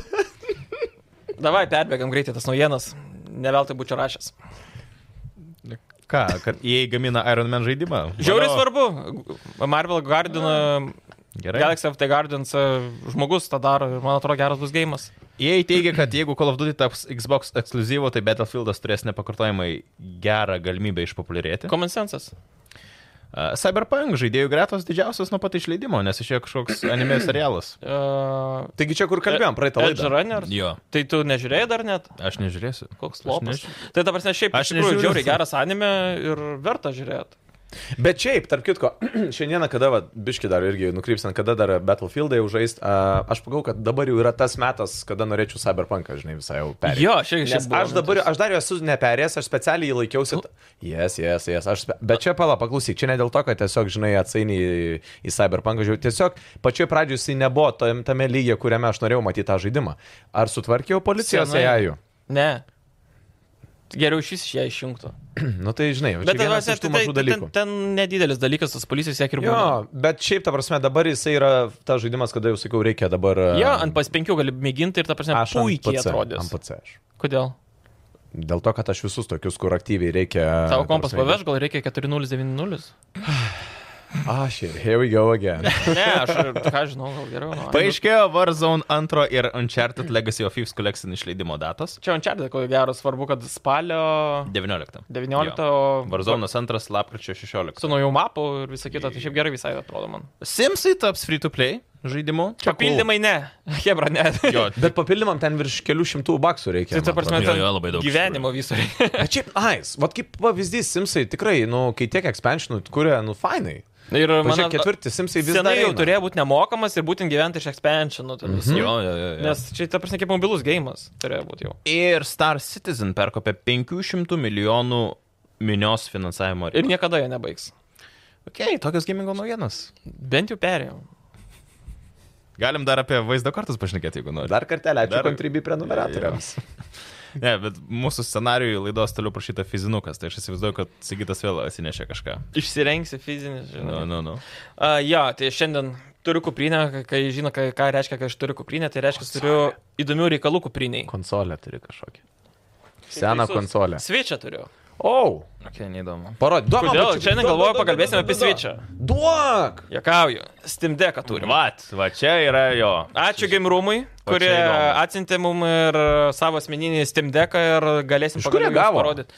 Speaker 3: Davai, perbėgam greitai tas naujienas. Neveltai būčiau rašęs.
Speaker 1: Ką, kad jie gamina Iron Man žaidimą?
Speaker 3: Žiauriai
Speaker 1: Valio.
Speaker 3: svarbu. Marvel Guardian,
Speaker 1: Gerai.
Speaker 3: Galaxy of the Guardians e, žmogus tą daro ir man atrodo geras bus gėjimas.
Speaker 1: Jie E teigia, kad jeigu Call of Duty taps Xbox ekskluzyvo, tai Battlefieldas turės nepakartojamai gerą galimybę išpopuliarėti.
Speaker 3: Common sensas.
Speaker 1: A, Cyberpunk žaidėjų gretos didžiausios nuo pat išleidimo, nes išėjo kažkoks anime serialas.
Speaker 3: Uh,
Speaker 2: Taigi čia kur kalbėjom, praeitą
Speaker 3: Э, Edge
Speaker 2: laidą.
Speaker 3: Runner.
Speaker 1: Jo,
Speaker 3: Tai tu nežiūrėjai dar net?
Speaker 1: aš nežiūrėsiu. Aš
Speaker 3: Koks lopas.
Speaker 1: nežiūriu.
Speaker 3: Tai ta prasme, šiaip
Speaker 1: Aš
Speaker 3: iš tikrųjų
Speaker 1: nežiūriu.
Speaker 3: žiauriai geras anime ir verta žiūrėti.
Speaker 2: Bet šiaip, tarp kitko, šiandieną, kada, va, biški dar irgi nukrypsim, kada dar Battlefieldą jau žaist, a, aš pagalvoju, kad dabar jau yra tas metas, kada norėčiau Cyberpunką, žinai, visai jau perėti.
Speaker 3: Jo, šiaip
Speaker 2: Nes
Speaker 3: šiaip. buvo
Speaker 2: aš dabar,
Speaker 3: mintis.
Speaker 2: aš dar jo esu neperėjęs, aš specialiai jį laikiausi. Jes, jes, jes. Bet čia pala, paklausyk, čia ne dėl to, kad tiesiog, žinai, atsainiai į, į Cyberpunk žiūrėjau. Tiesiog pačioj pradžioje jisai nebuvo tam, tame lygyje, kuriame aš norėjau matyti tą žaidimą. Ar sutvarkiau policijos
Speaker 3: Senai.
Speaker 2: AI?
Speaker 3: Ne. Geriau šis iš ją išjungtų.
Speaker 2: Nu tai, žinai,
Speaker 3: Bet
Speaker 2: bet
Speaker 3: ta
Speaker 2: tai
Speaker 3: prasme,
Speaker 2: vienas iš tų
Speaker 3: tai,
Speaker 2: mažų
Speaker 3: tai, ten,
Speaker 2: dalykų.
Speaker 3: ten nedidelis dalykas, tas policijos siek ir
Speaker 2: Jo,
Speaker 3: buvo.
Speaker 2: bet šiaip, ta prasme, dabar jisai yra tas žaidimas, kada jau sakiau, reikia dabar... e,
Speaker 3: Jo, ant pas penkių gali mėginti ir ta prasme,
Speaker 2: ant
Speaker 3: puikiai
Speaker 2: PC,
Speaker 3: atrodys.
Speaker 2: Ant PC aš.
Speaker 3: Kodėl?
Speaker 2: Dėl to, kad aš visus tokius, kur aktyviai reikia...
Speaker 3: Tavo
Speaker 2: ta
Speaker 3: kompas
Speaker 2: prasme,
Speaker 3: paveš, gal reikia 4090?
Speaker 2: Ah, shit, here we go again.
Speaker 3: Ne, aš ką žinau, gal geriau. Nu,
Speaker 1: Paaiškėjo Warzone 2 ir Uncharted Legacy of Thieves Collection išleidimo datos.
Speaker 3: Čia Uncharted, ko gero, svarbu, kad spalio
Speaker 1: 19.
Speaker 3: 19
Speaker 1: Jo.
Speaker 3: o
Speaker 1: Warzone 2 lapkričio 16.
Speaker 3: su naujų mapų ir visa kita, tai šiaip gerai visai atrodo man.
Speaker 1: Simsai taps free to play žaidimu.
Speaker 2: Čia
Speaker 3: Papildymai ne, Hebra ne.
Speaker 1: Jo,
Speaker 2: Bet papildymam ten virš kelių šimtų baksų reikia.
Speaker 3: Tai ta
Speaker 2: man
Speaker 3: prasme,
Speaker 1: atrodo.
Speaker 3: ten
Speaker 1: Jo, jo, labai daug
Speaker 3: gyvenimo viso reikia.
Speaker 2: atrodo. Bet šiaip, nice. Vat kaip pavyzdys, Simsai tikrai, nu, kai tiek expansionų kuria, nu, fainai.
Speaker 1: Tai
Speaker 3: Ir
Speaker 2: Mano
Speaker 3: mano
Speaker 2: ketvirtis, Simsai vis dar
Speaker 3: Senai jau
Speaker 2: eina.
Speaker 3: turėjo būti nemokamas ir būtent gyventi iš expansionų. ten visų.
Speaker 1: Mhm. jo, jo, jo. jo.
Speaker 3: Nes čia, ta prasme, kaip mobilus gėjimas turėjo būti jau.
Speaker 1: Ir Star Citizen perkopė 500 milijonų minios finansavimo.
Speaker 3: Ir niekada jo nebaigs.
Speaker 1: Okei, okay, tokios gamingo naujienos.
Speaker 3: Bent jau perėjau.
Speaker 1: Galim dar apie vaizdo kartus pašnekėti, jeigu nori.
Speaker 2: Dar kartelį ačiū
Speaker 1: Dar-
Speaker 2: dar... kontribį prenumeratoriams.
Speaker 1: Ne, bet mūsų scenarijui laidos toliau prašyta fizinukas, tai aš įsivaizduoju, kad Sigitas vėl atsinešė kažką.
Speaker 3: Išsirengsi fizinį, žinai.
Speaker 1: Nu, nu, nu.
Speaker 3: Uh, jo, tai šiandien turiu kuprinę, kai žino, ką, ką reiškia, kai aš turiu kuprinę, tai reiškia, kad turiu įdomių reikalų kupriniai.
Speaker 2: Konsolę turi kažkokią. Seną
Speaker 3: Teisus.
Speaker 2: konsolę.
Speaker 3: Switch'ą turiu.
Speaker 2: O, oh,
Speaker 1: Okei, okay, neįdomu.
Speaker 2: parodė. Duok, man
Speaker 3: Kodėl?
Speaker 2: pačiu-
Speaker 3: Šiandien
Speaker 2: duok,
Speaker 3: galvoju,
Speaker 2: duok,
Speaker 3: pakalbėsime
Speaker 2: duok,
Speaker 3: apie
Speaker 2: duok,
Speaker 3: Switch'ą.
Speaker 2: Duok!
Speaker 3: Jokauju. Steam Decką
Speaker 2: Mhm.
Speaker 3: turim.
Speaker 1: Vat, va čia yra jo.
Speaker 3: Ačiū Gamerumui,
Speaker 1: O čia
Speaker 3: kurie
Speaker 1: įdomu.
Speaker 3: atsintė mum ir e, savo asmeninį Steam Decką ir galėsim
Speaker 2: Iš kur jie
Speaker 3: pagaliau jums
Speaker 2: gavo?
Speaker 3: parodyt.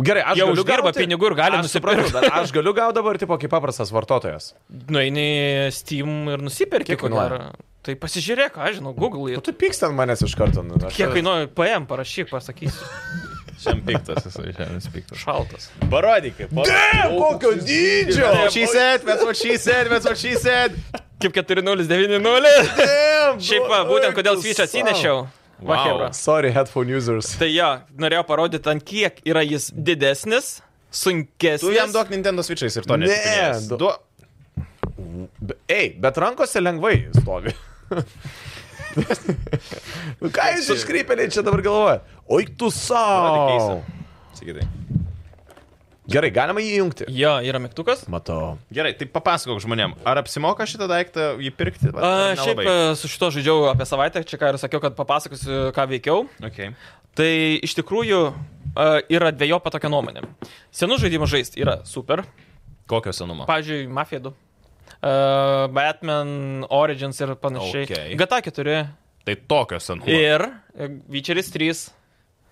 Speaker 2: Gerai, aš
Speaker 3: Jie
Speaker 2: galiu
Speaker 3: uždirba
Speaker 2: gauti-
Speaker 3: pinigų ir gali
Speaker 2: Aš
Speaker 3: nusipirkt.
Speaker 2: supratau, bet Aš galiu gauti dabar, tipo, kaip paprastas vartotojas.
Speaker 3: Nueini į Nu, Steam ir nusipirki,
Speaker 2: Kiek
Speaker 3: ko
Speaker 2: kainuoja?
Speaker 3: gero. Tai pasižiūrėk, aš žinau, Google.
Speaker 2: Nu, tu pyksti ant manęs iš karto. Nu, aš-
Speaker 3: Kiek kainuoja, paėm, parašyk, pasakysiu.
Speaker 1: Šiam piktas jisai, šiam piktas.
Speaker 3: Šaltas.
Speaker 1: Parodyk, kaip.
Speaker 2: Ne, kokio dydžio!
Speaker 1: said, that's what she said, that's what she said.
Speaker 3: Kaip 4090.
Speaker 2: Damn,
Speaker 3: Šiaip, va, būtent kodėl Switch atsinešiau. Va,
Speaker 1: Wow.
Speaker 3: chebra.
Speaker 2: Sorry, headphone users.
Speaker 3: Tai jo, norėjau parodyti, ant kiek yra jis didesnis, sunkesnis.
Speaker 1: Tu jam duok Nintendo Switch'ais ir to
Speaker 2: Ne,
Speaker 1: neatipinės.
Speaker 2: du-
Speaker 1: Duok.
Speaker 2: Be- Ei, bet rankose lengvai stovi. Nu, Ką jūs iškreipėliai čia dabar galvoja? Oi, tu savo.
Speaker 1: Parodyk Sigitai.
Speaker 2: Gerai, galima jį įjungti.
Speaker 3: Jo, yra mygtukas.
Speaker 2: Matau.
Speaker 1: Gerai, tai papasakok žmonėm, ar apsimoka šitą daiktą jį pirkti? Vat,
Speaker 3: A, šiaip e,
Speaker 1: nelabai.
Speaker 3: a, su šito žaidžiau apie savaitę, čia ką ir sakiau, kad papasakosiu, ką veikiau.
Speaker 1: Okay.
Speaker 3: Tai iš tikrųjų a, yra dviejopa tokia nuomonė. Senų žaidimų žaisti yra super.
Speaker 1: Kokio senumo?
Speaker 3: Pavyzdžiui, Mafia 2. a, Batman, Origins ir panašiai.
Speaker 1: Okay.
Speaker 3: GTA 4
Speaker 1: tai tokio senumo.
Speaker 3: ir a, Witcheris 3.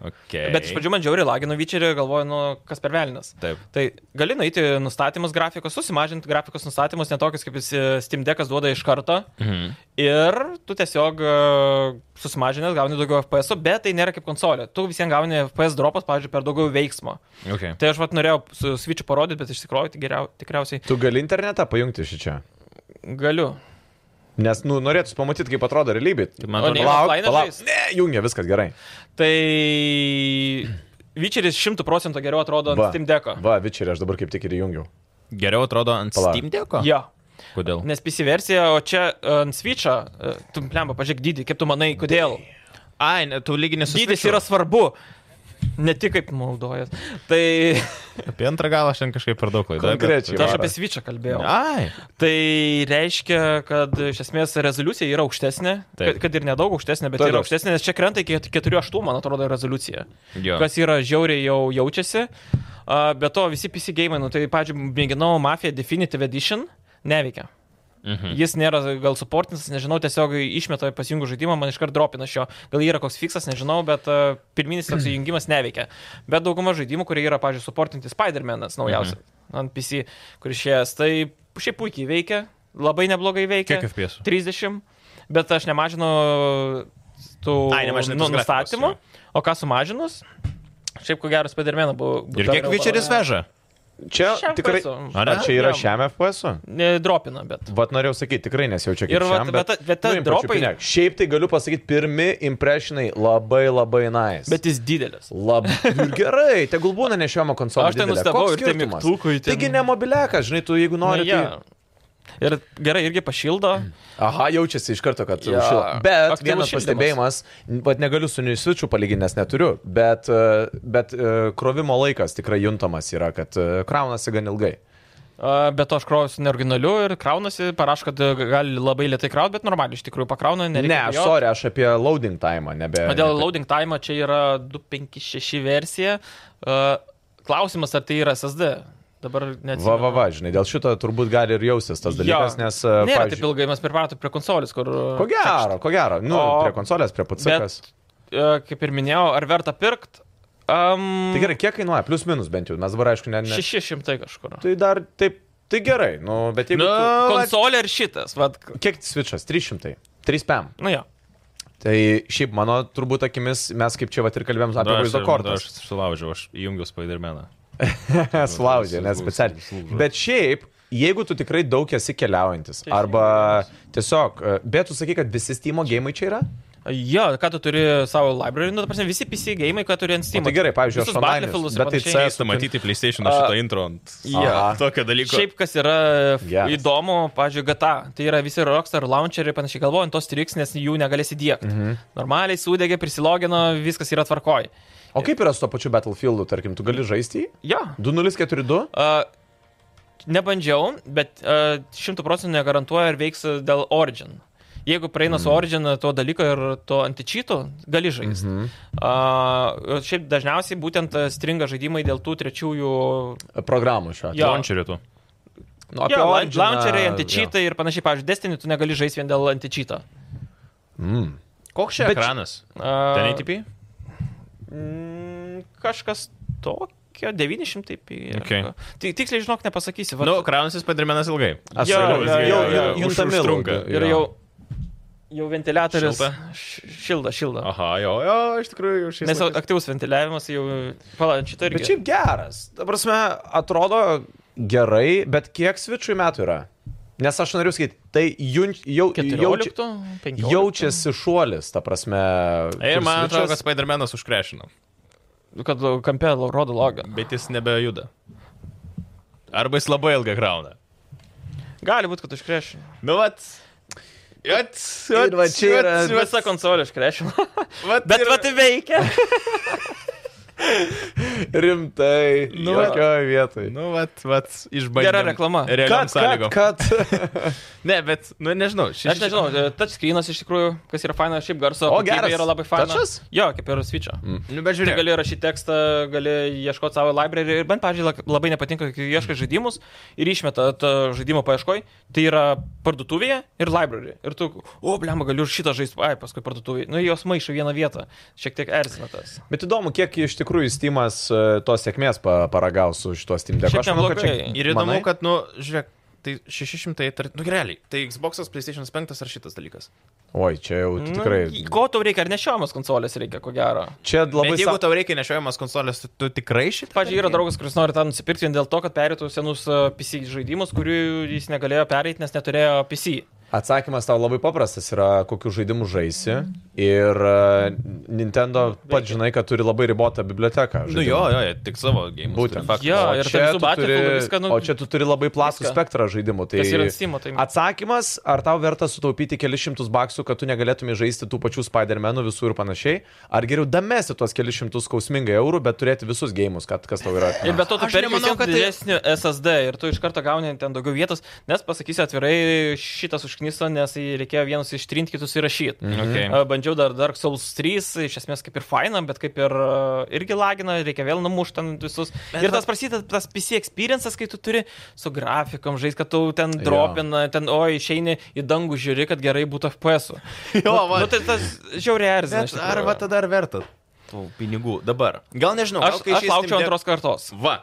Speaker 1: Okay.
Speaker 3: Bet iš pradžių man žiauriai lagino Witcherį, galvoju, nu kas per velnis.
Speaker 1: Taip.
Speaker 3: Tai gali nueiti nustatymus grafikos, susimažinti grafikos nustatymus, netokius kaip jis e, Steam Deckas duoda iš karto.
Speaker 1: Mhm.
Speaker 3: Ir tu tiesiog e, susimažinęs gauni daugiau FPS, bet tai nėra kaip konsolė. Tu visiems gauni FPS dropas, pavyzdžiui, per daugiau veiksmo.
Speaker 1: Okay.
Speaker 3: Tai aš vat norėjau su Switch'u parodyti, bet iš tikrųjų tai geriau, tikriausiai
Speaker 2: Tu gali internetą pajungti šį čia.
Speaker 3: galiu.
Speaker 2: Nes, nu, norėtum pamatyti, kaip atrodo realybė.
Speaker 1: Man
Speaker 3: O
Speaker 1: atrodo,
Speaker 3: ne-
Speaker 1: lauk-
Speaker 3: offline žaist?
Speaker 2: Ne, jungia, viskas gerai.
Speaker 3: Tai Witcheris 100 procentų geriau atrodo ant
Speaker 2: Va.
Speaker 3: Steam Decko.
Speaker 2: Va, vičerį aš dabar kaip tik ir įjungiau.
Speaker 1: geriau atrodo ant
Speaker 2: Palauk.
Speaker 1: Steam dėko.
Speaker 3: Jo.
Speaker 1: Kodėl?
Speaker 3: Nes PC versija, o čia ant Switch'o, e, tu plemba, pažiūrėk dydį, kaip tu manai, kodėl?
Speaker 1: Ai, ne, tu lyginė su
Speaker 3: Dydis
Speaker 1: Switch'u.
Speaker 3: yra svarbu. Ne tik kaip naudojas. Tai,
Speaker 1: Apie antrą galą aš ten kažkaip per daug klaidau.
Speaker 2: Konkrečiai,
Speaker 3: tai aš
Speaker 2: Varo.
Speaker 3: apie Switch'ą kalbėjau.
Speaker 1: Ai.
Speaker 3: Tai reiškia, kad iš esmės rezoliucija yra aukštesnė,
Speaker 1: Taip.
Speaker 3: kad, kad ir nedaug aukštesnė, bet
Speaker 2: Taip,
Speaker 3: yra
Speaker 2: aš-
Speaker 3: aukštesnė, nes čia krenta iki 4-8, man atrodo, rezoliucija.
Speaker 1: Jo.
Speaker 3: Kas yra žiauriai jau jaučiasi. A, Be to, visi PC gėjimai, nu, tai, pavyzdžiui, mėginau Mafia Definitive Edition, neveikia. Mhm. Jis nėra gal supportinis, nežinau, tiesiog išmeta pasijungų žaidimą, man iškart dropina šio. Gal yra koks fiksas, nežinau, bet a, pirminis toks įjungimas neveikia. Bet dauguma žaidimų, kurie yra, pavyzdžiui, supportinti Spider-Man'as naujausias mhm. ant PC, kuris šies, tai šiaip puikiai veikia, labai neblogai veikia.
Speaker 1: Kiek FPS?
Speaker 3: 30, bet aš nemažinau tų
Speaker 1: Ai, nemažinai
Speaker 3: nu,
Speaker 1: tos grafikos,
Speaker 3: nustatymų, o ką sumažinus, šiaip ko gero Spider-Man buvo.
Speaker 1: Ir kiek Vičeris veža?
Speaker 2: Čia
Speaker 3: Šiam
Speaker 2: tikrai...
Speaker 3: FPS-u.
Speaker 2: Ar
Speaker 1: Ar
Speaker 2: čia yra
Speaker 3: Jam.
Speaker 2: šiam FPS? -u?
Speaker 3: Nedropina, bet.
Speaker 2: Vat norėjau sakyti, tikrai nesijaučia kaip
Speaker 3: Ir vat-
Speaker 2: šiam,
Speaker 3: bet ta- bet ta
Speaker 2: nuimk
Speaker 3: dropai-
Speaker 2: pačiupinėk. Šiaip tai galiu pasakyti, pirmi impresionai labai labai nice.
Speaker 3: Bet jis didelis.
Speaker 2: Labai ir gerai, tegul būna nešiojama konsolė.
Speaker 3: Aš tai
Speaker 2: didelė.
Speaker 3: nustebau
Speaker 2: Koks
Speaker 3: ir tie
Speaker 2: skirtumas?
Speaker 3: mygtukai ten.
Speaker 2: Taigi ne mobiliakas, žinai, tu jeigu nori.
Speaker 3: Na,
Speaker 2: Tai...
Speaker 3: Nu, jo. Ir gerai, irgi pašildo.
Speaker 2: Aha, jaučiasi iš karto, kad
Speaker 3: Jo.
Speaker 2: ja. užšilo. Bet
Speaker 3: Aktyvus
Speaker 2: vienas
Speaker 3: šildymas.
Speaker 2: pastebėjimas, pat negaliu su Nisvičiu palyginti, nes neturiu, bet, e, bet e, krovimo laikas tikrai juntamas yra, kad e, kraunasi gan ilgai.
Speaker 3: A, Bet to aš krausiu neoriginaliu ir kraunasi, parašo, kad e, gali labai lietai kraut, bet normaliai iš tikrųjų pakrauna,
Speaker 2: Ne,
Speaker 3: nereikia.
Speaker 2: aš sorry, aš apie loading time, nebe.
Speaker 3: O dėl
Speaker 2: nebe-
Speaker 3: loading time čia yra 256 versija. A, Klausimas, ar tai yra SSD? Dabar net.
Speaker 2: Va, va, va, žinai, dėl šito turbūt gali ir jausis tas dalykas, nes... e,
Speaker 3: Nėra
Speaker 2: pavyzdžiui-
Speaker 3: taip ilgai, mes pripratom prie konsolės, kur...
Speaker 2: Ko gero, ko gero. Nu,
Speaker 3: O-
Speaker 2: prie konsolės, prie putsikas.
Speaker 3: Bet, e, kaip ir minėjau, ar verta pirkt? Um,
Speaker 2: Tai gerai, kiek kainuoja? Plius minus bent jau. Mes dabar, aišku, ne... ne...
Speaker 3: 600 kažkur.
Speaker 2: Tai dar taip, tai gerai, nu, bet jeigu...
Speaker 1: Nu,
Speaker 2: tu...
Speaker 3: Konsolė ir šitas, vad.
Speaker 2: Kiek switchas? 300. 3 pam.
Speaker 3: Nu jo.
Speaker 2: Tai šiaip mano turbūt akimis mes kaip čia va ir kalbėjom apie
Speaker 1: Na, aš-
Speaker 2: vaizdo kortas.
Speaker 1: Aš sulaužiau, aš įjungiau Spider-Maną.
Speaker 2: Slaužė,
Speaker 1: Slaužė,
Speaker 2: nes specialiai.
Speaker 1: slaužė.
Speaker 2: Bet šiaip, jeigu tu tikrai daug esi keliaujantis, arba tiesiog, e, bet tu sakai, kad visi Steam gėjimai čia yra?
Speaker 3: Jo, ką tu turi savo library, nu, ta prasme, visi PC gėjimai, ką turi ant
Speaker 2: O,
Speaker 3: Steam.
Speaker 2: tai gerai, pavyzdžiui, aš
Speaker 3: Visus Battlefieldus
Speaker 2: online.
Speaker 3: ir
Speaker 2: Bet tai
Speaker 3: panašiai.
Speaker 2: CS
Speaker 1: Keista matyti PlayStation
Speaker 3: A,
Speaker 1: šito intro ant
Speaker 3: jo.
Speaker 1: Aha. tokio dalyko.
Speaker 3: Šiaip kas yra f-
Speaker 2: Geras.
Speaker 3: įdomu, pavyzdžiui, GTA, tai yra visi Rockstar launcheriai ir panašiai galvojant, tos triks, nes jų negalėsi diegti. Mhm. Normaliai sudegė, prisilogino, viskas yra tvarkoj.
Speaker 2: O kaip yra su to pačiu Battlefieldu, tarkim, tu gali žaisti jį?
Speaker 3: Jo.
Speaker 2: 2042?
Speaker 3: Uh, Nebandžiau, bet e, šimtų procentų negarantuoju, ar veiks e, dėl Origin. Jeigu praeina
Speaker 2: Mhm.
Speaker 3: mm. su Origin e, to dalyko ir to antičyto, gali žaisti.
Speaker 2: Mhm.
Speaker 3: Mm -hmm. uh, šiaip dažniausiai būtent e, stringa žaidimai dėl tų trečiųjų
Speaker 2: Programų šiuo atveju.
Speaker 3: Jo.
Speaker 1: launcheriu tu.
Speaker 2: Nu,
Speaker 3: Jo, la-
Speaker 2: Originą-
Speaker 3: launcheriai,
Speaker 2: jo.
Speaker 3: antičytai ir panašiai. Pavyzdžiui, Destiny tu negali žaisti vien dėl antičyto.
Speaker 2: Mm.
Speaker 1: Koks čia
Speaker 2: Bet-
Speaker 1: ekranas?
Speaker 3: Uh,
Speaker 1: Ten ATP?
Speaker 3: mm, Kažkas tokio, 900 taip.
Speaker 1: Okay.
Speaker 3: Tai tiksliai žinok, nepasakysiu.
Speaker 1: Na,
Speaker 3: vat-
Speaker 1: nu, kraunasi Spider-Manas ilgai.
Speaker 2: Aš
Speaker 3: Jo, jo,
Speaker 2: jau, jau,
Speaker 3: jo,
Speaker 2: jau,
Speaker 3: jo,
Speaker 2: jau
Speaker 1: už-
Speaker 2: juntami
Speaker 1: užtrunka.
Speaker 2: labai,
Speaker 3: ir
Speaker 2: jo.
Speaker 3: jau, jau ventiliatorius.
Speaker 1: Šilta?
Speaker 3: š- Šilda, šilda.
Speaker 1: Aha, jo, jo, iš tikrųjų, šiais
Speaker 3: Nes
Speaker 1: laikais-
Speaker 3: aktyvus ventiliavimas jau. Palauk, šitą irgi.
Speaker 2: Bet šiaip geras. Ta prasme, atrodo gerai, bet kiek svičiui metų yra? Nes aš noriu sakyti, tai jun, jau, jauči,
Speaker 3: 14, 15.
Speaker 2: jaučiasi šuolis, ta prasme.
Speaker 1: Ir
Speaker 2: kur
Speaker 1: man atrodo, kad
Speaker 2: switch'as-
Speaker 1: Spider-Manas užkrešino,
Speaker 3: Kad kampe rodo logą.
Speaker 1: bet jis nebejuda. Arba jis labai ilgai krauna.
Speaker 3: Gali būti, kad užkrešinu.
Speaker 1: Nu, vat. Vat,
Speaker 2: Ir va čia yra-
Speaker 3: Visą konsolę užkrešinu.
Speaker 1: vat,
Speaker 3: Bet va tai veikia.
Speaker 2: Rimtai.
Speaker 1: Nu,
Speaker 2: Nu, jokioje vietoje.
Speaker 1: Nu, vat, vat, išbandė.
Speaker 3: Gera reklama.
Speaker 1: Realiam sąlygom.
Speaker 2: kad.
Speaker 1: Ne, bet, nu, nežinau. Ši,
Speaker 3: Aš nežinau, touchscreenas iš tikrųjų, kas yra faina, šiaip garso.
Speaker 2: O,
Speaker 3: kokybė
Speaker 2: geras.
Speaker 3: Yra labai faina.
Speaker 2: Touchas? Mm.
Speaker 3: Jo, kaip ir switch'o.
Speaker 1: Nu, bet
Speaker 3: Žiūrėk.
Speaker 1: žiūrėk.
Speaker 3: Gali rašyti tekstą, gali ieškoti savo library ir bent, pavyzdžiui, labai nepatinka, kai ieškai žaidimus ir išmeta tą žaidimo paieškoj, tai yra parduotuvėje ir library. Ir tu, o, blem, galiu ir šitą žaisti, ai, paskui parduotuvėje. Nu, jos maišo vieną vietą, šiek tiek erzina tas.
Speaker 2: Bet įdomu, kiek iš tikrųjų Steamas e, tos sėkmės pa- paragaus su šituo Steam deku.
Speaker 3: Šiaip
Speaker 2: Aš manau, kad čia.
Speaker 3: neblogai.
Speaker 1: Ir įdomu,
Speaker 2: Manai?
Speaker 1: kad, nu, žiūrėk, tai 600, tar... nu, realiai, tai Xbox, PlayStation 5 ar šitas dalykas.
Speaker 2: Oi, čia jau tikrai.
Speaker 3: Nu, ko tau reikia, ar nešiojamas konsolės reikia, ko gero.
Speaker 2: Čia
Speaker 1: Labai
Speaker 2: labai.
Speaker 1: bet jeigu
Speaker 2: sa-
Speaker 1: tau reikia nešiojamas konsolės, tu, tu tikrai šitą.
Speaker 3: Pavyzdžiui, yra draugas, kuris nori tą nusipirkti vien dėl to, kad perėtų senus e, PC žaidimus, kurių jis negalėjo pereiti, nes neturėjo PC.
Speaker 2: Atsakymas tau labai paprastas yra, kokiu žaidimu žaisi.
Speaker 3: Mhm.
Speaker 2: Ir e, Nintendo pat žinai, kad turi labai ribotą biblioteką.
Speaker 1: Nu, jo, jo, jie tik savo game.
Speaker 2: Būtent.
Speaker 3: Jo,
Speaker 2: O
Speaker 3: ir
Speaker 2: čia
Speaker 3: ten su
Speaker 2: tu turi-
Speaker 3: Battlefieldu viską, nu,
Speaker 2: O čia tu turi labai platų
Speaker 3: viską.
Speaker 2: spektrą žaidimų. Tai
Speaker 3: Kas yra ant Steam'o, tai-
Speaker 2: Atsakymas, ar tau verta sutaupyti kelius šimtus baksų, kad tu negalėtumai žaisti tų pačių Spider-Man'ų visų ir panašiai, ar geriau damesi tuos kelius šimtus skausmingai eurų, bet turėti visus gėjimus, kad kas tau yra.
Speaker 3: Ir be to, tu
Speaker 1: Aš
Speaker 3: perki
Speaker 1: nemanau,
Speaker 3: visiems
Speaker 1: kad tai-
Speaker 3: didesnį SSD ir tu iš karto gauni ten daugiau vietos, nes pasakysiu atvirai, šitas užkniso, nes jį reikėjo vienus ištrinti, kitus įrašyti.
Speaker 1: Okay.
Speaker 3: Okay. bandžiau dar Dark Souls 3, iš esmės kaip ir faina, bet kaip ir e, irgi lagina, reikia vėl numušti ten visus. Bet ir tas prasideda tas PC experiences, kai tu turi su grafikom žaisti, kad tu ten dropina, ten o išeini į dangų žiūri, kad gerai būtų FPS. -u.
Speaker 1: Jo,
Speaker 3: Nu,
Speaker 1: va.
Speaker 3: nu, tai tas žiauriai erzina.
Speaker 1: Bet
Speaker 3: iš tikrųjų.
Speaker 1: ar va tada ar verta tų pinigų dabar? Gal nežinau,
Speaker 3: Aš,
Speaker 1: gal kai
Speaker 3: aš
Speaker 1: išeis
Speaker 3: laukčiau
Speaker 1: Steam Deck-
Speaker 3: antros kartos.
Speaker 1: Va.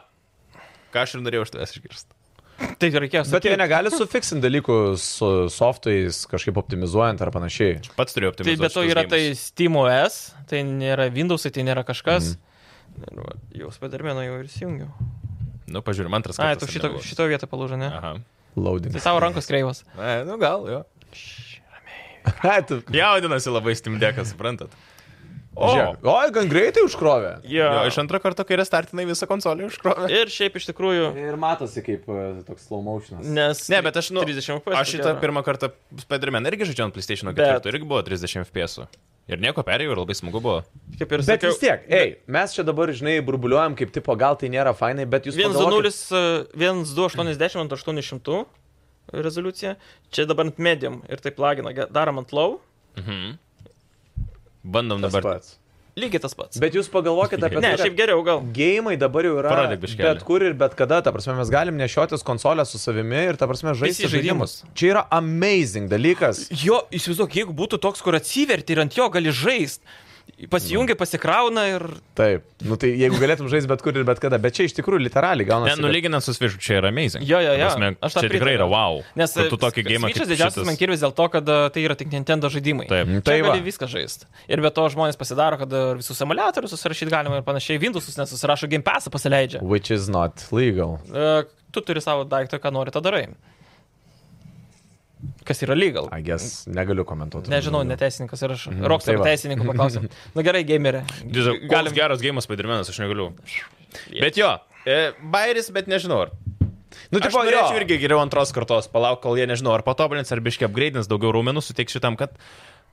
Speaker 1: Ką aš ir norėjau iš tavęs išgirsti.
Speaker 3: Tai reikės.
Speaker 2: Bet jie negali sufiksinti dalykų su softais, kažkaip optimizuojant ar panašiai.
Speaker 1: Pats turėjau
Speaker 3: Tai
Speaker 1: optimizuoti.
Speaker 3: be to
Speaker 1: šitus
Speaker 3: yra tai
Speaker 1: geimus.
Speaker 3: SteamOS, tai nėra Windows, tai nėra kažkas. Mm. Ir va, jau spadarmėno jau ir įsijungiau.
Speaker 1: Nu, pažiūrim, antras
Speaker 3: A,
Speaker 1: kartas
Speaker 3: tai- tu
Speaker 1: ar
Speaker 3: šito,
Speaker 1: nebuvo.
Speaker 3: šito vietą palūžė, ne?
Speaker 1: Aha.
Speaker 3: Tai
Speaker 2: Loading.
Speaker 3: tavo rankos kreivos.
Speaker 1: Na, nu gal, jo.
Speaker 2: Ai, tu-
Speaker 1: Jaudinasi labai stimdekas, suprantat. O,
Speaker 2: Žiūrėk. O, gan greitai užkrovė.
Speaker 1: jo, iš antro karto, kai restartinai visą konsolę iškrovė.
Speaker 3: Ir šiaip iš tikrųjų,
Speaker 2: Ir matosi kaip e, toks slow motionas.
Speaker 3: nes...
Speaker 1: Ne, bet aš, nu,
Speaker 3: 30 FPS.
Speaker 1: aš
Speaker 3: ko
Speaker 1: šitą
Speaker 3: gero.
Speaker 1: pirmą kartą Spider-Man irgi žaidžiau ant PlayStation
Speaker 3: Bet-
Speaker 1: 4, irgi buvo 30 FPS. Ir nieko perėjau ir labai smagu buvo.
Speaker 3: Kaip ir
Speaker 2: Bet
Speaker 3: sakiau,
Speaker 2: vis tiek, ei, mes čia dabar, žinai, burbuliuojam kaip tipo, gal tai nėra fainai, bet jūs...
Speaker 3: e, 1280-800 rezoliucija. Čia dabar ant medium ir taip lagina. Ge- Darom ant low.
Speaker 1: Mhm. Bandom
Speaker 2: Dabar...
Speaker 1: dabar.
Speaker 3: Lygiai tas pats.
Speaker 2: Bet jūs pagalvokit apie...
Speaker 3: Ne,
Speaker 2: tai,
Speaker 3: šiaip
Speaker 2: kad
Speaker 3: geriau gal.
Speaker 2: Gėjimai dabar jau yra
Speaker 1: Parodyk biškelį.
Speaker 2: bet kur ir bet kada, ta prasme, mes galim nešiotis konsolę su savimi ir, ta prasme, žaisti
Speaker 3: Visi žaidimus.
Speaker 2: žaidimus. Čia yra amazing dalykas.
Speaker 3: Jo, įsivaizduok, jeigu būtų toks, kur atsiverti ir ant jo gali žaisti. Pasijungi, pasikrauna ir...
Speaker 2: Taip, nu tai jeigu galėtum žaisti bet kur ir bet kada, bet čia iš tikrųjų literaliai
Speaker 1: Ne, nu
Speaker 2: gaunasi. kad-
Speaker 1: nulyginant su Switch, čia yra amazing.
Speaker 3: Jo, jo, jo.
Speaker 1: Prasme,
Speaker 3: Aš tam
Speaker 1: čia tikrai yra
Speaker 3: pritariu.
Speaker 1: wow.
Speaker 3: Nes
Speaker 1: Kad tu tokį gėjimą
Speaker 3: Čia didžiausias man kirvis dėl to, kad e, tai yra tik Nintendo žaidimai.
Speaker 1: Taip.
Speaker 2: Mm,
Speaker 3: Tai
Speaker 2: Tai va.
Speaker 3: gali viską žaisti. Ir be to žmonės pasidaro, kad e, visus emulatorius susirašyti galima ir panašiai. Windowsus nesusirašo, Game Passą pasileidžia.
Speaker 2: Which is not legal.
Speaker 3: E, Tu turi savo daiktą, ką nori, tą darai. Kas yra legal?
Speaker 2: I guess negaliu komentuoti.
Speaker 3: Nežinau, neteisininkas ir aš. Roksai
Speaker 2: tai va.
Speaker 3: teisininkų paklausim. Na gerai, gamerė.
Speaker 1: Galim geras gėjimas Spider-Man'as, aš negaliu. Bet jo, e, bairis, bet nežinau ar.
Speaker 2: Nu,
Speaker 1: Aš
Speaker 2: tipo,
Speaker 1: norėčiau
Speaker 2: jo.
Speaker 1: irgi geriau antros kartos, palauk, kol jie nežinau, ar patobulins, ar biškiai upgradeins, daugiau raumenų suteiks šitam, kad...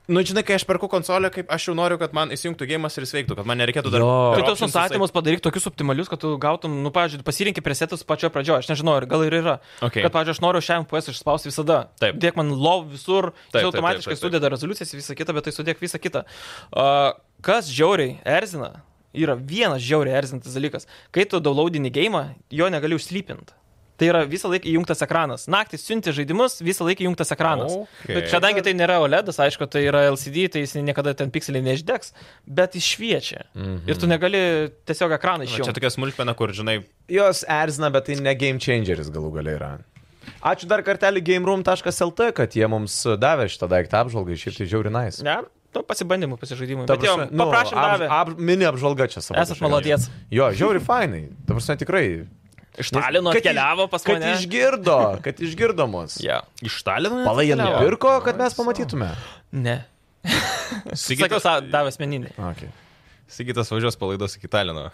Speaker 1: Nu, žinai, kai aš perku konsolę, kaip aš jau noriu, kad man įsijungtų gėjimas ir jis veiktų, kad man nereikėtų dar...
Speaker 2: Jo.
Speaker 1: per
Speaker 3: Tu tos
Speaker 1: optionsus
Speaker 3: nustatymus padaryk tokius optimalius, kad tu gautum, nu, pavyzdžiui, pasirinkti presetus pačio pradžioje, aš nežinau, ir gal ir yra.
Speaker 1: Okay.
Speaker 3: Kad, pavyzdžiui, aš noriu šiam PS išspausti visada.
Speaker 1: Taip.
Speaker 3: Dėk man lov visur,
Speaker 1: Taip,
Speaker 3: tai
Speaker 1: taip,
Speaker 3: automatiškai
Speaker 1: taip, taip, taip.
Speaker 3: sudeda rezoliucijas ir visą kitą, bet tai sudėk visą kitą. Uh, kas žiauriai erzina, yra vienas žiauriai erzinantis dalykas. Kai tu daulaudini gėjimą, jo negali užslypinti. Tai yra visą laiką įjungtas ekranas. Naktį siunti žaidimus, visą laiką įjungtas ekranas.
Speaker 1: Okay.
Speaker 3: Bet kadangi tai nėra OLED, aišku, tai yra LCD, tai jis niekada ten pikseliai neišdegs, bet jis šviečia.
Speaker 2: Mhm.
Speaker 3: Ir tu negali tiesiog ekraną
Speaker 1: Na,
Speaker 2: Nu,
Speaker 1: Čia
Speaker 3: išjungti.
Speaker 1: tokia smulkmena, kur, žinai,
Speaker 2: Jos erzina, bet tai ne game changeris galų galiai yra. Ačiū dar kartelį gameroom.lt, kad jie mums davė šitą daiktą apžvalgai, šiaip tai žiauri nais.
Speaker 3: Ne, nu, pasibandymu, pasižaidimui. Bet jo,
Speaker 2: nu,
Speaker 3: paprašym
Speaker 2: apž-
Speaker 3: davę.
Speaker 2: Ab, mini apžvalga čia savo.
Speaker 3: Esat malodies.
Speaker 2: Jo, žiauri fainai. Ta prasme, tikrai.
Speaker 3: Iš Talino
Speaker 2: Kad iš-
Speaker 3: atkeliavo pas
Speaker 2: Kad
Speaker 3: mane.
Speaker 2: išgirdo, kad išgirdo mus.
Speaker 3: Ja.
Speaker 1: iš Talino.
Speaker 2: Palai jie
Speaker 1: atkeliavo?
Speaker 2: nupirko, kad mes pamatytume.
Speaker 3: Ne. Sakiau,
Speaker 1: Sigitas,
Speaker 3: sa- davė asmeninį.
Speaker 2: Okay.
Speaker 1: Sigitas važiuos palaidos iki Talino.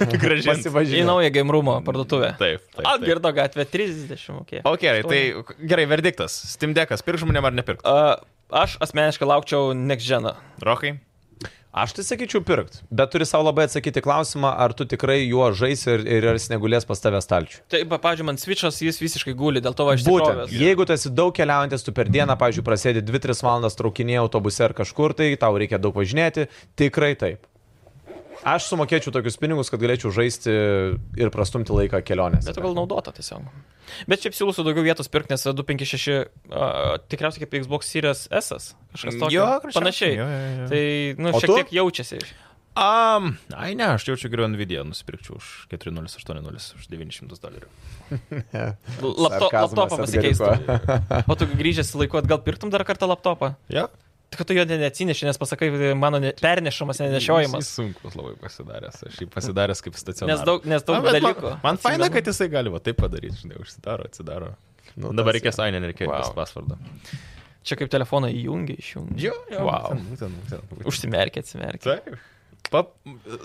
Speaker 1: Gražiai.
Speaker 3: Į
Speaker 2: Pasivažinėjau.
Speaker 3: naują game roomo parduotuvę.
Speaker 1: Taip, taip. taip.
Speaker 3: Algirdo gatvė 30 mokė.
Speaker 1: O gerai, tai gerai, verdiktas. Steam Deckas, pirk žmonėm ar nepirk?
Speaker 3: Uh, aš asmeniškai laukčiau Next Geną.
Speaker 1: Rokai?
Speaker 2: Aš tai sakyčiau pirkt, bet turi savo labai atsakyti klausimą, ar tu tikrai juo žaisi ir, ir ar jis negulės pas tave stalčių.
Speaker 3: Tai, pa- pavyzdžiui, man Switch'as jis visiškai guli, dėl to va, aš
Speaker 2: Būtent,
Speaker 3: tikrovės.
Speaker 2: jeigu tu esi daug keliaujantis, tu per dieną, pavyzdžiui, prasėdi 2-3 valandas traukinėje autobuse ar kažkur, tai tau reikia daug važinėti, tikrai taip. Aš sumokėčiau tokius pinigus, kad galėčiau žaisti ir prastumti laiką kelionės.
Speaker 1: tai.
Speaker 3: Bet tu gal naudota tiesiog. Bet šiaip siūlysiu daugiau vietos pirkti, nes 256 uh, tikriausiai kaip Xbox Series S. -as, Kažkas tokio.
Speaker 1: Jo, greičiausiai.
Speaker 3: panašiai.
Speaker 1: Jo, jo, jo.
Speaker 3: Tai, nu,
Speaker 2: O
Speaker 3: šiek
Speaker 2: tu?
Speaker 3: tiek jaučiasi.
Speaker 1: Um, ai ne, aš jaučiu geriau Nvidia, nusipirkčiau už 4080, už 900 dolerių.
Speaker 3: Lapto, laptopą pasikeistų. O tu grįžęs laiku atgal pirktum dar kartą laptopą?
Speaker 1: Ja?
Speaker 3: Tik kad tu jo ne- neatsineši, nes pasakai, tai mano ne, pernešamas, nenešiojimas.
Speaker 1: Jis sunkus labai pasidaręs, aš jį pasidaręs kaip stacionarus.
Speaker 3: Nes daug, nes daug dalykų.
Speaker 1: Man, man faina, kad jisai gali va taip padaryti, žinai, užsidaro, atsidaro. Nu, Dabar reikės, ai, nereikia
Speaker 3: Wow.
Speaker 1: wow. pasvardo.
Speaker 3: Čia kaip telefoną įjungi, išjungi.
Speaker 1: Jo, jo.
Speaker 3: Wow.
Speaker 1: Būtent, būtent, būtent, būtent.
Speaker 3: Užsimerkia, atsimerkia.
Speaker 1: Taip. Pap,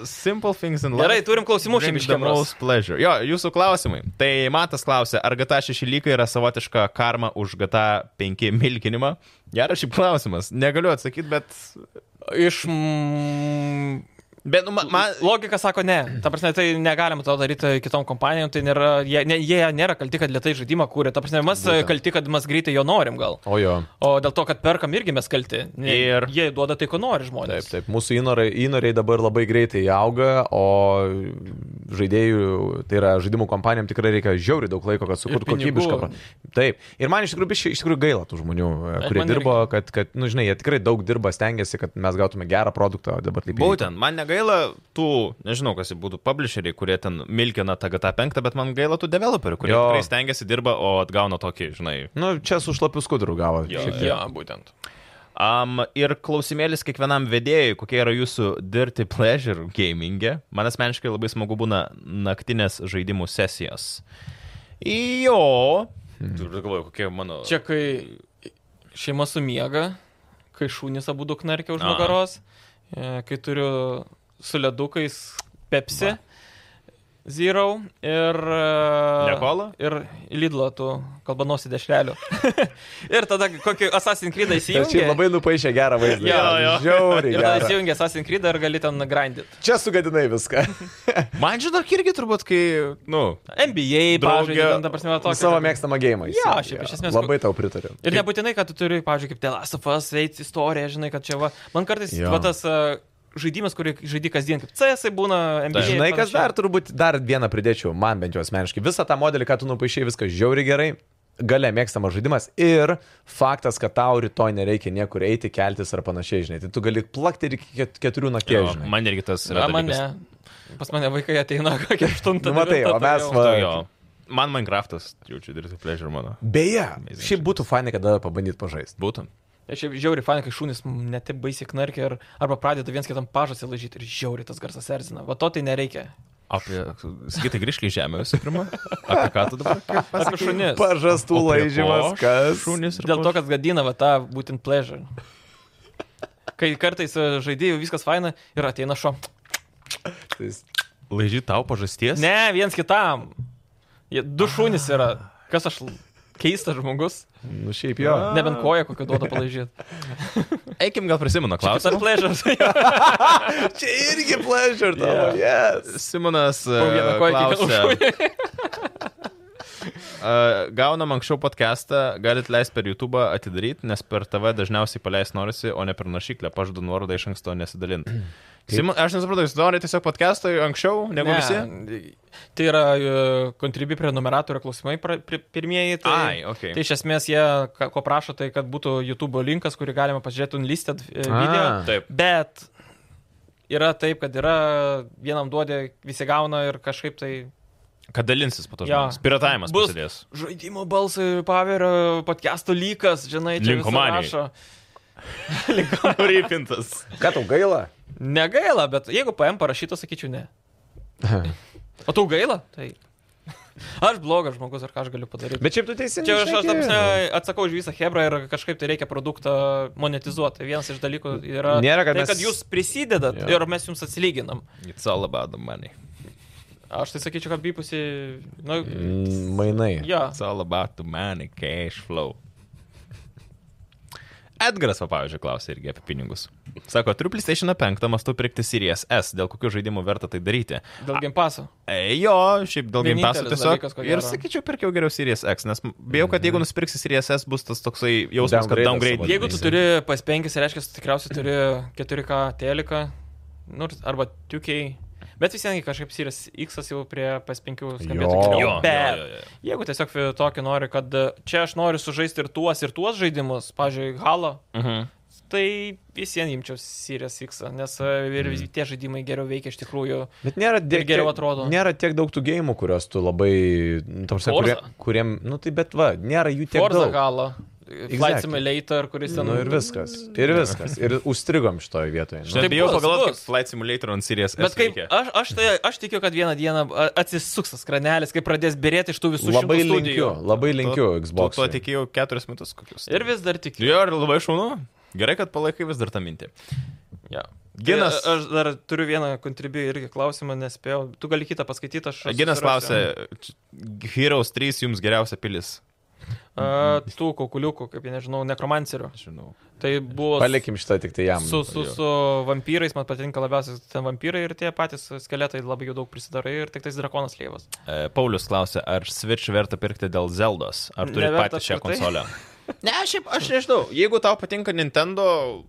Speaker 1: simple things in life.
Speaker 3: Gerai, turim klausimų šiaip
Speaker 1: Bring
Speaker 3: iš
Speaker 1: the
Speaker 3: Kemros.
Speaker 1: most pleasure. Jo, jūsų klausimai. Tai Matas klausė, ar GTA 6 lyga yra savotiška karma už GTA 5 milkinimą? Geras šiaip klausimas. Negaliu atsakyti, bet
Speaker 3: Iš... Mm,
Speaker 1: Bet, nu, ma- man...
Speaker 3: Logika sako ne. Ta prasme, tai negalima to daryti kitom kompanijom, tai nėra, jie, ne, jie nėra kalti, kad lietai žaidimą kūrė. Ta prasme, mes Būtent. kalti, kad mes greitai jo norim gal.
Speaker 2: O jo.
Speaker 3: O dėl to, kad perkam irgi mes kalti.
Speaker 1: Ir-
Speaker 3: Ir jie duoda tai, ko nori
Speaker 2: Taip,
Speaker 3: žmonės.
Speaker 2: taip. Mūsų įnorai, įnoriai dabar labai greitai auga, o žaidėjų, tai yra žaidimų kompanijom tikrai reikia žiauriai daug laiko, kad sukurtų
Speaker 3: pinigų.
Speaker 2: kokybišką. pro- Taip. Ir man iš tikrųjų, biškį- iš tikrųjų gaila tų žmonių, e,
Speaker 3: Bet
Speaker 2: kurie
Speaker 3: man
Speaker 2: dirbo, kad, kad, nu žinai, jie tikrai daug dirba, stengiasi, kad mes gautume gerą produktą, o dabar taip. įvyko.
Speaker 1: Būtent, man negaila tų, nežinau, kas jie būtų publisheriai, kurie ten milkina tą GTA 5, bet man gaila tų developerių, kurie
Speaker 2: Jo.
Speaker 1: tikrai stengiasi dirba, o atgauna tokį, žinai.
Speaker 2: Nu, čia su šlapiu skudru gavo.
Speaker 1: Jo,
Speaker 2: šiek tiek.
Speaker 3: Ja, būtent.
Speaker 1: Um, ir klausimėlis kiekvienam vedėjui, kokie yra jūsų dirty pleasure gamingė. Man asmeniškai labai smagu būna naktinės žaidimų sesijos. Jo. Turiu galvoju, kokie mano.
Speaker 3: Čia, kai šeima sumiega, kai šūnis abu daug narkia už
Speaker 1: A.
Speaker 3: nugaros, e, kai turiu su ledukais pepsi, zero ir... e,
Speaker 1: Ne Cola?
Speaker 3: Ir lydlo tu kalbanosi dešrelių. ir tada kokį Assassin's Creed
Speaker 2: Tai čia
Speaker 3: įsijungi.
Speaker 2: labai nupaišė gerą vaizdą.
Speaker 3: Jo, jo.
Speaker 2: Žiauriai
Speaker 3: Ir tada
Speaker 2: gerą.
Speaker 3: įsijungi Assassin's Creed ir gali ten grindit.
Speaker 2: Čia sugadinai viską.
Speaker 1: Man žinok irgi turbūt, kai, nu,
Speaker 3: NBA,
Speaker 1: Drauge-
Speaker 3: pavyzdžiui, ten, ta prasme, tokį.
Speaker 2: Savo mėgstamą gėjimą.
Speaker 3: Jo, šiaip iš esmės-
Speaker 2: Labai tau pritariu.
Speaker 3: Ir nebūtinai, kad tu turi, pavyzdžiui, kaip Telastofas, eiti istoriją, žinai, kad čia va. Man kartais
Speaker 2: Jo.
Speaker 3: va, tas a, žaidimas, kurį žaidži kasdien, kaip CS būna, NBA.
Speaker 1: Taip.
Speaker 3: ir
Speaker 2: Žinai, kas
Speaker 3: panašiai.
Speaker 2: dar turbūt dar vieną pridėčiau, man bent jau asmeniškai. Visą tą modelį, ką tu nupaišiai, viskas žiauri gerai. Gale mėgstamas žaidimas ir faktas, kad tau rytoj nereikia niekur eiti, keltis ar panašiai, žinai. Tai tu gali plakti ir iki ket- keturių nakties,
Speaker 1: jo,
Speaker 2: žinai.
Speaker 1: man irgi tas
Speaker 3: Na,
Speaker 1: yra.
Speaker 3: man
Speaker 1: dalykas.
Speaker 3: ne. Pas mane vaikai ateina kokią 8
Speaker 2: Nu, matai, o mes va-
Speaker 1: Tai jo. Man Minecraftas, jaučiu, dirty pleasure mano.
Speaker 2: Beje, šiaip būtų fainai, kada pabandyti pažaisti.
Speaker 1: Būtent.
Speaker 3: Aš jau žiauri fan, kai šūnis netaip baisiai knarkia ir arba pradeda viens kitam pažasį lažyti ir žiauri tas garsas erzina. Va to tai nereikia.
Speaker 1: Apie, sakytai, grįžk į žemę visų pirma. Apie ką tu dabar? kaip
Speaker 3: Apie
Speaker 1: pasakei?
Speaker 3: šunis.
Speaker 2: Pažastų
Speaker 1: O prie ko
Speaker 2: laižymas, kas.
Speaker 1: Šunys ir
Speaker 3: Dėl to, kad gadina va tą būtent pleasure. Kai kartais e, žaidėjų viskas faina ir ateina šom.
Speaker 2: Tais-
Speaker 1: Laižy tau pažasties?
Speaker 3: Ne, viens kitam. Jie, du šunys yra. Kas aš l- keistas žmogus?
Speaker 2: Nu šiaip jo.
Speaker 3: Nebent koją kokią duoda palaižyti.
Speaker 1: Eikim gal prie Simono
Speaker 3: Klausimas ar
Speaker 1: klausimą.
Speaker 3: pleasure?
Speaker 2: Čia irgi pleasure tavo. Yes.
Speaker 1: Simonas e,
Speaker 3: Po vieną koją
Speaker 1: klausia,
Speaker 3: kiekvienam šuniui.
Speaker 1: e, gaunam anksčiau podcastą, galit leisti per YouTube atidaryti, nes per TV dažniausiai paleis norisi, o ne per naršyklę, pažadu nuorodą iš anksto nesidalinti. Simon, aš nesupratau, jūs norite tiesiog podcastą anksčiau negu ne. visi?
Speaker 3: Tai yra kontribi prie numeratorių klausimai pra- pri- pirmieji. Tai,
Speaker 1: Ai, okei.
Speaker 3: tai iš esmės jie, ką- ko prašo, tai kad būtų YouTube linkas, kurį galima pažiūrėti unlisted e, video.
Speaker 2: A.
Speaker 1: Ah. Taip.
Speaker 3: Bet yra taip, kad yra vienam duodė, visi gauna ir kažkaip tai
Speaker 1: Kad dalinsis po to
Speaker 3: Jo.
Speaker 1: žmonės. Piratavimas
Speaker 3: Bus.
Speaker 1: prasidės.
Speaker 3: žaidimo balsai pavirio podcast'o lykas, žinai, čia visi
Speaker 1: Linkomanijai.
Speaker 3: rašo.
Speaker 1: Rypintas.
Speaker 2: Ką tau gaila?
Speaker 3: Negaila, bet jeigu PM parašyta, sakyčiau ne. O tau gaila? Tai. Aš blogas žmogus, ar ką aš galiu padaryti?
Speaker 2: Bet šiaip tu teisingai.
Speaker 3: Čia aš, aš ta
Speaker 2: šneki.
Speaker 3: prasme, atsakau už visą Hebrą ir kažkaip tai reikia produktą monetizuoti. Tai Vienas iš dalykų yra
Speaker 2: Nėra, kad
Speaker 3: tai,
Speaker 2: mes-
Speaker 3: kad jūs prisidedat
Speaker 2: Jo.
Speaker 3: yeah. ir mes jums atsilyginam.
Speaker 1: It's all about the money.
Speaker 3: Aš tai sakyčiau, kad bipusi... Nu,
Speaker 2: Mm, Mainai.
Speaker 3: ja.
Speaker 1: It's all about the money, cash flow. Edgaras, va, pavyzdžiui, klausė irgi apie pinigus. Sako, turiu PlayStation 5, mastu pirkti Series S, dėl kokių žaidimų verta tai daryti.
Speaker 3: Dėl gimpaso.
Speaker 1: E, jo, šiaip dėl gimtasų
Speaker 3: Vienintelis
Speaker 1: tiesiog.
Speaker 3: dalykas, ko
Speaker 1: ir
Speaker 3: gero. Mhm.
Speaker 1: sakyčiau, pirkiau geriau Series X, nes bijau, kad jeigu nusipirksi Series S, bus tas toksai jausmas, kad
Speaker 2: Downgrade'as
Speaker 1: downgrade.
Speaker 2: savo.
Speaker 3: Jeigu tu
Speaker 2: Amazing.
Speaker 3: turi pas 5, reiškia, tu tikriausiai turi 4K teliką, nors arba 2K. Bet vis tiek kažkaip Sirius X jau prie pas 5 skambėtų
Speaker 2: Jo.
Speaker 3: geriau.
Speaker 1: Jo,
Speaker 3: Bet
Speaker 1: jo, jo, jo.
Speaker 3: jeigu tiesiog tokį nori, kad e, čia aš noriu sužaisti ir tuos, ir tuos žaidimus, pavyzdžiui, Halo,
Speaker 1: Mhm.
Speaker 3: tai vis vien imčiau Sirius X, nes e, ir
Speaker 2: Mm.
Speaker 3: visi tie žaidimai geriau veikia iš tikrųjų.
Speaker 2: Bet nėra tiek,
Speaker 3: geriau atrodo.
Speaker 2: Nėra tiek daug tų gėjimų, kurios tu labai... nu, ta prasme, Kurie,
Speaker 3: Forza.
Speaker 2: kuriem, nu tai bet va, nėra jų tiek
Speaker 3: Forza
Speaker 2: daug.
Speaker 3: Halo,
Speaker 2: Exactly.
Speaker 3: Flight Simulator, kuris ten...
Speaker 2: Nu ir viskas. Ir viskas. Ir užstrigom šitoje vietoje. Nu,
Speaker 1: Štai
Speaker 3: Tai
Speaker 1: bijau
Speaker 3: bus,
Speaker 1: pagalvoti, kaip
Speaker 3: bus.
Speaker 1: Flight Simulator on Series S.
Speaker 3: Bet kaip,
Speaker 1: veikia.
Speaker 3: aš, aš, tai, aš tikiu, kad vieną dieną a, atsisuks tas kranelis, kai pradės berėti iš tų visų
Speaker 2: labai
Speaker 3: šimtų
Speaker 2: linkiu,
Speaker 3: studijų.
Speaker 2: labai linkiu
Speaker 1: Tu-
Speaker 2: Xbox.
Speaker 1: Tu to tikėjau keturis metus kokius.
Speaker 3: Ir vis dar tikiu.
Speaker 1: Jo, ir labai šaunu. Gerai, kad palaikai vis dar tą mintį.
Speaker 3: Ja.
Speaker 1: e, Ginas-
Speaker 3: Tai, a- aš dar turiu vieną kontribį irgi klausimą, nespėjau. Tu gali kitą paskaityti, aš.
Speaker 1: Ginas
Speaker 3: susirasiu.
Speaker 1: klausė, Heroes 3 jums geriausia pilis.
Speaker 3: a, tų kokuliukų, kaip jie nežinau, nekromancerių.
Speaker 1: Žinau.
Speaker 3: Tai buvo s-
Speaker 2: Palikim šitą tik tai jam.
Speaker 3: su, su, su vampyrais, man patinka labiausiai ten vampyrai ir tie patys skeletai labai jų daug prisidarai ir tik tais drakonas lievas.
Speaker 1: E, Paulius klausė, ar Switch verta pirkti dėl Zeldos, ar turi
Speaker 3: Neverta
Speaker 1: patį šią
Speaker 3: apskritai.
Speaker 1: konsolę. ne, šiaip aš nežinau, jeigu tau patinka Nintendo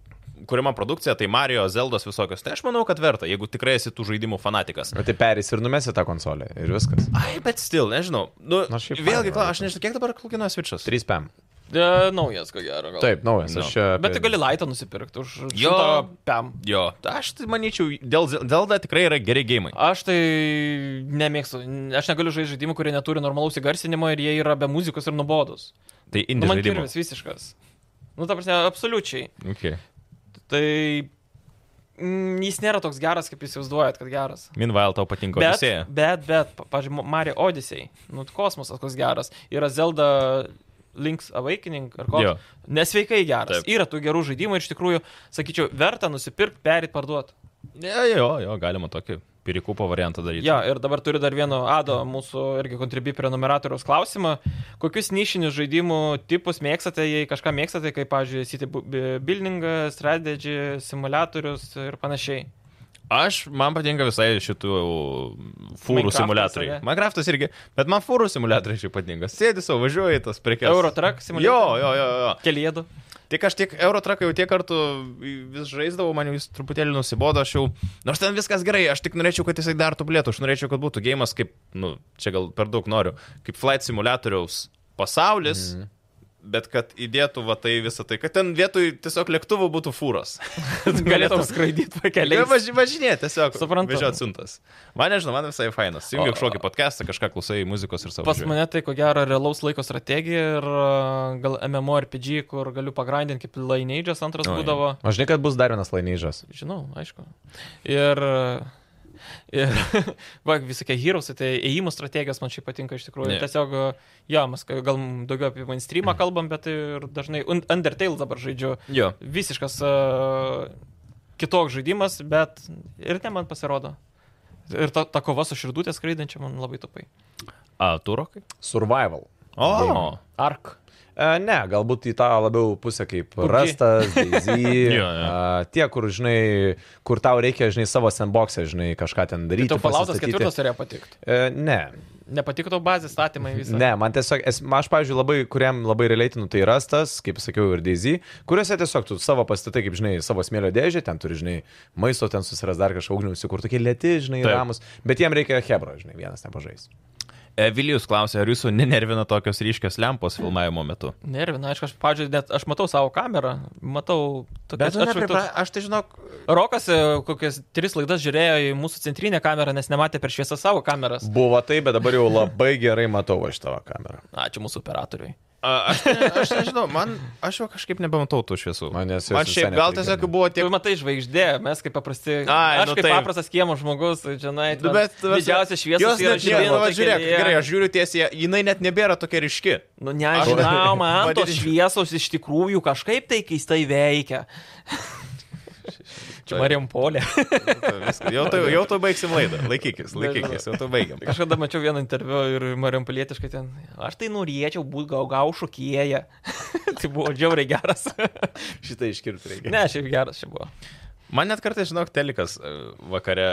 Speaker 1: kuriama produkcija, tai Mario, Zeldos visokios, tai aš manau, kad verta, jeigu tikrai esi tų žaidimų fanatikas.
Speaker 2: Bet tai perės ir numesi tą konsolę. Ir viskas.
Speaker 1: Ai, bet still, nežinau. Nu,
Speaker 2: Na, šiaip
Speaker 1: vėlgi,
Speaker 2: faina,
Speaker 1: kla,
Speaker 2: va,
Speaker 1: aš nežinau, kiek dabar klūkina Switch'as.
Speaker 2: 3 pam.
Speaker 3: E, naujas, ko gero. Gal. nu.
Speaker 2: Taip, tai- naujas.
Speaker 1: No.
Speaker 2: No. Aš čia.
Speaker 3: Bet tu gali laitą nusipirkti už
Speaker 1: Jo.
Speaker 3: šimtą pem.
Speaker 1: Jo, aš tai manyčiau, dėl Ze- Zelda tikrai yra geri gėjimai.
Speaker 3: Aš tai nemėgstu, aš negaliu žaisti žaidimų, kurie neturi normalaus įgarsinimo ir jie yra be muzikos ir nuobodus.
Speaker 1: Tai
Speaker 3: Nu,
Speaker 1: indie
Speaker 3: man
Speaker 1: žaidimas.
Speaker 3: kirvis visiškas. Nu, ta prasme, absoliučiai.
Speaker 1: Okay.
Speaker 3: Tai mm, jis nėra toks geras, kaip jūs įsivaizduojat, kad geras.
Speaker 1: Minvail tau patinka
Speaker 3: Bet,
Speaker 1: Odisėja.
Speaker 3: bet, bet, pa- pavyzdžiui, Mario Odyssey, nu, kosmosas koks geras, yra Zelda Links Awakening ar ko.
Speaker 1: Jo.
Speaker 3: Nesveikai geras.
Speaker 1: Taip.
Speaker 3: Taip. Yra tų gerų žaidimų ir iš tikrųjų, sakyčiau, verta nusipirkti, perit, parduoti.
Speaker 1: Jo, jo, jo, galima tokį pirikūpo variantą daryti.
Speaker 3: Ja, ir dabar turiu dar vieną Ado mūsų irgi kontribį prenumeratoriaus klausimą. Kokius nišinius žaidimų tipus mėgstate, jei kažką mėgstate, kaip, pavyzdžiui, City bu- bi- Building, Strategy, Simulatorius ir panašiai?
Speaker 1: Aš, man patinka visai šitų fūrų
Speaker 3: Minecraftas,
Speaker 1: simulatoriai.
Speaker 3: ane?
Speaker 1: Minecraftas irgi, bet man fūrų simulatoriai šiaip patinka. Sėdi savo, važiuoji į tas prekes.
Speaker 3: Eurotrack
Speaker 1: Jo,
Speaker 3: simulatorius.
Speaker 1: jo, jo, jo.
Speaker 3: Kelėdų.
Speaker 1: Tik aš tiek Eurotraką jau tiek kartų vis žaisdavau, man jau jis truputėlį nusibodo, aš jau... Nors ten viskas gerai, aš tik norėčiau, kad jisai dar tobulėtų, aš norėčiau, kad būtų gėjimas kaip, nu, čia gal per daug noriu, kaip flight simulatoriaus pasaulis. Mm. Bet kad įdėtų va tai visą tai, kad ten vietoj tiesiog lėktuvų būtų fūros.
Speaker 3: Galėtum skraidyti pakeliai.
Speaker 1: Keliai. Važi, važinė, tiesiog.
Speaker 3: Suprantu.
Speaker 1: Važiuot siuntas. Man nežinau, man visai fainas. Jungi
Speaker 3: O-
Speaker 1: kažkokį podcastą, kažką klausai muzikos ir savo.
Speaker 3: Pas mane tai ko gero realaus laiko strategija ir a, gal MMORPG, kur galiu pagrindinti kaip Lineage'as antras
Speaker 1: Oi.
Speaker 3: būdavo.
Speaker 2: Aš žinai, kad bus dar vienas lainyžas.
Speaker 3: Žinau, aišku. Ir, ir va, visokie herosai, tai ėjimo strategijos man šiaip patinka iš tikrųjų.
Speaker 1: Ne.
Speaker 3: Ne. Tiesiog, jo, mes ka- gal daugiau apie mainstreamą
Speaker 2: Mhm.
Speaker 3: kalbam, bet ir dažnai Un- Undertale dabar žaidžiu.
Speaker 1: Jo.
Speaker 3: Visiškas uh, kitoks žaidimas, bet ir ne man pasirodo. Ir ta, ta kova su širdutė skraidančia man labai tupai.
Speaker 1: A, turokai?
Speaker 2: Survival.
Speaker 1: O.
Speaker 2: Game.
Speaker 3: Ark.
Speaker 2: E, Ne, galbūt į tą labiau pusę kaip
Speaker 3: PUBG.
Speaker 2: rastas, DZ,
Speaker 1: Jo, jo.
Speaker 2: tie, kur, žinai, kur tau reikia, žinai, savo sandbox'e, žinai, kažką ten
Speaker 3: Tai
Speaker 2: daryti.
Speaker 3: tau palautas
Speaker 2: pasistatyti.
Speaker 3: ketvirtas turėjo patikti.
Speaker 2: E, Ne.
Speaker 3: Nepatiko tau bazės statymai visą.
Speaker 2: Ne, man tiesiog, es- aš, pavyzdžiui, labai, kuriam labai relatinu, tai rastas, kaip sakiau, ir DZ, kuriuose tiesiog tu savo pastatai, kaip žinai, savo smėlio dėžę, ten turi, žinai, maisto, ten susiras dar kažką ugniusi, kur tokie lėti, žinai,
Speaker 1: Taip.
Speaker 2: ramus, bet jiem reikia Hebra, žinai, vienas nepažais.
Speaker 1: E, Vilijus klausė, ar jūsų nenervina tokios ryškios lempos filmavimo metu?
Speaker 3: Nervina, aišku, aš, pavyzdžiui, net aš matau savo kamerą, matau tokias atšvaitus.
Speaker 1: aš tai žinok,
Speaker 3: Rokas e, kokias tris laidas žiūrėjo į mūsų centrinę kamerą, nes nematė per šviesą savo kameras.
Speaker 2: Buvo tai, bet dabar jau labai gerai matau aš tavo kamerą.
Speaker 3: Ačiū mūsų operatoriui.
Speaker 1: A, Aš, ne- aš nežinau, man, aš jau kažkaip nebematau tų šviesų.
Speaker 2: Man jas jos
Speaker 1: man šiaip
Speaker 2: visai
Speaker 1: gal
Speaker 2: nepatinka.
Speaker 1: tiesiog buvo
Speaker 3: Tiek...
Speaker 1: tiek...
Speaker 3: Tu matai žvaigždė, mes kaip paprasti.
Speaker 1: Ai,
Speaker 3: aš
Speaker 1: nu
Speaker 3: kaip
Speaker 1: taip.
Speaker 3: paprastas kiemo žmogus, žinai,
Speaker 1: Nu, bet-
Speaker 3: didžiausia šviesa
Speaker 1: Jos net nėra, nu, va, žiūrėk, gerai, aš žiūriu tiesiai, jinai net nebėra tokia ryški.
Speaker 3: Nu,
Speaker 1: aš-
Speaker 3: nežinau, man tos
Speaker 1: Vadinčiau.
Speaker 3: šviesos iš tikrųjų kažkaip tai keistai veikia. Čia
Speaker 1: Taip.
Speaker 3: Marijampolė.
Speaker 1: Nu, tai Viskas. Jau tu, jau tu baigsim laidą. Laikykis, laikykis, jau tu baigiam.
Speaker 3: Kažkada mačiau vieną interviu ir Marijampolietiškai ten. Aš tai norėčiau būti gau gau šokėja. tai buvo džiauriai geras.
Speaker 2: Šitą iškirpti reikia.
Speaker 3: ne, šiaip geras čia buvo.
Speaker 1: Man net kartais, žinok, telikas e, vakare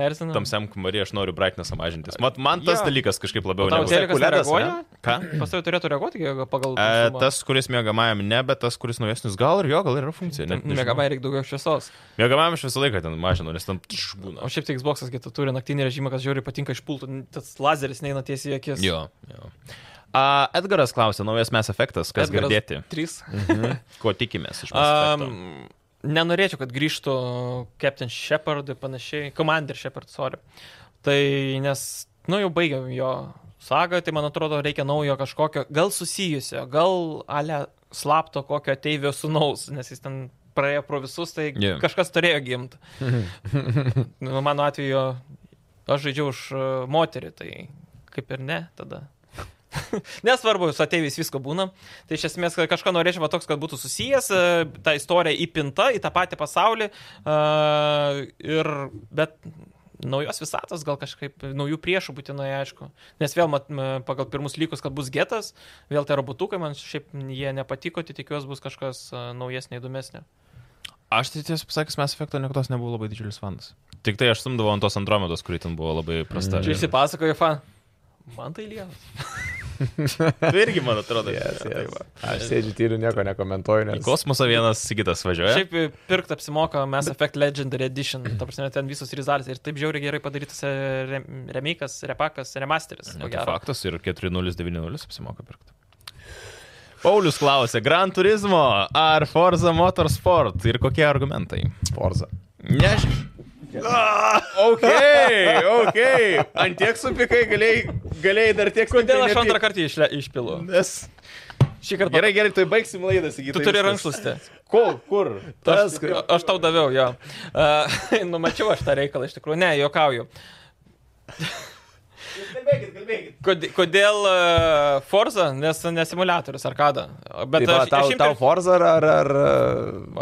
Speaker 3: Erzina.
Speaker 1: tamsiam kumarį aš noriu braitnesą mažintis. Mat, man tas
Speaker 3: Jo.
Speaker 1: dalykas kažkaip labiau
Speaker 3: Tau
Speaker 1: nepatinka.
Speaker 3: telikas
Speaker 2: sekuliaras,
Speaker 3: nereaguoja?
Speaker 1: Ką?
Speaker 3: Pas tavai turėtų reaguoti jeigu pagal...
Speaker 1: E, tas, kuris mėgamajam ne, bet tas, kuris naujesnis, gal ir jo, gal ir yra funkcija. net nežinau.
Speaker 3: Megabai reikia daugiau šviesos.
Speaker 1: Mėgamajam aš visą laiką ten mažinu, nes ten tš, būna.
Speaker 3: O šiaip tai Xbox'as kitų turi naktinį režimą, kas žiauriai patinka iš pultų. Tas lazeris neina tiesiai į akis.
Speaker 1: Jo, jo. A, Edgaras klausė, naujas mes efektas, kas Edgaras... Mhm. girdėti,
Speaker 3: 3.
Speaker 1: ko tikimės iš mūsų. Um,
Speaker 3: Um, nenorėčiau, kad grįžtų Captain Shepard ir panašiai. Commander Shepard, sorry. Tai nes, nu jau baigiam jo sagą, tai man atrodo reikia naujo kažkokio, gal susijusio, gal ale slapto kokio ateivio sunaus, nes jis ten praėjo pro visus, tai
Speaker 1: Jo.
Speaker 3: yeah. kažkas turėjo gimti. nu, mano atveju aš žaidžiau už e, moterį, tai kaip ir ne tada. Nesvarbu, su ateiviais visko būna. Tai iš esmės kad kažką norėčiau va toks, kad būtų susijęs, e, ta istorija įpinta į tą patį pasaulį. e, Ir, bet naujos visatos, gal kažkaip naujų priešų būtinai, aišku. Nes vėl mat, m, pagal pirmus lygus, kad bus getas, vėl tie robotukai man šiaip jie nepatiko, tai tikiuosi bus kažkas e, naujesnė, įdomesnė.
Speaker 1: Aš tai tiesą pasakęs, mes efekto niekada nebuvau labai didžiulis fanas. Tik tai aš stumdavau ant tos Andromedos, kuri ten buvo labai prasta.
Speaker 3: Čia išsipasakoja fan. Man tai lievas.
Speaker 1: Tai irgi, man atrodo,
Speaker 2: Yes,
Speaker 1: yes,
Speaker 2: yes. Aš sėdžiu tyliu, nieko nekomentuoju,
Speaker 1: Tai Į
Speaker 2: nes...
Speaker 1: kosmosą vienas kitas važiuoja.
Speaker 3: Šiaip e, pirkt apsimoka Mass Effect Legendary Edition, ta prasme ten visos rizalės ir taip žiauriai gerai padarytas e, rem- remake'as, repakas, remasteris.
Speaker 1: Ne,
Speaker 3: ko
Speaker 1: tai
Speaker 3: gero.
Speaker 1: faktas ir 4090 apsimoka pirkti. Paulius klausė, Gran Turismo ar Forza Motorsport ir kokie argumentai?
Speaker 2: Forza.
Speaker 1: Než... Ok, ok. Antiek supikai galėjai, galėjai dar tiek
Speaker 2: tai
Speaker 3: Kodėl Tai aš antrą kartą išle, išpilu?
Speaker 2: Nu,
Speaker 1: Nes...
Speaker 3: Šį kartą
Speaker 1: Gerai, gerai, tai baigsim laidą, sakytum.
Speaker 3: Tu turi rankšluostę.
Speaker 1: Kol, kur?
Speaker 3: Aš, aš tau daviau, jo. Uh, numačiau aš tą reikalą, iš tikrųjų. Ne, juokauju.
Speaker 1: Kalbėkit, kalbėkit.
Speaker 3: Kod- Kodėl uh, Forza, nes nesimuliatorius arkada. Bet
Speaker 2: Bet tai,
Speaker 3: aš,
Speaker 2: aš, tau,
Speaker 3: aš,
Speaker 2: tau
Speaker 3: imčiau-
Speaker 2: Forza ar... ar, ar...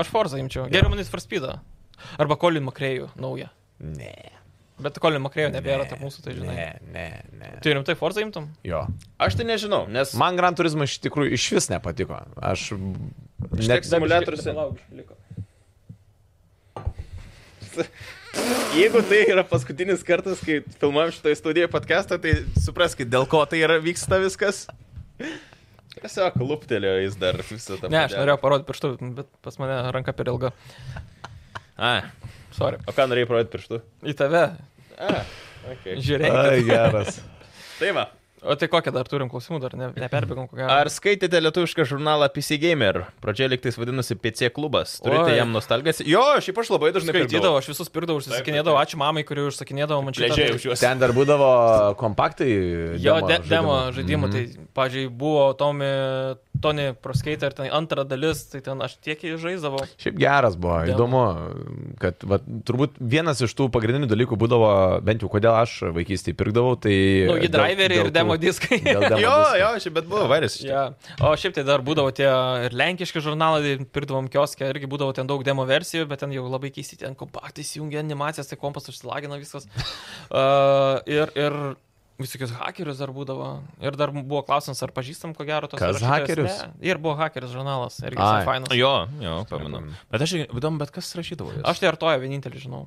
Speaker 3: aš Forza imčiau. Geriau manis Farspeedą. Arba Colin McRae'ų naują.
Speaker 2: Ne.
Speaker 3: Bet Colin McRae'ų nebėra tarp mūsų, tai žinai.
Speaker 2: Ne, ne, ne.
Speaker 3: Tu rimtai Forza imtum?
Speaker 2: Jo.
Speaker 1: Aš tai nežinau, nes
Speaker 2: Man Gran Turismo iš tikrųjų iš vis nepatiko. Aš...
Speaker 1: Užteks
Speaker 2: net-
Speaker 1: simuliatoriuose. Jeigu tai yra paskutinis kartas, kai filmuojam šitoje studijoje podcastą, tai supraskite, dėl ko tai yra vyksta viskas. Tiesiog luptelėjo jis dar visą tą.
Speaker 3: Ne, aš norėjau parodyti pirštų, bet pas mane ranka per ilga.
Speaker 1: A,
Speaker 3: Sorry.
Speaker 1: o ką norėjai parodyti pirštu?
Speaker 3: Į tave.
Speaker 1: A, okay.
Speaker 3: Žiūrėk.
Speaker 2: Ai, geras.
Speaker 1: Tai va.
Speaker 3: O tai kokią dar turim klausimų, dar ne, neperbėgom kokią.
Speaker 1: Ar skaitėte lietuvišką žurnalą PC Gamer? Pradžioje liktais vadinasi PC klubas. Turite
Speaker 3: Oi.
Speaker 1: Oi. jam nostalgijas? Jo, šiaip aš labai dažnai
Speaker 3: Skaitydavau, aš visus pirdavau, užsisakinėdavau, ačiū mamai, kuri užsakinėdavo man šitą.
Speaker 1: Leidžiai už juos.
Speaker 2: Ten dar būdavo kompaktai.
Speaker 3: Jo
Speaker 2: demo
Speaker 3: de, demo
Speaker 2: žaidimų.
Speaker 3: žaidimų, mm -hmm. tai, pažiūrėjau, buvo Tomi, Tony Proskater, ir ten antra dalis, tai ten aš tiek jį žaisdavau.
Speaker 2: Šiaip geras buvo,
Speaker 3: Demo.
Speaker 2: įdomu, kad va, turbūt vienas iš tų pagrindinių dalykų būdavo, bent jau kodėl aš vaikystėje pirkdavau, tai...
Speaker 3: Nauji
Speaker 2: dėl-
Speaker 3: driveriai
Speaker 2: dėl
Speaker 3: Nu, ir
Speaker 2: tų-
Speaker 3: demo diskai.
Speaker 2: dėl demo
Speaker 1: Jo,
Speaker 2: disko.
Speaker 1: jo, šiaip bet buvo varis. iš
Speaker 3: Ja. O šiaip tai dar būdavo tie ir lenkiški žurnalai, pirdavom kioskę, irgi būdavo ten daug demo versijų, bet ten jau labai keisti, ten kompaktai įsijungia animacijas, tai kompas užsilagina viskas. Uh, ir, ir visokius hakerius dar būdavo. Ir dar buvo klausimas, ar pažįstam, ko gero, tos
Speaker 2: Kas
Speaker 3: rašytojos.
Speaker 2: hakerius?
Speaker 3: Ne. Ir buvo hakeris žurnalas, irgi
Speaker 2: Ai.
Speaker 3: visai fainas.
Speaker 1: Jo, jo, pamenu. Bet aš įdomu, bet kas rašydavo? jas?
Speaker 3: Aš tai artoja vienintelį žinau.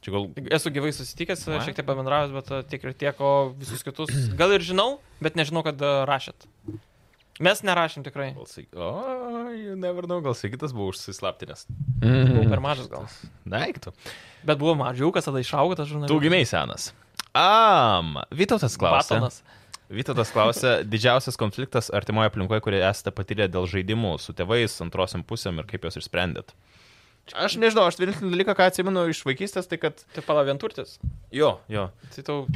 Speaker 1: čia gal.
Speaker 3: Esu gyvai susitikęs,
Speaker 1: Va.
Speaker 3: šiek tiek pabendravęs, bet e, tiek ir tiek, o visus kitus gal ir žinau, bet nežinau, kad e, rašėt. Mes nerašėm tikrai.
Speaker 1: gal Sig- O, you never know, gal Sigitas buvo užsislaptinęs.
Speaker 3: Buvau
Speaker 2: Mhm.
Speaker 3: per mažas gal.
Speaker 1: Daiktų.
Speaker 3: Bet buvo mažiukas, tada išaugo tas žurnalas.
Speaker 1: Tu gimiai senas. Am, Vytautas klausė.
Speaker 3: Batonas.
Speaker 1: Vytautas klausė, didžiausias konfliktas artimoje aplinkoje, kurį esate patyrę dėl žaidimų su tėvais, antrosiam pusėm ir kaip juos išsprendėt. Aš nežinau, aš vienintelį dalyką, ką atsimenu iš vaikystės, tai kad...
Speaker 3: Tai pala vienturtis.
Speaker 1: Jo, jo.
Speaker 3: Tai tau...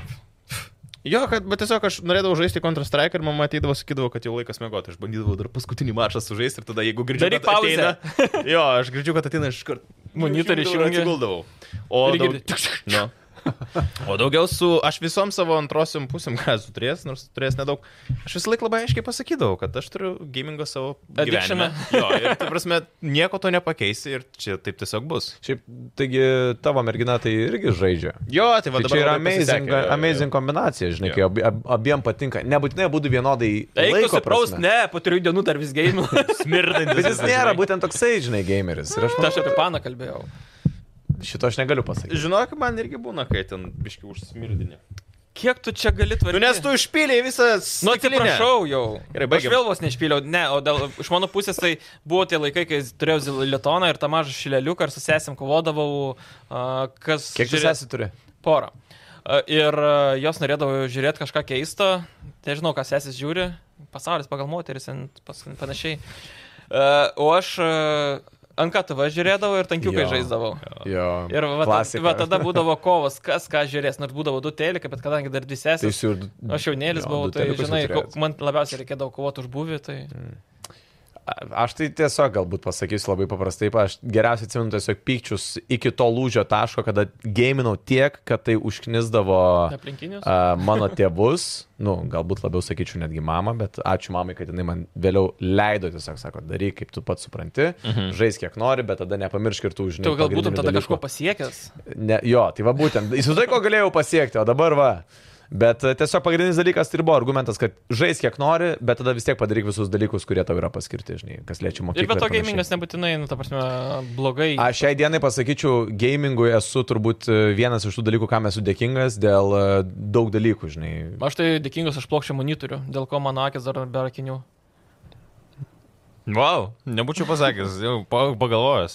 Speaker 1: Jo, kad, bet tiesiog aš norėdavau žaisti Counter Strike ir mama ateidavo, sakydavo, kad jau laikas mėgoti. Aš bandydavau dar paskutinį mačą sužaisti ir tada, jeigu girdžiu,
Speaker 3: Daryk
Speaker 1: kad ateina... Jo, aš girdžiu, kad ateina iš karto.
Speaker 3: Monitorių išjungi.
Speaker 1: Atsiguldavau. O,
Speaker 3: Ir
Speaker 1: daug...
Speaker 3: girdi.
Speaker 1: nu. o daugiau su... Aš visom savo antrosiom pusėm, ką esu turėjęs, nors turėjęs nedaug, aš visą laiką labai aiškiai pasakydavau, kad aš turiu gamingą savo...
Speaker 3: Addictioną.
Speaker 1: gyvenime. Jo, ir tai prasme, nieko to nepakeisi ir čia taip tiesiog bus.
Speaker 2: Šiaip, taigi tavo mergina tai irgi žaidžia.
Speaker 1: Jo, tai
Speaker 2: Tai
Speaker 1: vadinasi.
Speaker 2: čia yra amazing, amazing kombinacija, žinai,
Speaker 1: Jo.
Speaker 2: kai ab, ab, abiem patinka. Nebūtinai būtų vienodai.
Speaker 3: Eik,
Speaker 2: laiko
Speaker 3: nusipraus,
Speaker 2: prasme.
Speaker 3: ne, po trijų dienų dar vis gėjimu.
Speaker 1: Smirdantis.
Speaker 2: Bet jis nėra būtent toksai, žinai, gameris. Ir aš
Speaker 3: Tai aš apie paną kalbėjau.
Speaker 2: šito aš negaliu pasakyti.
Speaker 1: Žinok, man irgi būna, kai ten biški užsmirdinė.
Speaker 3: Kiek tu čia gali
Speaker 1: Nu,
Speaker 3: tvarkyti?
Speaker 1: nes tu išpylėjai visą...
Speaker 3: tai- Nu,
Speaker 1: stiklinę.
Speaker 3: atsiprašau jau.
Speaker 1: Gerai,
Speaker 3: Aš
Speaker 1: baigiam.
Speaker 3: vėl vos neišpyliau. Ne, o dėl, iš mano pusės tai buvo tie laikai, kai turėjau zilitoną ir tą mažą šileliuką ir su sesėm kovodavau, a, kas...
Speaker 2: Kiek tu
Speaker 3: žiūrė-
Speaker 2: esi turi?
Speaker 3: Porą. A, Ir a, jos norėdavo žiūrėti kažką keisto, nežinau, ką sesis žiūri, pasaulis pagal moteris ir panašiai. A, O aš e, a, ant KTV žiūrėdavau ir tankiukai
Speaker 2: Jo.
Speaker 3: žaisdavau.
Speaker 2: Jo.
Speaker 3: Ir va, ta-
Speaker 2: klasika.
Speaker 3: va tada būdavo kovas, kas ką žiūrės, nors būdavo du telika, bet kadangi dar dvi
Speaker 2: Tai
Speaker 3: sesės.
Speaker 2: jis jau.
Speaker 3: Aš jaunėlis
Speaker 2: jo,
Speaker 3: buvau,
Speaker 2: du
Speaker 3: tai
Speaker 2: teliukus
Speaker 3: žinai,
Speaker 2: jau turėjot. Mm.
Speaker 3: ko- man labiausiai reikėdavo kovoti už buvį, tai
Speaker 2: A- Aš tai tiesiog galbūt pasakysiu labai paprastai, aš geriausiai atsimenu tiesiog pykčius iki to lūžio taško, kada gėminau tiek, kad tai užknisdavo
Speaker 3: Aplinkinius?
Speaker 2: a, mano tėvus, nu, galbūt labiau sakyčiau netgi mamą, bet ačiū mamai, kad jinai man vėliau leido tiesiog, sako, daryk, kaip tu pats supranti, mhm. žais kiek nori, bet tada nepamiršk ir tų žinių.
Speaker 3: Tu gal būtum
Speaker 2: pagrindinių
Speaker 3: tada
Speaker 2: dalykų.
Speaker 3: kažko pasiekęs.
Speaker 2: Ne, jo, tai va būtent. Įsivaizduoju, ko galėjau pasiekti, o dabar va. Bet e, tiesiog pagrindinis dalykas tai ir buvo argumentas, kad žais kiek nori, bet tada vis tiek padaryk visus dalykus, kurie tau yra paskirti, žinai, kas lėčia mokyklą.
Speaker 3: Ir be to
Speaker 2: panašiai.
Speaker 3: gamingas nebūtinai, nu, ta prasme, blogai.
Speaker 2: Aš šiai dienai pasakyčiau, gamingui esu turbūt e, vienas iš tų dalykų, kam esu dėkingas dėl e, daug dalykų, žinai.
Speaker 3: Aš tai dėkingas už plokščią monitorių, dėl ko mano akis dar be akinių.
Speaker 1: Wow, nebūčiau pasakęs, jau pa- pagalvojęs.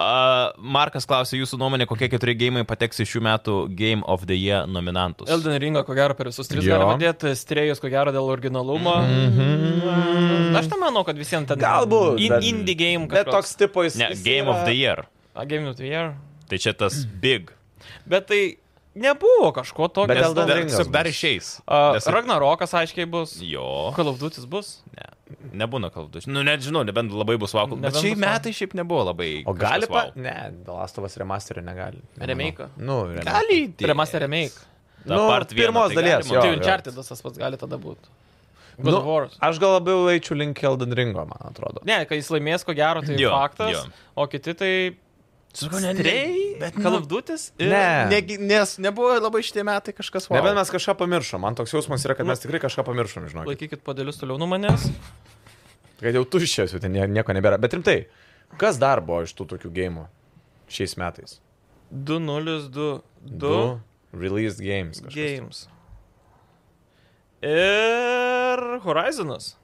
Speaker 1: Uh, Markas klausė jūsų nuomonė, kokie keturi gėjimai pateks į šių metų Game of the Year nominantus.
Speaker 3: Elden Ringą, ko gero, per visus tris
Speaker 2: Jo.
Speaker 3: galima dėti, strėjus, ko gero, dėl originalumo. Mm, Aš tai manau, kad visiems ten...
Speaker 2: Mhm. Galbūt,
Speaker 3: In,
Speaker 2: bet-
Speaker 3: indie game
Speaker 2: Bet
Speaker 3: kažkoks.
Speaker 2: toks tipo jis.
Speaker 1: Ne,
Speaker 2: jis
Speaker 1: Game
Speaker 2: yra-
Speaker 1: of the Year.
Speaker 3: A, game of the year.
Speaker 1: Tai čia tas big.
Speaker 3: Bet tai nebuvo kažko tokio.
Speaker 2: Bet
Speaker 1: Nes
Speaker 2: Elden
Speaker 1: dar-
Speaker 2: Ringas
Speaker 1: tiesiog dar
Speaker 2: bus.
Speaker 1: išeis.
Speaker 3: A,
Speaker 1: Nes-
Speaker 3: Ragnarokas aiškiai bus.
Speaker 1: Jo.
Speaker 3: Call of Duty bus.
Speaker 1: Ne, nebūna kalbų. Nu, net žinau, nebent labai bus vaku. Bet
Speaker 3: Nebent
Speaker 1: šiai
Speaker 3: bus vau.
Speaker 1: metai šiaip nebuvo labai.
Speaker 2: O
Speaker 1: kažkas
Speaker 2: gali pa?
Speaker 1: vau.
Speaker 2: Ne, Dalastovas remasterio negali. Nemanau.
Speaker 3: Remake'o.
Speaker 2: Nu, remake.
Speaker 1: Gali. įdėt.
Speaker 3: Remaster remake.
Speaker 1: Ta
Speaker 2: Nu,
Speaker 1: part vieną
Speaker 2: pirmos
Speaker 1: tai
Speaker 2: dalies,
Speaker 1: galima.
Speaker 2: Jo,
Speaker 3: Tai
Speaker 2: jo.
Speaker 3: Unchartedas tas pats gali tada būti. God
Speaker 2: Nu,
Speaker 3: of War.
Speaker 2: aš gal labiau eičiau link Elden Ringo, man atrodo.
Speaker 3: Ne, kai jis laimės, ko gero, tai
Speaker 1: Jo,
Speaker 3: faktas.
Speaker 1: jo.
Speaker 3: O kiti tai...
Speaker 1: Sakau, ne,
Speaker 3: Stray,
Speaker 1: bet nu-
Speaker 3: Call of Duty
Speaker 1: Ir
Speaker 2: Ne.
Speaker 1: negi- Nes nebuvo labai šitie metai kažkas vau.
Speaker 2: Nebent mes kažką pamiršom, man toks jausmas yra, kad
Speaker 3: Nu.
Speaker 2: mes tikrai kažką pamiršom, žinok.
Speaker 3: Laikykit podėlius toliau nuo manęs.
Speaker 2: Kad jau tuščias, jau ten nie- nieko nebėra. Bet rimtai, kas dar buvo iš tų tokių gėjimų šiais metais?
Speaker 3: 2022
Speaker 2: Released games. kažkas.
Speaker 3: Games. Ir Horizonas.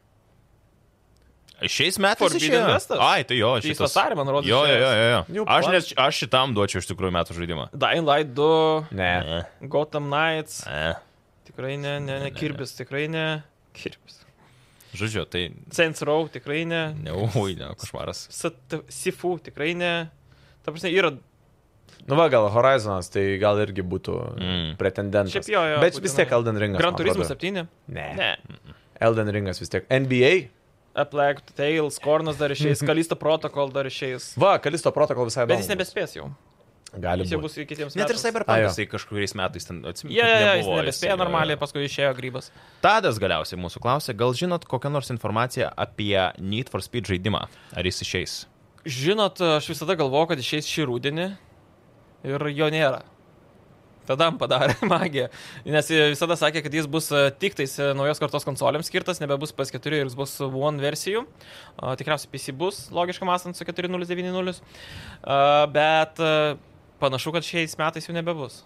Speaker 1: Šiais metais
Speaker 3: Forbidden
Speaker 1: išėjo?
Speaker 3: Westas?
Speaker 1: Ai, tai jo,
Speaker 3: Tai jis
Speaker 1: šitas.
Speaker 3: vasarį, man rodos,
Speaker 1: Jo, jo, jo,
Speaker 3: išėjęs.
Speaker 1: jo. jo.
Speaker 2: Jau
Speaker 1: Aš,
Speaker 2: pla-
Speaker 1: net, aš šitam duočiau iš tikrųjų metų žaidimą.
Speaker 3: Dying Light 2,
Speaker 2: Ne.
Speaker 1: Ne.
Speaker 3: Gotham Knights.
Speaker 1: Ne.
Speaker 3: Tikrai ne, ne, ne, Kirbis, tikrai ne. Kirbis.
Speaker 1: Žodžiu, tai...
Speaker 3: Saints Row, tikrai ne.
Speaker 1: Ne, oi, ne, košmaras.
Speaker 3: Sat- Sifu, tikrai ne. Ta prasme, yra
Speaker 2: Nu va, gal Horizonas, tai gal irgi būtų
Speaker 1: Mm.
Speaker 2: mm. pretendentas.
Speaker 3: Šiaip jo, jo,
Speaker 2: Bet
Speaker 3: būtinai.
Speaker 2: vis tiek Elden Ringas.
Speaker 3: Gran
Speaker 2: man
Speaker 3: Turismo
Speaker 2: atrodo.
Speaker 3: 7.
Speaker 2: Ne. ne.
Speaker 3: Ne.
Speaker 2: Elden Ringas vis tiek. NBA.
Speaker 3: Aplack, Tails, Kornas dar išeis, Kalisto Protocol dar išeis.
Speaker 2: Va, Kalisto protokol visai.
Speaker 3: Bet jis
Speaker 2: įdomu.
Speaker 3: nebespės jau.
Speaker 2: Gali
Speaker 3: Jis jau
Speaker 2: būti.
Speaker 3: bus ir kitiems.
Speaker 1: Net ir
Speaker 3: metams.
Speaker 2: Ai, jo.
Speaker 1: Cyberpunkas tai kažkuriais metais ten atsimenu.
Speaker 3: Jie, jie, jie, jis
Speaker 1: nebuvo
Speaker 3: nebespėjo
Speaker 1: jisai,
Speaker 3: normaliai,
Speaker 1: jo,
Speaker 3: paskui išėjo grybas.
Speaker 1: jo. Tadas galiausiai mūsų klausė, gal žinot kokią nors informaciją apie Need for Speed žaidimą? Ar jis išeis?
Speaker 3: Žinot, aš visada galvoju, kad išeis šį rudenį ir jo nėra. Tada man padarė magiją. Nes jie visada sakė, kad jis bus e, tik tais e, naujos kartos konsolėms skirtas, nebebus PS4 ir jis bus One versijų. O, Tikriausiai PC bus, logiškai mąstant, su 4090. A, Bet e, panašu, kad šiais metais jų nebebus.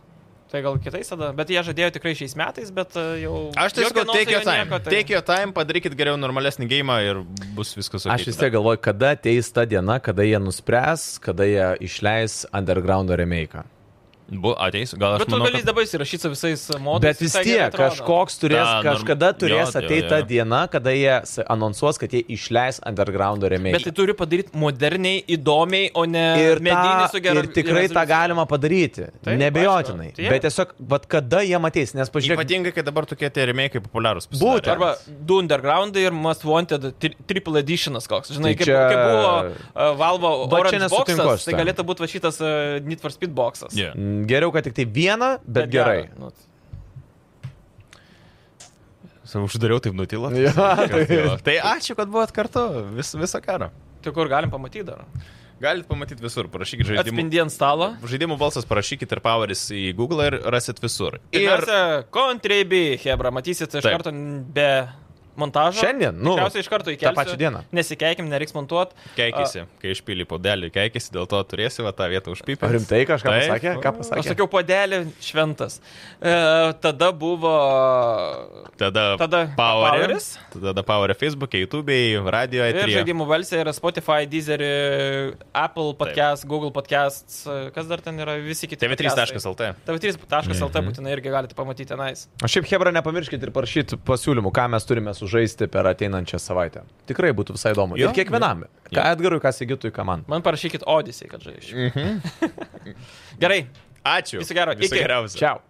Speaker 3: Tai gal kitais tada, bet jie žadėjo tikrai šiais metais, bet e, jau...
Speaker 1: Aš tai
Speaker 3: jokio
Speaker 1: sakau,
Speaker 3: anonso,
Speaker 1: take your
Speaker 3: jo
Speaker 1: time.
Speaker 3: nieko, tai-
Speaker 1: Take your time, padarykit geriau normalesnį gėjimą ir bus viskas ok.
Speaker 2: Aš vis tiek galvoju, kada ateis ta diena, kada jie nuspręs, kada jie išleis underground remake.
Speaker 1: Bu, ateis, gal aš
Speaker 3: Bet tu
Speaker 1: manau,
Speaker 3: gali
Speaker 1: kad...
Speaker 3: dabar įsirašyti su visais modais.
Speaker 2: Bet vis tiek kažkoks turės,
Speaker 1: Ta, norm-
Speaker 2: kažkada
Speaker 1: jo, tai
Speaker 2: turės
Speaker 1: jo,
Speaker 2: ateiti
Speaker 1: jo.
Speaker 2: ta diena, kada jie s- anonsuos, kad jie išleis underground
Speaker 3: Bet tai
Speaker 2: remake.
Speaker 3: turi padaryti moderniai, įdomiai, o ne
Speaker 2: Ir,
Speaker 3: medinį
Speaker 2: tą,
Speaker 3: su geru.
Speaker 2: ir tikrai tą galima padaryti,
Speaker 3: Taip,
Speaker 2: nebejotinai.
Speaker 3: aišku, tai jie-
Speaker 2: Bet tiesiog, vad kada jie matys, nes pažiūrėk,
Speaker 1: Ypatingai, kad dabar tokie tie remėkai populiarūs.
Speaker 2: Būtent.
Speaker 1: pasidarė.
Speaker 3: Arba du undergroundai ir Must Wanted tri triple editionas koks. Žinai,
Speaker 2: Tai
Speaker 3: kaip,
Speaker 2: čia-
Speaker 3: kaip buvo uh, Valvo
Speaker 2: Va čia
Speaker 3: Orange
Speaker 2: nesutinku
Speaker 3: boxas,
Speaker 2: aš
Speaker 3: tai
Speaker 2: ten.
Speaker 3: galėtų būti va šitas uh, Need for Speed boxas.
Speaker 1: Yeah.
Speaker 2: m, geriau, kad tik tai vieną, bet, bet gerai.
Speaker 3: gera. Nu,
Speaker 1: Savo uždariau, taip nutilo.
Speaker 2: Jo,
Speaker 1: tai... tai ačiū, kad buvot kartu vis, viso karo.
Speaker 3: tai kur galim pamatyti dar?
Speaker 1: Galit pamatyti visur, parašykit žaidimų.
Speaker 3: Atspindi ant stalo.
Speaker 1: Žaidimų balsas parašykit ir poweris į Google ir rasit visur.
Speaker 3: Ir
Speaker 1: Ir
Speaker 3: Contribui, Hebra, matysit iš
Speaker 1: Taip.
Speaker 3: karto be montažo.
Speaker 2: Šiandien, nu,
Speaker 3: Tikriausiai iš karto
Speaker 2: tą
Speaker 3: įkelsiu.
Speaker 2: pačią dieną.
Speaker 3: Nesikeikim, nereiks montuoti.
Speaker 1: keikėsi, kai išpylį podelį, keikėsi, dėl to turėsi va, tą vietą užpypę.
Speaker 2: Ar rimtai kažką
Speaker 1: Taip.
Speaker 2: pasakė? Ką
Speaker 3: Aš
Speaker 2: pasakė?
Speaker 3: sakiau, padelį šventas. E, tada buvo.
Speaker 1: Tada,
Speaker 3: Tada
Speaker 1: poweris.
Speaker 3: Poweris.
Speaker 1: Tada powerį Facebook'e, YouTube'e, radioje.
Speaker 3: Ir žaidimų valsė yra Spotify, Deezer, e, Apple podcast, Taip. Google podcast, e, kas dar ten yra, visi kiti. podcastai.
Speaker 1: TV3.lt.
Speaker 3: TV3.lt būtinai irgi galite pamatyti tenais.
Speaker 2: O šiaip Hebra, nepamirškit ir parašyti pasiūlymų, ką mes turime sužaisti per ateinančią savaitę. Tikrai būtų visai įdomu.
Speaker 1: Jo,
Speaker 2: Ir kiekvienam. Ką Edgarui, ką Sigitui, ką man.
Speaker 3: Man parašykit Odyssey, kad žaisčiau. Gerai,
Speaker 1: Ačiū.
Speaker 3: Viso gero,
Speaker 1: Viso
Speaker 3: iki.
Speaker 1: geriausio.
Speaker 2: Čiau.